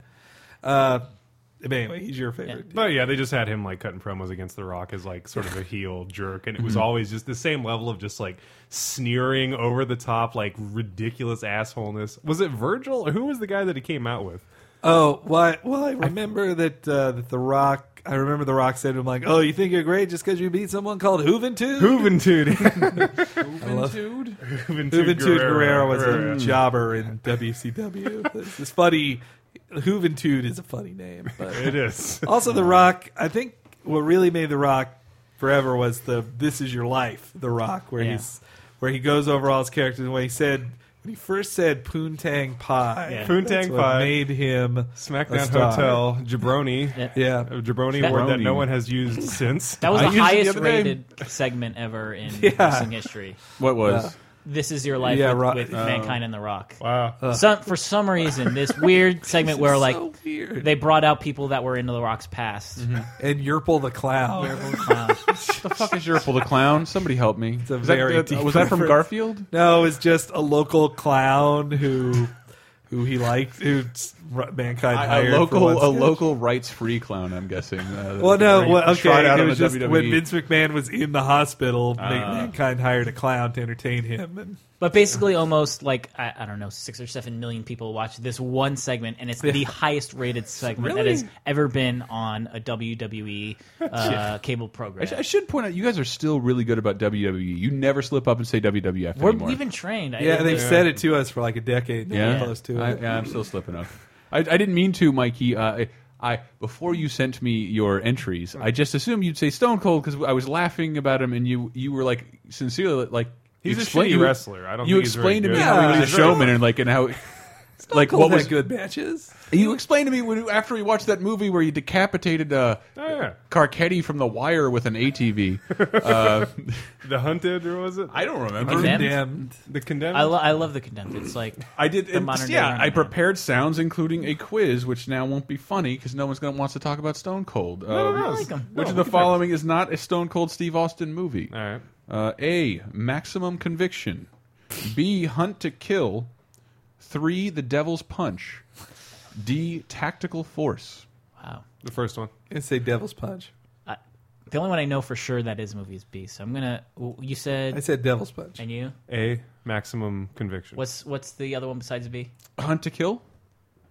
S4: Uh, but anyway, he's your favorite.
S3: But yeah, they just had him like cutting promos against The Rock as like sort of a heel jerk, and it was
S4: Mhm.
S3: always just the same level of just like sneering over the top, like ridiculous assholeness. Was it Virgil? Or who was the guy that he came out with?
S4: Oh, well, I, well, I remember that uh, that the Rock. I remember the Rock said to him like, "Oh, you think you're great just because you beat someone called Juventud? (laughs)
S3: Juventud.
S4: Juventud.
S3: Juventud
S4: Juventud Guerrero was
S3: Guerrero, yeah.
S4: a jobber in WCW. This this funny. Juventud is a funny name, but
S3: It is.
S4: also the Rock. I think what really made the Rock forever was the "This Is Your Life" the Rock, where
S6: Yeah.
S4: he's where he goes over all his characters and when he said. When he first said "Poontang Pie,"
S3: Yeah.
S4: that's
S3: Poontang
S4: what
S3: Pie
S4: made him a
S3: SmackDown
S4: star.
S3: Hotel Jabroni.
S4: Yeah.
S3: Uh, Jabroni
S4: That-
S3: word that no one has used since.
S6: That was
S3: I
S6: the
S3: used it
S6: highest
S3: other day.
S4: (laughs)
S6: rated segment ever in
S3: Yeah.
S6: wrestling history.
S2: What was?
S6: Uh, This is your life
S4: Yeah,
S6: with,
S4: Ro-
S6: with
S4: Oh.
S6: Mankind and The Rock.
S4: Wow. Ugh.
S6: Some, for some reason,
S4: (laughs)
S6: this weird segment
S4: This
S6: where
S4: is
S6: like
S4: so weird. Mm-hmm.
S6: they brought out people that were into The Rock's past.
S4: And Yerple the Clown.
S6: Yerple the Clown.
S4: (laughs)
S2: the fuck is Yerple the Clown? Somebody help me.
S4: It's a
S2: Is that-
S4: very
S2: that-
S4: deep
S2: was that from
S4: reference.
S2: Garfield?
S4: No, it was just a local clown who who he liked, who s- mankind
S2: A-
S4: hired
S2: a
S4: for one
S2: local, a
S4: sketch.
S2: local rights free clown. I'm guessing. Uh,
S4: (laughs) Well,
S2: that
S4: no,
S2: they
S4: well, okay.
S2: trot out
S4: It
S2: on
S4: was
S2: the
S4: just
S2: WWE.
S4: when Vince McMahon was in the hospital, Ma-
S6: Ah.
S4: mankind hired a clown to entertain him. And
S6: But basically, almost like I, I don't know, six or seven million people watch this one segment, and it's the highest rated segment that
S2: Really?
S6: has ever been on a WWE uh, cable program.
S2: I, sh- I should point out, you guys are still really good about WWE. You never slip up and say WWF
S6: We're,
S2: anymore.
S6: we've been trained. I-
S4: yeah,
S6: it-
S4: they've
S6: it-
S4: said it to us for like a decade.
S2: yeah,
S4: Yeah, close to
S2: I,
S4: it.
S2: yeah, I'm still slipping up. I, I didn't mean to, Mikey. Uh, I, I before you sent me your entries, I just assumed you'd say Stone Cold because I was laughing about him, and you you were like sincerely like
S3: He's a
S2: explain-
S3: shitty
S2: you-
S3: wrestler. I don't
S2: You
S3: think he's
S2: explained to
S3: very
S2: me
S3: good.
S2: how he
S3: Yeah.
S2: was a showman and like and how. Like
S4: Cold
S2: what
S4: had
S2: was
S4: good matches?
S2: You explained to me when after we watched that movie where he decapitated uh,
S3: Oh,
S2: Carcetti from The Wire with an
S3: (laughs)
S2: ATV. Uh,
S3: the hunted or was it?
S2: I don't remember.
S6: Condemned?
S3: The condemned.
S6: I, lo- I love the condemned. It's like
S2: I did.
S6: the
S2: and-
S6: modern day
S2: yeah,
S6: Iron
S2: I
S6: Man.
S2: prepared sounds, including a quiz, which now won't be funny because no one's going to wants to talk about Stone Cold.
S6: No, no, no,
S2: Uh,
S6: I like 'em.
S2: Which
S6: No,
S2: of
S6: we
S2: the
S6: can
S2: following is not a Stone Cold Steve Austin movie? All right. Uh, a. Maximum Conviction. B. Hunt to Kill. Three. The Devil's Punch. D. Tactical Force.
S6: Wow.
S3: The first one.
S4: And say Devil's Punch.
S6: I, the only one I know for sure that is movie is B. So I'm gonna. w- You said
S4: I said Devil's Punch.
S6: and you.
S3: A maximum conviction.
S6: What's what's the other one besides B?
S2: Hunt to Kill.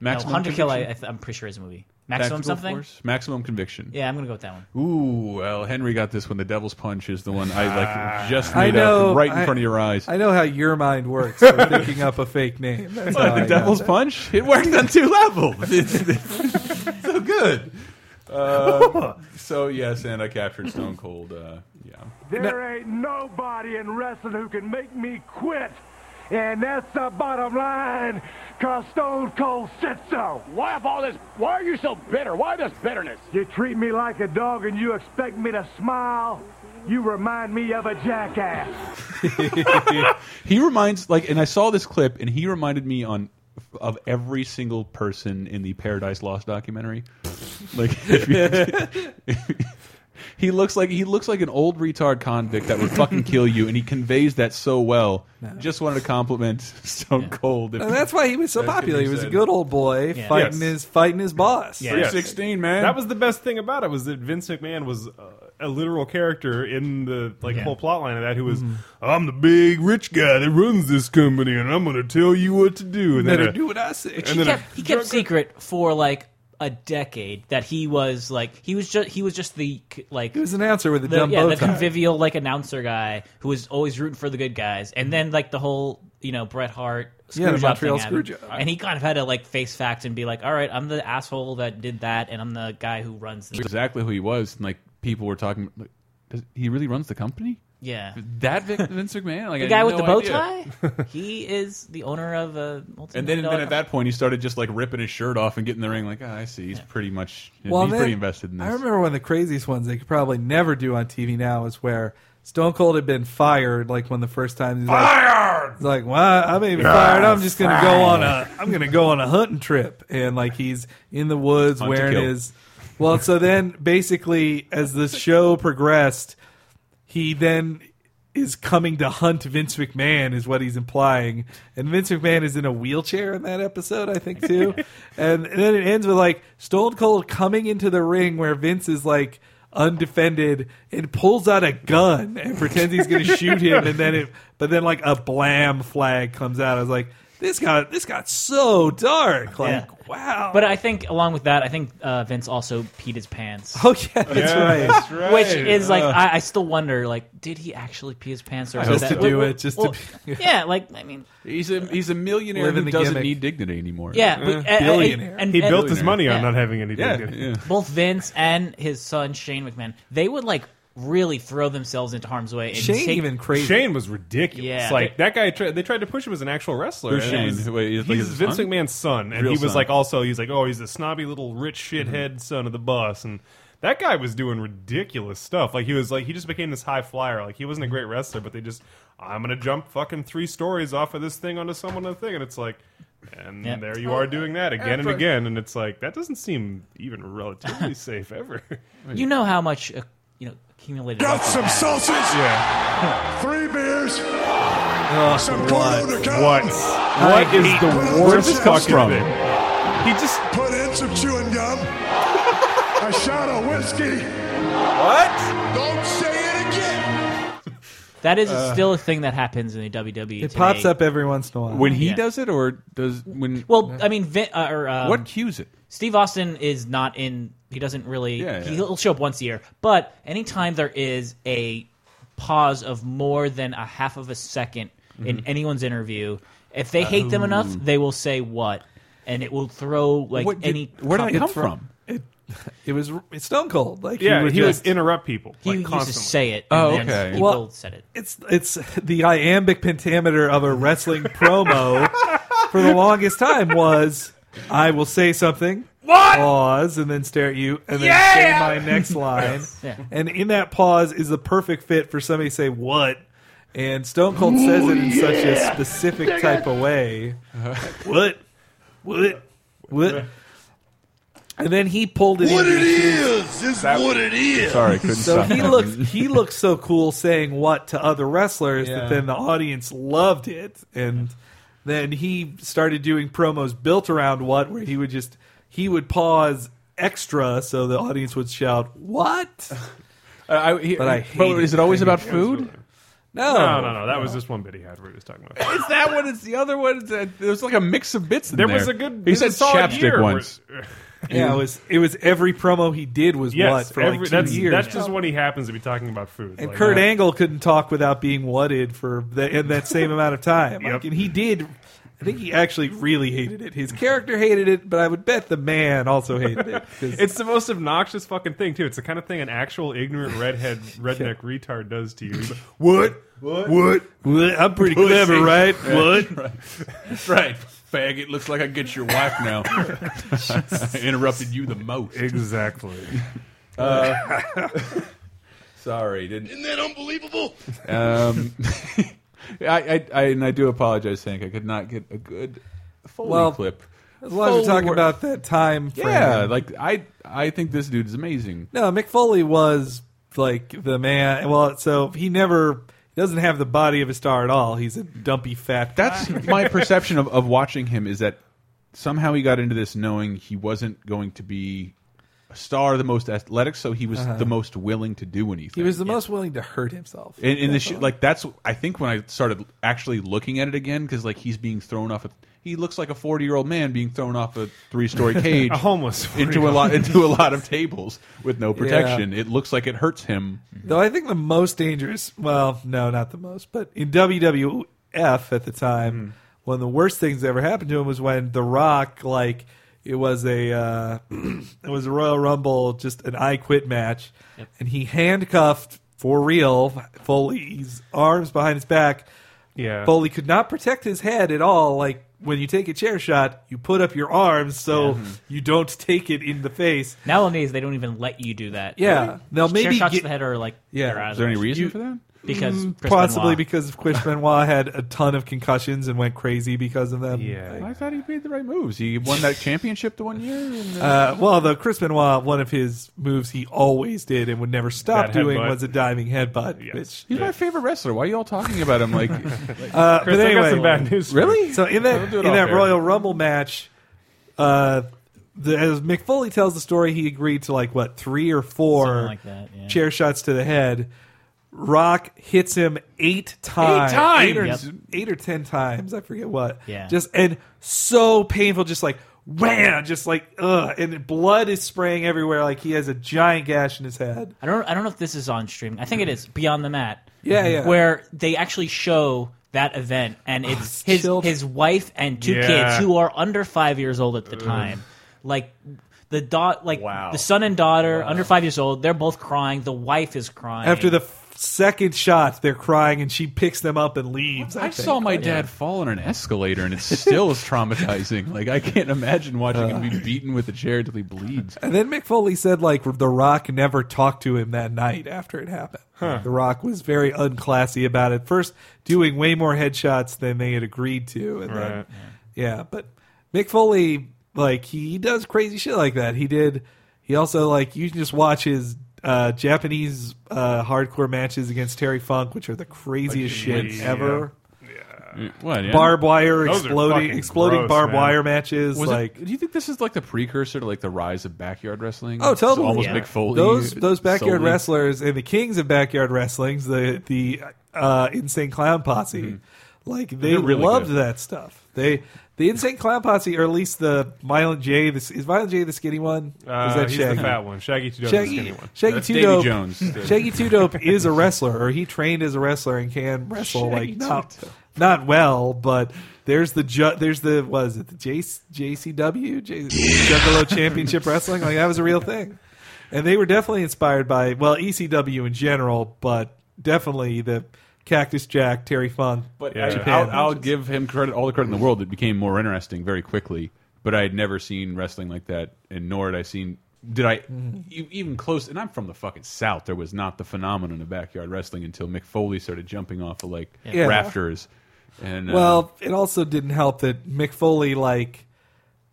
S6: no, Hunter Kill. I, I
S2: Conviction?
S6: th- I'm pretty sure is a movie. Maximum
S2: Tactical
S6: something.
S2: Force? Maximum Conviction.
S6: Yeah, I'm gonna go with that one.
S2: Ooh, well, Henry got this one. The Devil's Punch is the one I
S3: Ah.
S2: like just
S4: I
S2: made
S4: know
S2: up right in
S4: I-
S2: front of your eyes.
S4: I know how your mind works. for picking up a
S2: (laughs)
S4: fake name. That's
S2: What,
S4: how I
S2: the
S4: got
S2: Devil's
S4: that.
S2: Punch? It worked on two
S4: (laughs)
S2: levels. It's, it's so good. (laughs) Uh, so yes, and I captured Stone Cold. Uh, yeah. (laughs)
S17: There ain't nobody in wrestling who can make me quit. And that's the bottom line, cause Stone Cold said so. Why have all this? Why are you so bitter? Why this bitterness? You treat me like a dog and you expect me to smile. You remind me of a jackass.
S2: he reminds like, and I saw this clip, and he reminded me on of every single person in the Paradise Lost documentary. like, (laughs) if you- he looks like he looks like an old retard convict that would fucking kill you, and he conveys that so well. Just wanted to compliment Stone Cold.
S4: And that's why he was so
S2: That's what
S4: popular. He was a
S2: said.
S4: good old boy
S2: Yeah.
S4: fighting
S2: Yes.
S4: his fighting his boss.
S3: Yes.
S2: man.
S3: That was the best thing about it was that Vince McMahon was uh, a literal character in the like
S4: Yeah.
S3: whole plot line of that. Who was
S6: Mm-hmm.
S3: I'm the big rich guy that runs this company, and I'm going to tell you what to do. And
S4: Better
S3: a-
S4: do what I say.
S6: Which he
S3: then a-
S6: kept, he kept secret for like a decade that he was like he was just he was just the c- like he
S4: was an announcer with a
S6: the,
S4: dumb
S6: yeah
S4: bow
S6: the
S4: tie.
S6: convivial like announcer guy who was always rooting for the good guys and then like the whole you know Bret Hart screw
S4: Yeah, the
S6: job
S4: Montreal
S6: thing happened.
S4: screw job.
S6: and he kind of had to like face facts and be like all right I'm the asshole that did that and I'm the guy who runs this
S2: exactly who he was. And like people were talking, like, does, he really runs the company.
S6: (laughs) yeah
S2: that Vic, Vince McMahon like
S6: the
S2: I
S6: guy
S2: had
S6: with the
S2: no
S6: bow
S2: idea.
S6: tie he is the owner of a
S2: And then, then
S6: multi-million-dollar
S2: at that point, he started just like ripping his shirt off and getting in the ring. Like, ah, I see, he's pretty much he's
S4: then-
S2: pretty invested in
S4: I
S2: this.
S4: remember one of the craziest ones they could probably never do on TV now is where Stone Cold had been fired, like when the first time he's fired. Like, he's like, well, I'm even
S15: You're
S4: fired. I'm just gonna go on
S15: fired."
S4: a uh, I'm gonna go on a hunting trip, and like he's in the woods
S15: Hunt to
S4: wearing
S15: kill.
S4: his. Well, so then basically, as the show progressed, he then is coming to hunt Vince McMahon, is what he's implying. And Vince McMahon is in a wheelchair in that episode, I
S15: (laughs)
S4: think, too. and, and then it ends with like Stone Cold coming into the ring where Vince is like undefended and pulls out a gun and pretends he's going to shoot him. And then it, but then like a blam flag comes out. I was like, this got this got so dark. Like, wow.
S6: But I think along with that, I think uh, Vince also peed his pants.
S4: Oh yeah, that's Yeah, right. that's right.
S6: Which is like
S4: Ugh.
S6: I, I still wonder, like, did he actually pee his pants or was
S2: Just
S6: that-
S2: to do it, just to
S6: well,
S2: be-
S6: (laughs) yeah, like I mean,
S2: he's a he's a millionaire
S6: Living
S2: who
S6: the
S2: doesn't
S6: gimmick.
S2: need dignity anymore.
S6: Yeah, but- Uh, and- billionaire. and-
S3: he
S6: and-
S3: built his money on
S6: Yeah.
S3: not having any
S2: Yeah,
S3: dignity.
S2: yeah.
S6: both Vince and his son Shane McMahon, they would like really throw themselves into harm's way. And take-
S3: Shane was ridiculous.
S6: Yeah.
S3: like that guy. Tri- they tried to push him as an actual wrestler.
S2: Who's
S3: and it
S2: Shane?
S3: was-
S2: Wait, he's
S3: he's
S2: like his
S3: Vince
S2: son?
S3: McMahon's son, and
S2: Real
S3: he was
S2: son.
S3: like also he's like oh he's the snobby little rich shithead son of the boss and. That guy was doing ridiculous stuff. Like he was like he just became this high flyer. Like he wasn't a great wrestler, but they just I'm gonna jump fucking three stories off of this thing onto someone and a thing, and it's like, and
S6: Yeah.
S3: there you are doing that again and
S6: Effort.
S3: again, and it's like that doesn't seem even
S6: (laughs)
S3: relatively safe ever.
S6: You know how much uh, you know accumulated.
S3: Got
S6: wealth
S3: some
S6: you have.
S3: sausage?
S17: (laughs)
S3: Yeah.
S15: Three beers.
S3: Some
S15: corn on the cob.
S3: What?
S15: I
S3: What is
S15: hate-
S3: the
S15: Where did
S3: worst
S15: this come
S3: fucking
S15: from?
S3: thing? He just
S15: put in some chewing gum. a shot of whiskey.
S2: What?
S15: Don't say it again.
S6: That is
S4: Uh,
S6: still a thing that happens in the WWE.
S4: It
S6: today.
S4: pops up every once in a while.
S2: When he
S6: Yeah.
S2: does it, or does when?
S6: Well, I mean, Vin, uh, or, um,
S2: What cues it?
S6: Steve Austin is not in. He doesn't really.
S2: Yeah, yeah.
S6: He'll show up once a year, but anytime there is a pause of more than a half of a 2nd in
S9: Mhm.
S6: anyone's interview, if they hate them enough,
S9: Ooh.
S6: they will say what, and it will throw like
S4: What did-
S6: any.
S4: where did it
S6: topic-
S4: come from? It, it was it's Stone Cold. Like
S6: Yeah,
S4: would
S6: he would
S4: just-
S3: interrupt people.
S6: He used to say it.
S4: Oh,
S6: And then People
S4: Well,
S6: said it.
S4: It's it's the iambic pentameter of a wrestling promo for the longest time was I will say something.
S15: What?
S4: Pause and then stare at you and then
S15: Yeah!
S4: say my next line.
S15: Yeah.
S4: And in that pause is the perfect fit for somebody to say what. And Stone Cold says it in such a
S15: yeah.
S4: specific
S15: Dig
S4: type
S15: it.
S4: of way. What? What? What? And then he pulled it.
S15: What
S4: into
S15: it
S4: his-
S15: is is what it is. Sorry, I couldn't
S4: so
S15: stop
S4: he
S15: that.
S4: looked he looked so cool saying what to other wrestlers
S15: Yeah.
S4: that then the audience loved it, and then he started doing promos built around what, where he would just he would pause extra so the audience would
S2: (laughs)
S4: shout what.
S2: I,
S4: but I
S2: but
S4: hate
S2: is it always about food?
S3: (laughs)
S4: No.
S3: no, no, no. That was just one bit he had. We were just talking about.
S2: It's that one. It's the other one. It's that- There was like a mix of bits. In there,
S3: There was a good-
S2: He
S3: there's
S2: said
S3: a solid year
S2: chapstick
S3: where- (laughs)
S2: once.
S4: Yeah, it was it was every promo he did was
S3: Yes,
S4: what for
S3: every,
S4: like two
S3: that's,
S4: years.
S3: that's just when he happens to be talking about food.
S4: And
S3: Like,
S4: Kurt
S3: yeah.
S4: Angle couldn't talk without being whatted for the, in that same amount of time. Like, and he did. I think he actually really hated it. His character hated it, but I would bet the man also
S2: (laughs)
S4: hated it. 'cause-
S3: It's the most obnoxious fucking thing too. It's the kind of thing an actual ignorant
S2: (laughs)
S3: redhead redneck retard does to you. He's like,
S4: What? What? What? What? I'm pretty
S2: Pussy.
S4: clever, right?
S2: Yeah.
S4: What?
S2: Right. right. Faggot. Looks like I get your wife
S4: (laughs)
S2: now. (laughs) I interrupted you the most.
S3: Exactly. (laughs)
S2: Uh, (laughs) sorry, didn't.
S15: Isn't that unbelievable?
S2: Um, (laughs) I, I, I, and I do apologize, Hank. I could not get a good Foley
S4: Well,
S2: clip.
S4: as long as we're
S2: Foley
S4: talking
S2: wor-
S4: about that time frame.
S2: Yeah, like I, I think this dude is amazing.
S4: No, Mick Foley was like the man. Well, so he never he doesn't have the body of a star at all. He's a dumpy fat. Guy.
S2: That's My perception of, of watching him is that somehow he got into this knowing he wasn't going to be a star, the most athletic, so he was
S4: Uh-huh.
S2: the most willing to do anything.
S4: He was the most willing to hurt himself.
S2: And, and the
S4: That's
S2: sh
S4: all.
S2: like that's I think when I started actually looking at it again because like he's being thrown off. A, he looks like a forty year old man being thrown off a three
S4: (laughs)
S2: story cage,
S3: A homeless
S2: into a
S3: 40-year-old.
S2: lot into a lot of tables with no
S4: Yeah.
S2: protection. It looks like it hurts him.
S4: Mm-hmm. Though I think the most dangerous, well, no, not the most, but in WWF at the time, one of the worst things that ever happened to him was when The Rock, like, it was a uh, (clears throat) it was a Royal Rumble, just an I Quit match, and he handcuffed for real Foley's arms behind his back.
S3: Yeah.
S4: Foley could not protect his head at all. Like when you take a chair shot, you put up your arms so
S6: Yeah.
S4: you don't take it in the face.
S6: Nowadays, they don't even let you do that.
S4: Yeah. They'll
S6: Chair
S4: maybe
S6: shots to
S4: get-
S6: the head are like
S4: Yeah.
S6: they're out of
S4: Is there
S6: the-
S4: any reason
S6: You-
S4: for that?
S6: Because
S4: Mm,
S6: Chris
S4: possibly
S6: Benoit.
S4: because Chris Benoit had a ton of concussions and went crazy because of them. Yeah.
S2: I thought he made the right moves. He won that championship the one year. And, uh,
S4: Uh, well, though Chris Benoit, one of his moves he always did and would never stop
S2: That
S4: doing
S2: headbutt.
S4: was a diving headbutt. Which,
S2: he's my favorite wrestler. Why are you all talking about him? Like,
S4: (laughs) uh, but anyway,
S2: Really?
S4: So in
S2: We'll
S4: that
S2: do it
S4: in
S2: off
S4: that
S2: air.
S4: Royal Rumble match, uh, the, as McFoley tells the story, he agreed to like what three or four
S6: like that, yeah.
S4: chair shots to the head. Rock hits him eight times,
S2: times!
S4: or,
S2: Yep.
S4: eight or ten times, I forget what.
S2: Yeah.
S4: just and so painful, just like wham, just like ugh, and blood is spraying everywhere. Like he has a giant gash in his head.
S6: I don't. I don't know if this is on streaming. I think it is Beyond the Mat.
S4: Yeah, yeah.
S6: Where they actually show that event, and
S4: (sighs)
S6: it's his his wife and two
S9: Yeah.
S6: kids who are under five years old at the time. Like The dot, like the son and daughter, under five years old, they're both crying. The wife is crying
S4: After the f- second shot, they're crying, and she picks them up and leaves. I,
S2: I saw
S4: think.
S2: my dad fall on an escalator, and it still is traumatizing. Like I can't imagine watching him be beaten with a chair until he bleeds.
S4: Uh. And then Mick Foley said, like, The Rock never talked to him that night after it happened.
S2: Huh.
S4: The Rock was very unclassy about it. First, doing way more headshots than they had agreed to. And then,
S3: Right.
S4: yeah, but Mick Foley, like, he does crazy shit like that. He did, he also, like, you can just watch his uh, Japanese uh, hardcore matches against Terry Funk, which are the craziest shit
S2: crazy,
S4: ever.
S2: Mm, What? yeah?
S4: Barbed wire exploding, exploding barbed wire matches.
S2: Was it-
S4: like,
S2: do you think this is like the precursor to like the rise of backyard wrestling?
S4: Oh, totally!
S2: So almost Mick Foley.
S4: Those those backyard
S2: solely-
S4: wrestlers and the kings of backyard wrestlings, the the uh, insane clown posse, like they
S2: Mm-hmm. They're really
S4: loved
S2: good.
S4: that stuff. They the insane clown posse, or at least the Violent J. This is Violent J the skinny one.
S3: Uh,
S4: is that
S3: he's the
S4: Shaggy?
S3: fat one. Shaggy Two Dope's the
S4: Shaggy,
S3: skinny one.
S4: Shaggy
S3: That's
S4: Two
S3: Davy
S4: Dope.
S3: Jones.
S4: Shaggy Two Dope is a wrestler, or he trained as a wrestler and can wrestle
S3: Shaggy
S4: like not not well, but. There's the ju- there's the was it the J- JCW J- Juggalo Championship Wrestling like that was a real thing. And they were definitely inspired by, well, ECW in general, but definitely the Cactus Jack, Terry Funk.
S2: But
S4: Japan.
S2: I, I'll, I'll give him credit, all the credit in the world. It became more interesting very quickly. But I had never seen wrestling like that, and nor had I seen. Did I
S4: Mm-hmm.
S2: e- even close? And I'm from the fucking south. There was not the phenomenon of backyard wrestling until Mick Foley started jumping off of like
S4: Yeah.
S2: rafters. And uh,
S4: well, it also didn't help that Mick Foley, like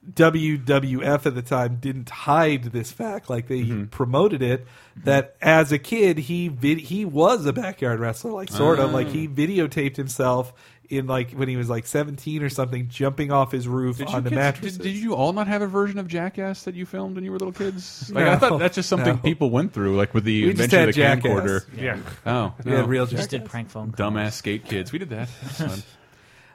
S4: WWF at the time, didn't hide this fact. Like they
S2: Mm-hmm.
S4: promoted it that as a kid he vid- he was a backyard wrestler, like sort of
S2: Ah.
S4: like he videotaped himself in like when he was like 17 or something, jumping off his roof
S2: Did you
S4: on the
S2: kids-
S4: mattress.
S2: Did, did you all not have a version of Jackass that you filmed when you were little (laughs) kids? Like I
S4: No.
S2: thought that's just something
S4: No.
S2: people went through, like with the
S4: We just
S2: invention of the
S4: had Jackass.
S2: camcorder.
S4: Yeah.
S2: Oh,
S4: We
S2: no.
S4: had real Just did Jackass.
S6: prank phone
S2: Dumbass skate kids. We did that. That's fun.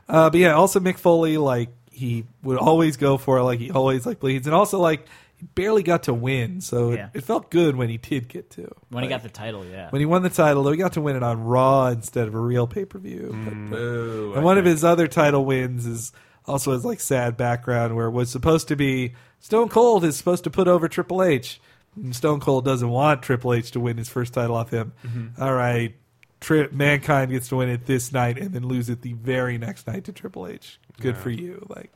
S4: Uh, but yeah, also Mick Foley, like he would always go for it, like he always like bleeds, and also like he barely got to win, so
S6: Yeah.
S4: it, it felt good when he did get to.
S6: when he
S4: Like,
S6: got the title. Yeah,
S4: when he won the title, though, he got to win it on Raw instead of a real pay per view.
S2: Boo,
S4: and one of his other title wins is also his like sad background, where it was supposed to be Stone Cold is supposed to put over Triple H. And Stone Cold doesn't want Triple H to win his first title off him.
S2: Mhm.
S4: All right, Tri- Mankind gets to win it this night and then lose it the very next night to Triple H. Good
S2: Yeah.
S4: for you. Like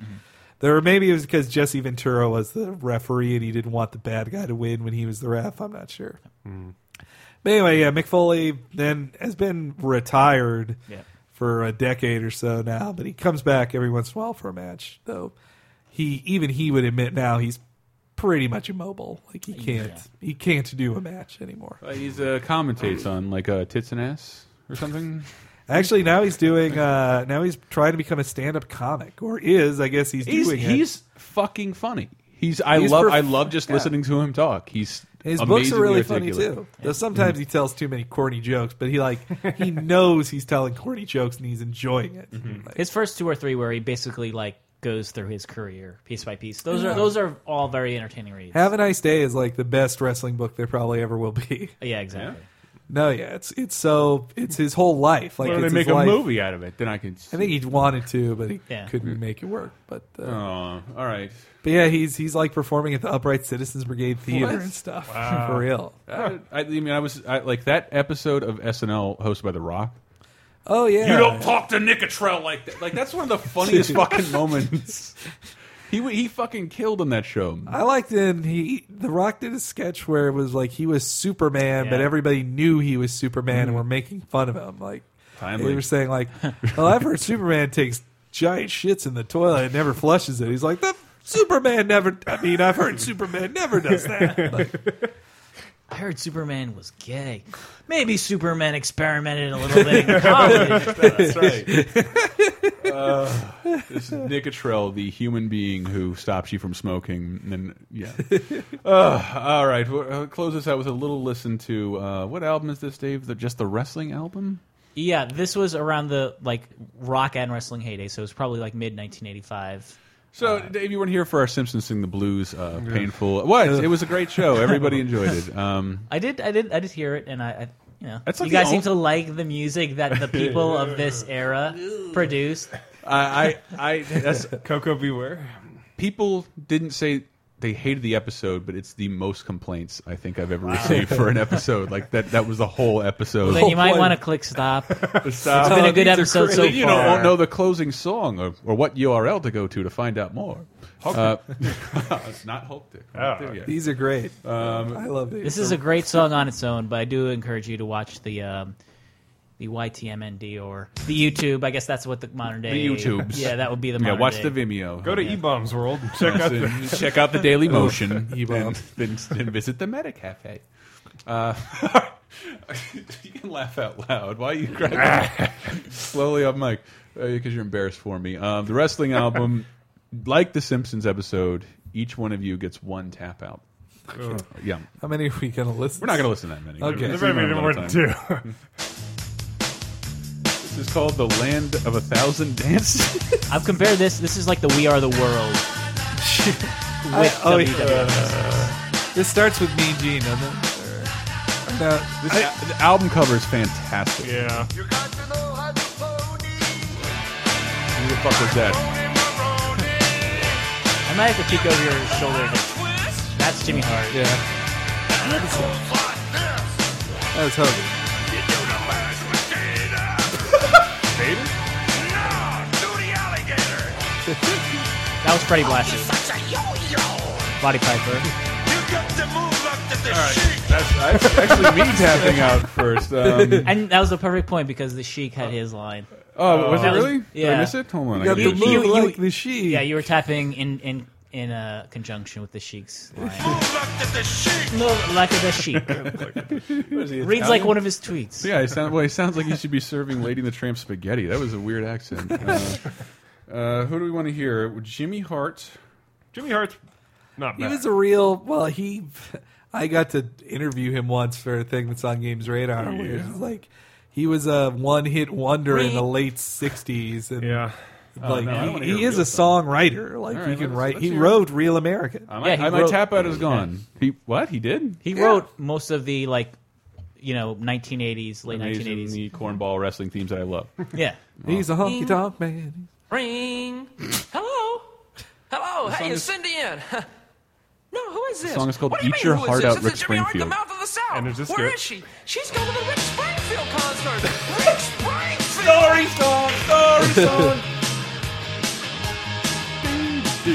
S4: there, were, maybe it was because Jesse Ventura was the referee and he didn't want the bad guy to win when he was the ref. I'm not sure.
S3: Hmm.
S4: But anyway, yeah, Mick Foley then has been retired
S6: Yeah.
S4: for a decade or so now, but he comes back every once in a while for a match. Though he even he would admit now he's pretty much immobile. Like he can't he can't do a match anymore.
S2: Uh, he's uh, commentates on like uh, tits and ass or something.
S4: Actually, now he's doing uh now he's trying to become a stand up comic or is I guess he's,
S2: He's
S4: doing it.
S2: he's fucking funny. He's I
S4: He's
S2: love
S4: perf-
S2: I love just
S4: yeah.
S2: listening to him talk. He's
S4: His books are
S2: amazingly
S4: really funny
S2: articulate.
S4: too. Though sometimes he tells too many corny jokes, but he like he knows he's telling corny jokes and he's enjoying it.
S6: his first two or three where he basically like goes through his career piece by piece. Those
S4: Yeah.
S6: are those are all very entertaining reads.
S4: Have a Nice Day is like the best wrestling book there probably ever will be. (laughs)
S6: Yeah, exactly.
S4: No, yeah, it's it's so it's his whole life. Like
S2: Why don't
S4: it's
S2: they
S4: his
S2: make a
S4: life.
S2: movie out of it? Then I can
S4: I think he wanted to, but he
S2: Yeah.
S4: couldn't make it work. But uh,
S2: Aw, Oh, all right.
S4: But yeah, he's he's like performing at the Upright Citizens Brigade Theater
S2: What?
S4: and stuff (laughs)
S2: Wow.
S4: (laughs) for real.
S2: I, Uh, I mean, I was I, like that episode of SNL hosted by The Rock.
S4: Oh yeah,
S2: You don't talk to Nick Atrell like that. Like that's one of the
S3: (laughs)
S2: (laughs) funniest
S4: Dude.
S2: fucking moments. He he fucking killed on that show.
S4: I liked him. He The Rock did a sketch where it was like he was Superman, but everybody knew he was Superman and
S2: Mhm.
S4: were making fun of him. Like
S2: Timely.
S4: they were saying, like, "Well, I've heard Superman takes giant shits in the toilet and never flushes it." He's like, "The Superman never." I mean, I've heard Superman never does
S6: (laughs)
S4: that. Like,
S6: I heard Superman was gay. Maybe Superman experimented a little
S2: (laughs)
S6: bit in college.
S2: That's right. uh, this is Nick Atrell, the human being who stops you from smoking. And yeah. Uh, all right. We'll, uh, close this out with a little listen to uh, what album is this, Dave? The, just the wrestling album?
S6: (laughs) Yeah, this was around the like rock and wrestling heyday, so it was probably like mid 1985.
S2: So, Dave, you weren't here for our Simpsons Sing the Blues uh,
S6: Uh, Yeah.
S2: painful. It was. It was a great show. Everybody enjoyed it. Um,
S6: I did, I did, I did hear it, and I, I you know,
S2: That's like the
S6: you guys seem
S2: only-
S6: to like the music that the
S2: (laughs)
S6: people of this era produced.
S2: I, I, I that's Coco Beware. People didn't say they hated the episode, but it's the most complaints I think I've ever received for an episode. Like that that was the whole episode.
S6: Well, then
S2: (laughs)
S6: you might want to click stop.
S2: Stop.
S6: It's been a good episode so far.
S2: You know, won't know the closing song or, or what URL to go to to find out more. Uh,
S6: Hulk-
S2: (laughs) it's not Hulk Dick. We're
S6: Oh.
S2: not there yet.
S4: These are great. Uh,
S2: Um,
S4: I love these.
S6: This is a great song on its own, but I do encourage you to watch the um, the YTMND or the YouTube. I guess that's what the modern day
S2: The YouTubes.
S6: Yeah, that would be the
S2: Yeah,
S6: modern
S2: watch
S6: day.
S2: the Vimeo.
S3: Go to
S2: Yeah.
S3: E-Bombs
S2: (laughs)
S3: World and check out the,
S2: check out
S3: (laughs)
S2: the (laughs) Daily Motion.
S3: E-Bombs.
S2: Then, then, then visit the Meta Cafe. Uh, (laughs) you can laugh out loud. Why are you cracking up? slowly off mic? Because you're embarrassed for me. Um, the wrestling album, like the Simpsons episode, each one of you gets one tap out.
S4: Okay.
S2: Yeah.
S4: How many are we
S2: (laughs)
S4: going to listen?
S2: We're not going to listen to that many.
S4: Okay.
S2: We're gonna listen to them another time. this is called The Land of a Thousand Dances.
S6: (laughs) I've compared this. This is like the We Are the
S2: (laughs)
S6: World.
S4: I-
S6: with
S4: oh, yeah.
S2: uh,
S6: WWF.
S4: This starts with Mean Gene, doesn't it? Or- no,
S2: This,
S4: I-
S2: the album cover is fantastic.
S3: Yeah.
S2: Who the fuck was that?
S6: I might have to peek over your shoulder. to- That's Jimmy Hart.
S4: Yeah. That was Hogan.
S6: (laughs) That was Freddie Blassie. Body Piper.
S2: That's actually me tapping out first. Um,
S6: (laughs) and that was the perfect point because the Sheik had his line.
S2: Oh, was it
S6: That
S2: really? Did I
S6: yeah.
S2: miss it? Hold on, You I got gotta- the move like
S4: the Sheik.
S6: Yeah, you were tapping in in in uh, conjunction with the Sheik's (laughs) line. Move like the Sheik.
S2: (laughs)
S6: Reads like one of his tweets.
S2: Yeah, he sound, well, he sounds like he should be serving Lady and the Tramp spaghetti. That was a weird accent. Uh, uh, who do we want to hear? Jimmy Hart.
S3: (laughs) Jimmy Hart's not
S4: He was a real. Well, he. (laughs) I got to interview him once for a thing that's on Games Radar.
S3: Oh,
S4: Where it was like he was a one-hit wonder in the late '60s, and
S3: yeah,
S2: Oh,
S4: like
S2: no, I don't
S4: he-
S2: wanna
S4: he,
S2: hear
S4: is a
S2: real
S4: songwriter. Like
S2: All
S4: he
S2: right,
S4: can
S2: let's-
S4: write.
S2: let's
S4: He
S2: hear it.
S4: wrote "Real America."
S2: I might, I might tap out is gone. He what? He did.
S6: He wrote most of the like, you know, 1980s, late
S2: Amazing,
S6: 1980s.
S2: the cornball wrestling themes that I love.
S6: (laughs) Yeah.
S4: He's a honky tonk man.
S9: (laughs) Ring. Hello. Hello.
S2: The song
S9: hey, it's
S2: is-
S9: Cindy Ann. (laughs) no, who is
S2: The
S9: this?
S2: song is called
S9: what do you
S2: Eat
S9: mean,
S2: Your
S9: who is
S2: Heart
S9: this?
S2: Out,
S9: It's
S2: Rick
S9: Jimmy Hart, the
S2: Springfield.
S9: mouth of the South.
S2: And is this
S9: Where
S2: good?
S9: is she? She's going to the Rick Springfield
S2: (laughs)
S9: concert. Rick Springfield. Story song.
S2: Story
S9: song.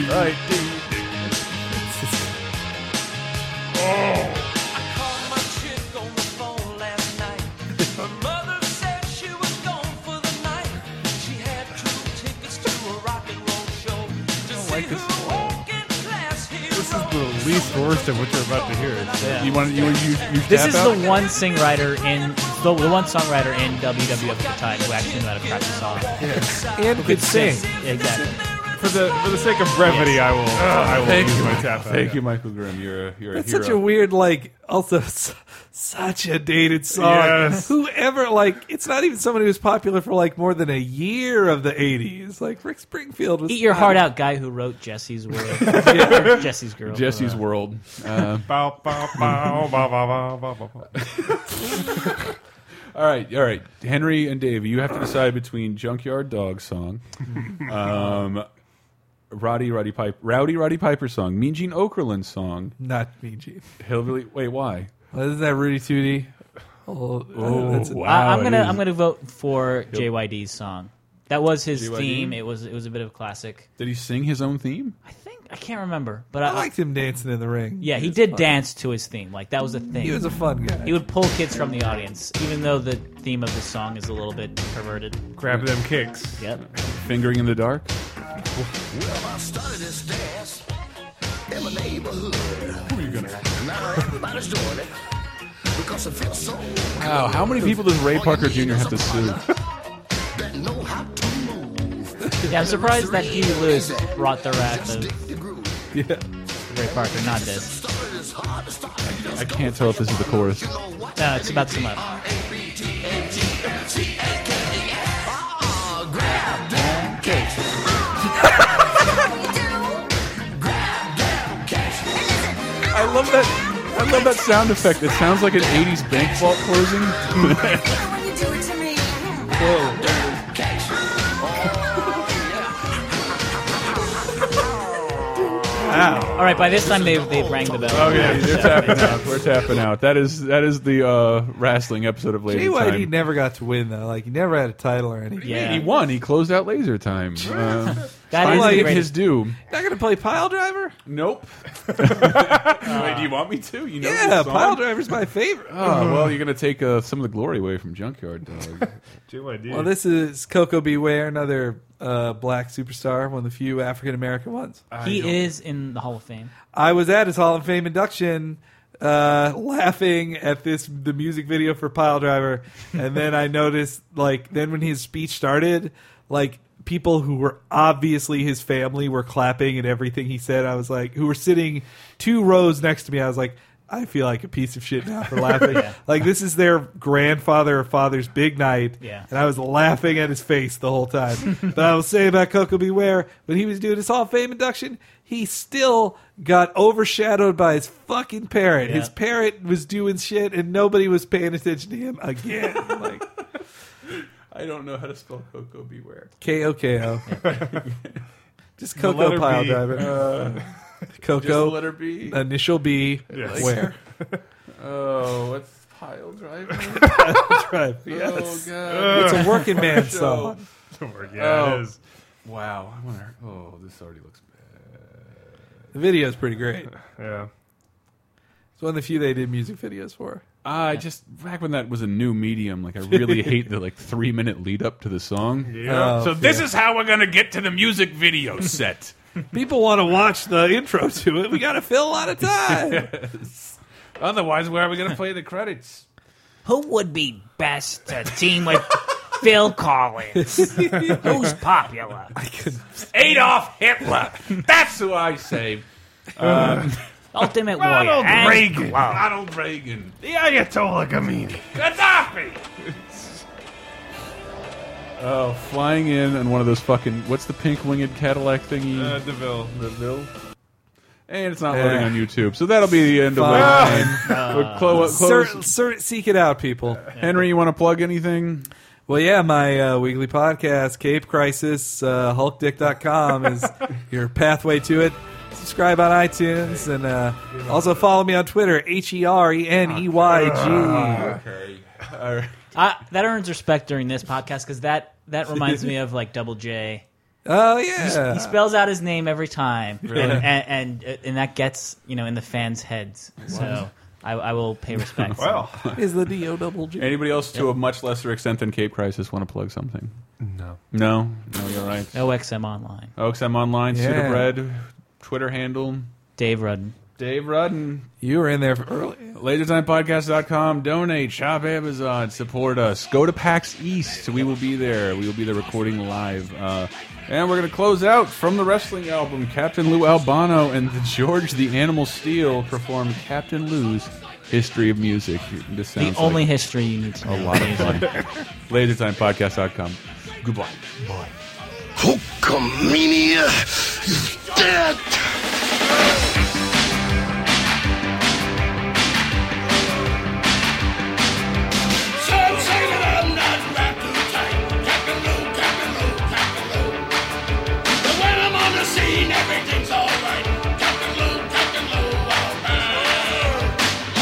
S2: Right.
S3: This is the least worst of what you're about to hear.
S6: Yeah.
S3: you
S6: this
S3: tap
S6: is
S3: out?
S6: the one sing writer in the, the one songwriter in WWF at the time who actually knew how to crack a song
S4: and
S6: Who
S4: could sing.
S6: Yeah, exactly.
S3: For the for the sake of brevity, I will I will
S4: Thank
S3: use
S4: you.
S3: my tap out.
S2: Thank you, Michael Grimm. You're a, you're
S4: That's
S2: a hero.
S4: such a weird, like, also (laughs) s- such a dated song.
S2: Yes.
S4: Whoever, like, it's not even someone who was popular for like more than a year of the '80s. Like Rick Springfield was.
S6: Eat your
S4: not-
S6: heart out, guy who wrote Jesse's
S4: (laughs)
S6: World,
S4: Yeah.
S6: Jesse's Girl, Uh,
S2: Jesse's
S6: (laughs)
S2: World. (laughs) Um,
S3: Bow, bow, bow, bow, bow, bow, bow, bow.
S2: all right, all right. Henry and Dave, you have to decide between Junkyard Dog
S4: (laughs)
S2: song, um, Roddy Roddy Piper, Rowdy Roddy Piper song, Mean Gene Okerlund song,
S4: Not Mean Gene.
S2: Hillbilly. Wait, why?
S4: Well, isn't that Rudy Tootie? Oh,
S2: Oh,
S4: that's-
S2: wow,
S6: I, am
S2: it
S6: gonna
S2: is.
S6: I'm gonna vote for
S2: Yep.
S6: JYD's song. That was his
S2: JYD?
S6: theme. It was it was a bit of a classic.
S2: Did he sing his own theme?
S6: I can't remember, but
S4: I
S6: I,
S4: liked (laughs) him dancing in the ring.
S6: Yeah, he
S4: was
S6: did
S4: fun.
S6: dance to his theme. Like that was a thing.
S4: He was a fun guy.
S6: He would pull kids from the audience, even though the theme of the song is a little bit perverted.
S3: Grab them kicks.
S6: Yep.
S2: Fingering in the dark.
S15: Well, I started this dance in my neighborhood. Who are you gonna? Now everybody's doing it because it feels so.
S2: Wow, how many people does Ray Parker Jr. have to sue?
S6: Yeah, I'm surprised that Huey Lewis brought the wrath of
S4: yeah.
S6: Ray Parker, not this.
S2: I can't tell if this is the chorus.
S6: No, it's about to come up.
S2: I love that. I love that sound effect. It sounds like an '80s bank vault closing. (laughs)
S6: All right, by this time they've, they've rang the bell.
S4: Oh,
S2: Okay, we're tapping out. We're tapping out. That is that is the uh, wrestling episode of Laser
S4: JYD
S2: Time.
S4: never got to win though. Like he never had a title or anything.
S2: Yeah. He
S6: (laughs)
S2: won. He closed out Laser Time. Uh,
S4: That
S2: finally
S4: is the
S2: getting
S4: greatest-
S2: his due.
S4: Not gonna play pile driver. (laughs)
S2: Nope. Wait, do you want me to? You know
S4: yeah,
S2: this song?
S4: pile driver's my favorite.
S2: Oh
S4: (laughs)
S2: well, you're gonna take uh, some of the glory away from Junkyard Dog.
S3: JYD.
S4: Well, this is Coco Beware, another uh, black superstar, one of the few African American ones.
S6: He is in the Hall of Fame.
S4: I was at his Hall of Fame induction, uh, laughing at this the music video for Pile Driver, and then I noticed like then when his speech started, like people who were obviously his family were clapping at everything he said. I was like, who were sitting two rows next to me. I was like. I feel like a piece of shit now for laughing.
S6: Yeah.
S4: Like this is their grandfather or father's big night,
S6: Yeah.
S4: and I was laughing at his face the whole (laughs) time. but I will say about Coco Beware, when he was doing his Hall of Fame induction, he still got overshadowed by his fucking parrot.
S6: Yeah.
S4: His parrot was doing shit, and nobody was paying attention to him again.
S2: (laughs)
S4: like
S2: I don't know how to spell Coco Beware.
S4: K O K
S2: (laughs)
S4: O. Just
S2: The
S4: Coco
S2: letter
S4: pile
S2: B.
S4: driver.
S2: Uh,
S4: Coco.
S2: just the letter B.
S4: Initial B.
S2: Yes.
S4: Where?
S2: Oh, what's pile (laughs) driver?
S4: Pile driver, yes.
S2: Oh,
S4: Uh,
S2: God.
S4: It's a working man
S2: Show.
S4: song.
S3: Yeah, it is.
S2: Wow. I wonder, oh, this already looks
S4: (laughs) The video's pretty great.
S3: Yeah.
S4: It's one of the few they did music videos for.
S2: Uh, I just back when that was a new medium, like I (laughs) really hate the like three minute lead up to the song.
S4: Yeah. Oh,
S2: so this
S4: yeah.
S2: is how we're gonna get to the music video set.
S4: People want to watch the intro to (laughs) it. We got to fill a lot of time.
S2: Yes. Otherwise, where are we gonna play the credits?
S6: Who would be best to
S2: (laughs)
S6: team with Phil Collins? Who's popular?
S2: Adolf Hitler. That's who I say. Um,
S6: (laughs) Ultimate
S2: Ronald
S6: Warrior. and
S2: Reagan.
S6: Glow.
S2: Ronald Reagan.
S6: The Ayatollah Khomeini.
S2: Gaddafi. (laughs) Oh, flying in on one of those fucking what's the pink winged Cadillac thingy?
S3: Uh, Deville.
S2: Deville. And it's not
S4: Yeah.
S2: loading on YouTube, so that'll be the end of
S4: Eh,
S6: (laughs)
S4: Fine.
S2: it.
S4: Ah.
S2: close,
S4: Sir- seek it out, people.
S2: (laughs) Henry, you want to plug anything?
S4: Well, yeah, my uh, weekly podcast, Cape Crisis, uh, HulkDick.com (laughs) is your pathway to it. Subscribe on iTunes and uh, also follow me on Twitter, H E R E N E Y G.
S6: (laughs) I, that earns respect during this podcast because that that reminds me of like Double J.
S4: Oh
S6: He,
S4: yeah.
S6: spells out his name every time,
S4: Really?
S6: and, and uh, and and that gets you know in the fans' heads. So I, I will pay respect.
S2: (laughs)
S4: Is the D O double G.
S2: Anybody else to a much lesser extent than Cape Crisis want to plug something?
S6: No.
S2: No? No, you're right.
S6: OXM Online.
S2: OXM Online,
S6: Yeah.
S2: Sudabred, Twitter handle.
S6: Dave Rudden.
S2: Dave Rudden.
S4: You were in there for early.
S2: LaserTimePodcast.com. Donate. Shop Amazon. Support us. Go to PAX East. We will be there. We will be there recording live. Uh, and we're going to close out from the wrestling album. Captain Lou Albano and the George the Animal Steel perform Captain Lou's History of Music. This
S6: The
S2: sounds
S6: only
S2: like
S6: history you need to know.
S2: a lot of fun. LaserTimePodcast.com. Goodbye.
S8: Boy. Hulkamania is dead!
S9: Some say that I'm not rap type. Captain Lou, Captain Lou, Captain Lou. But when I'm on the scene, everything's alright. Captain Lou, Captain Lou, alright.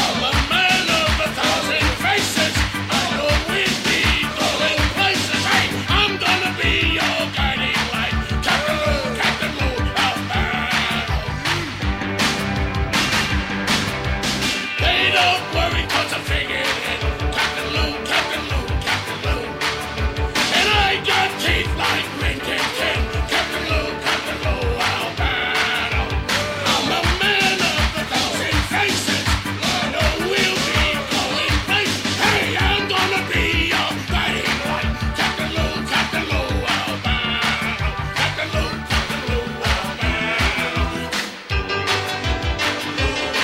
S9: I'm a man of a thousand faces. I know we be going places. Hey, I'm gonna be your guiding light. oh. Captain Lou, Captain Lou, alright. They don't worry cause I figured it Captain Lou, Captain Lou, Captain Lou And I got teeth like Rin Tin Tin Captain Lou, Captain Lou, I'll battle I'm a man of a thousand faces Lord, oh, we'll be going places Hey, I'm gonna be a fighting light Captain Lou, Captain Lou, I'll battle Captain Lou, Captain Lou, I'll battle Captain Lou, Captain Lou, I'll battle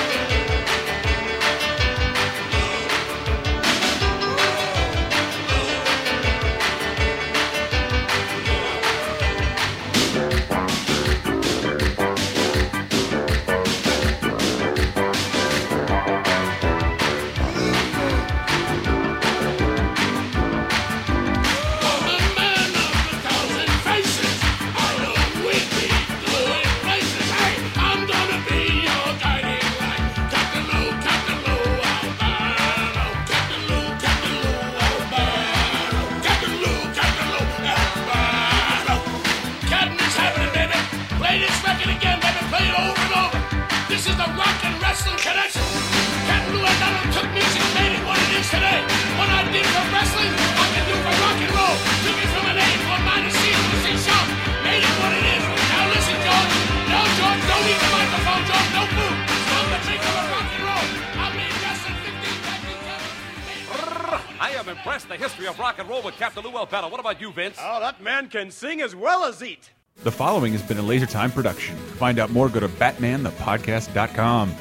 S5: I'm impressed. The history of rock and roll with Captain Lou Albano. What about you, Vince?
S18: Oh, that man can sing as well as eat.
S2: The following has been a Laser Time production. Find out more, go to BatmanThePodcast.com.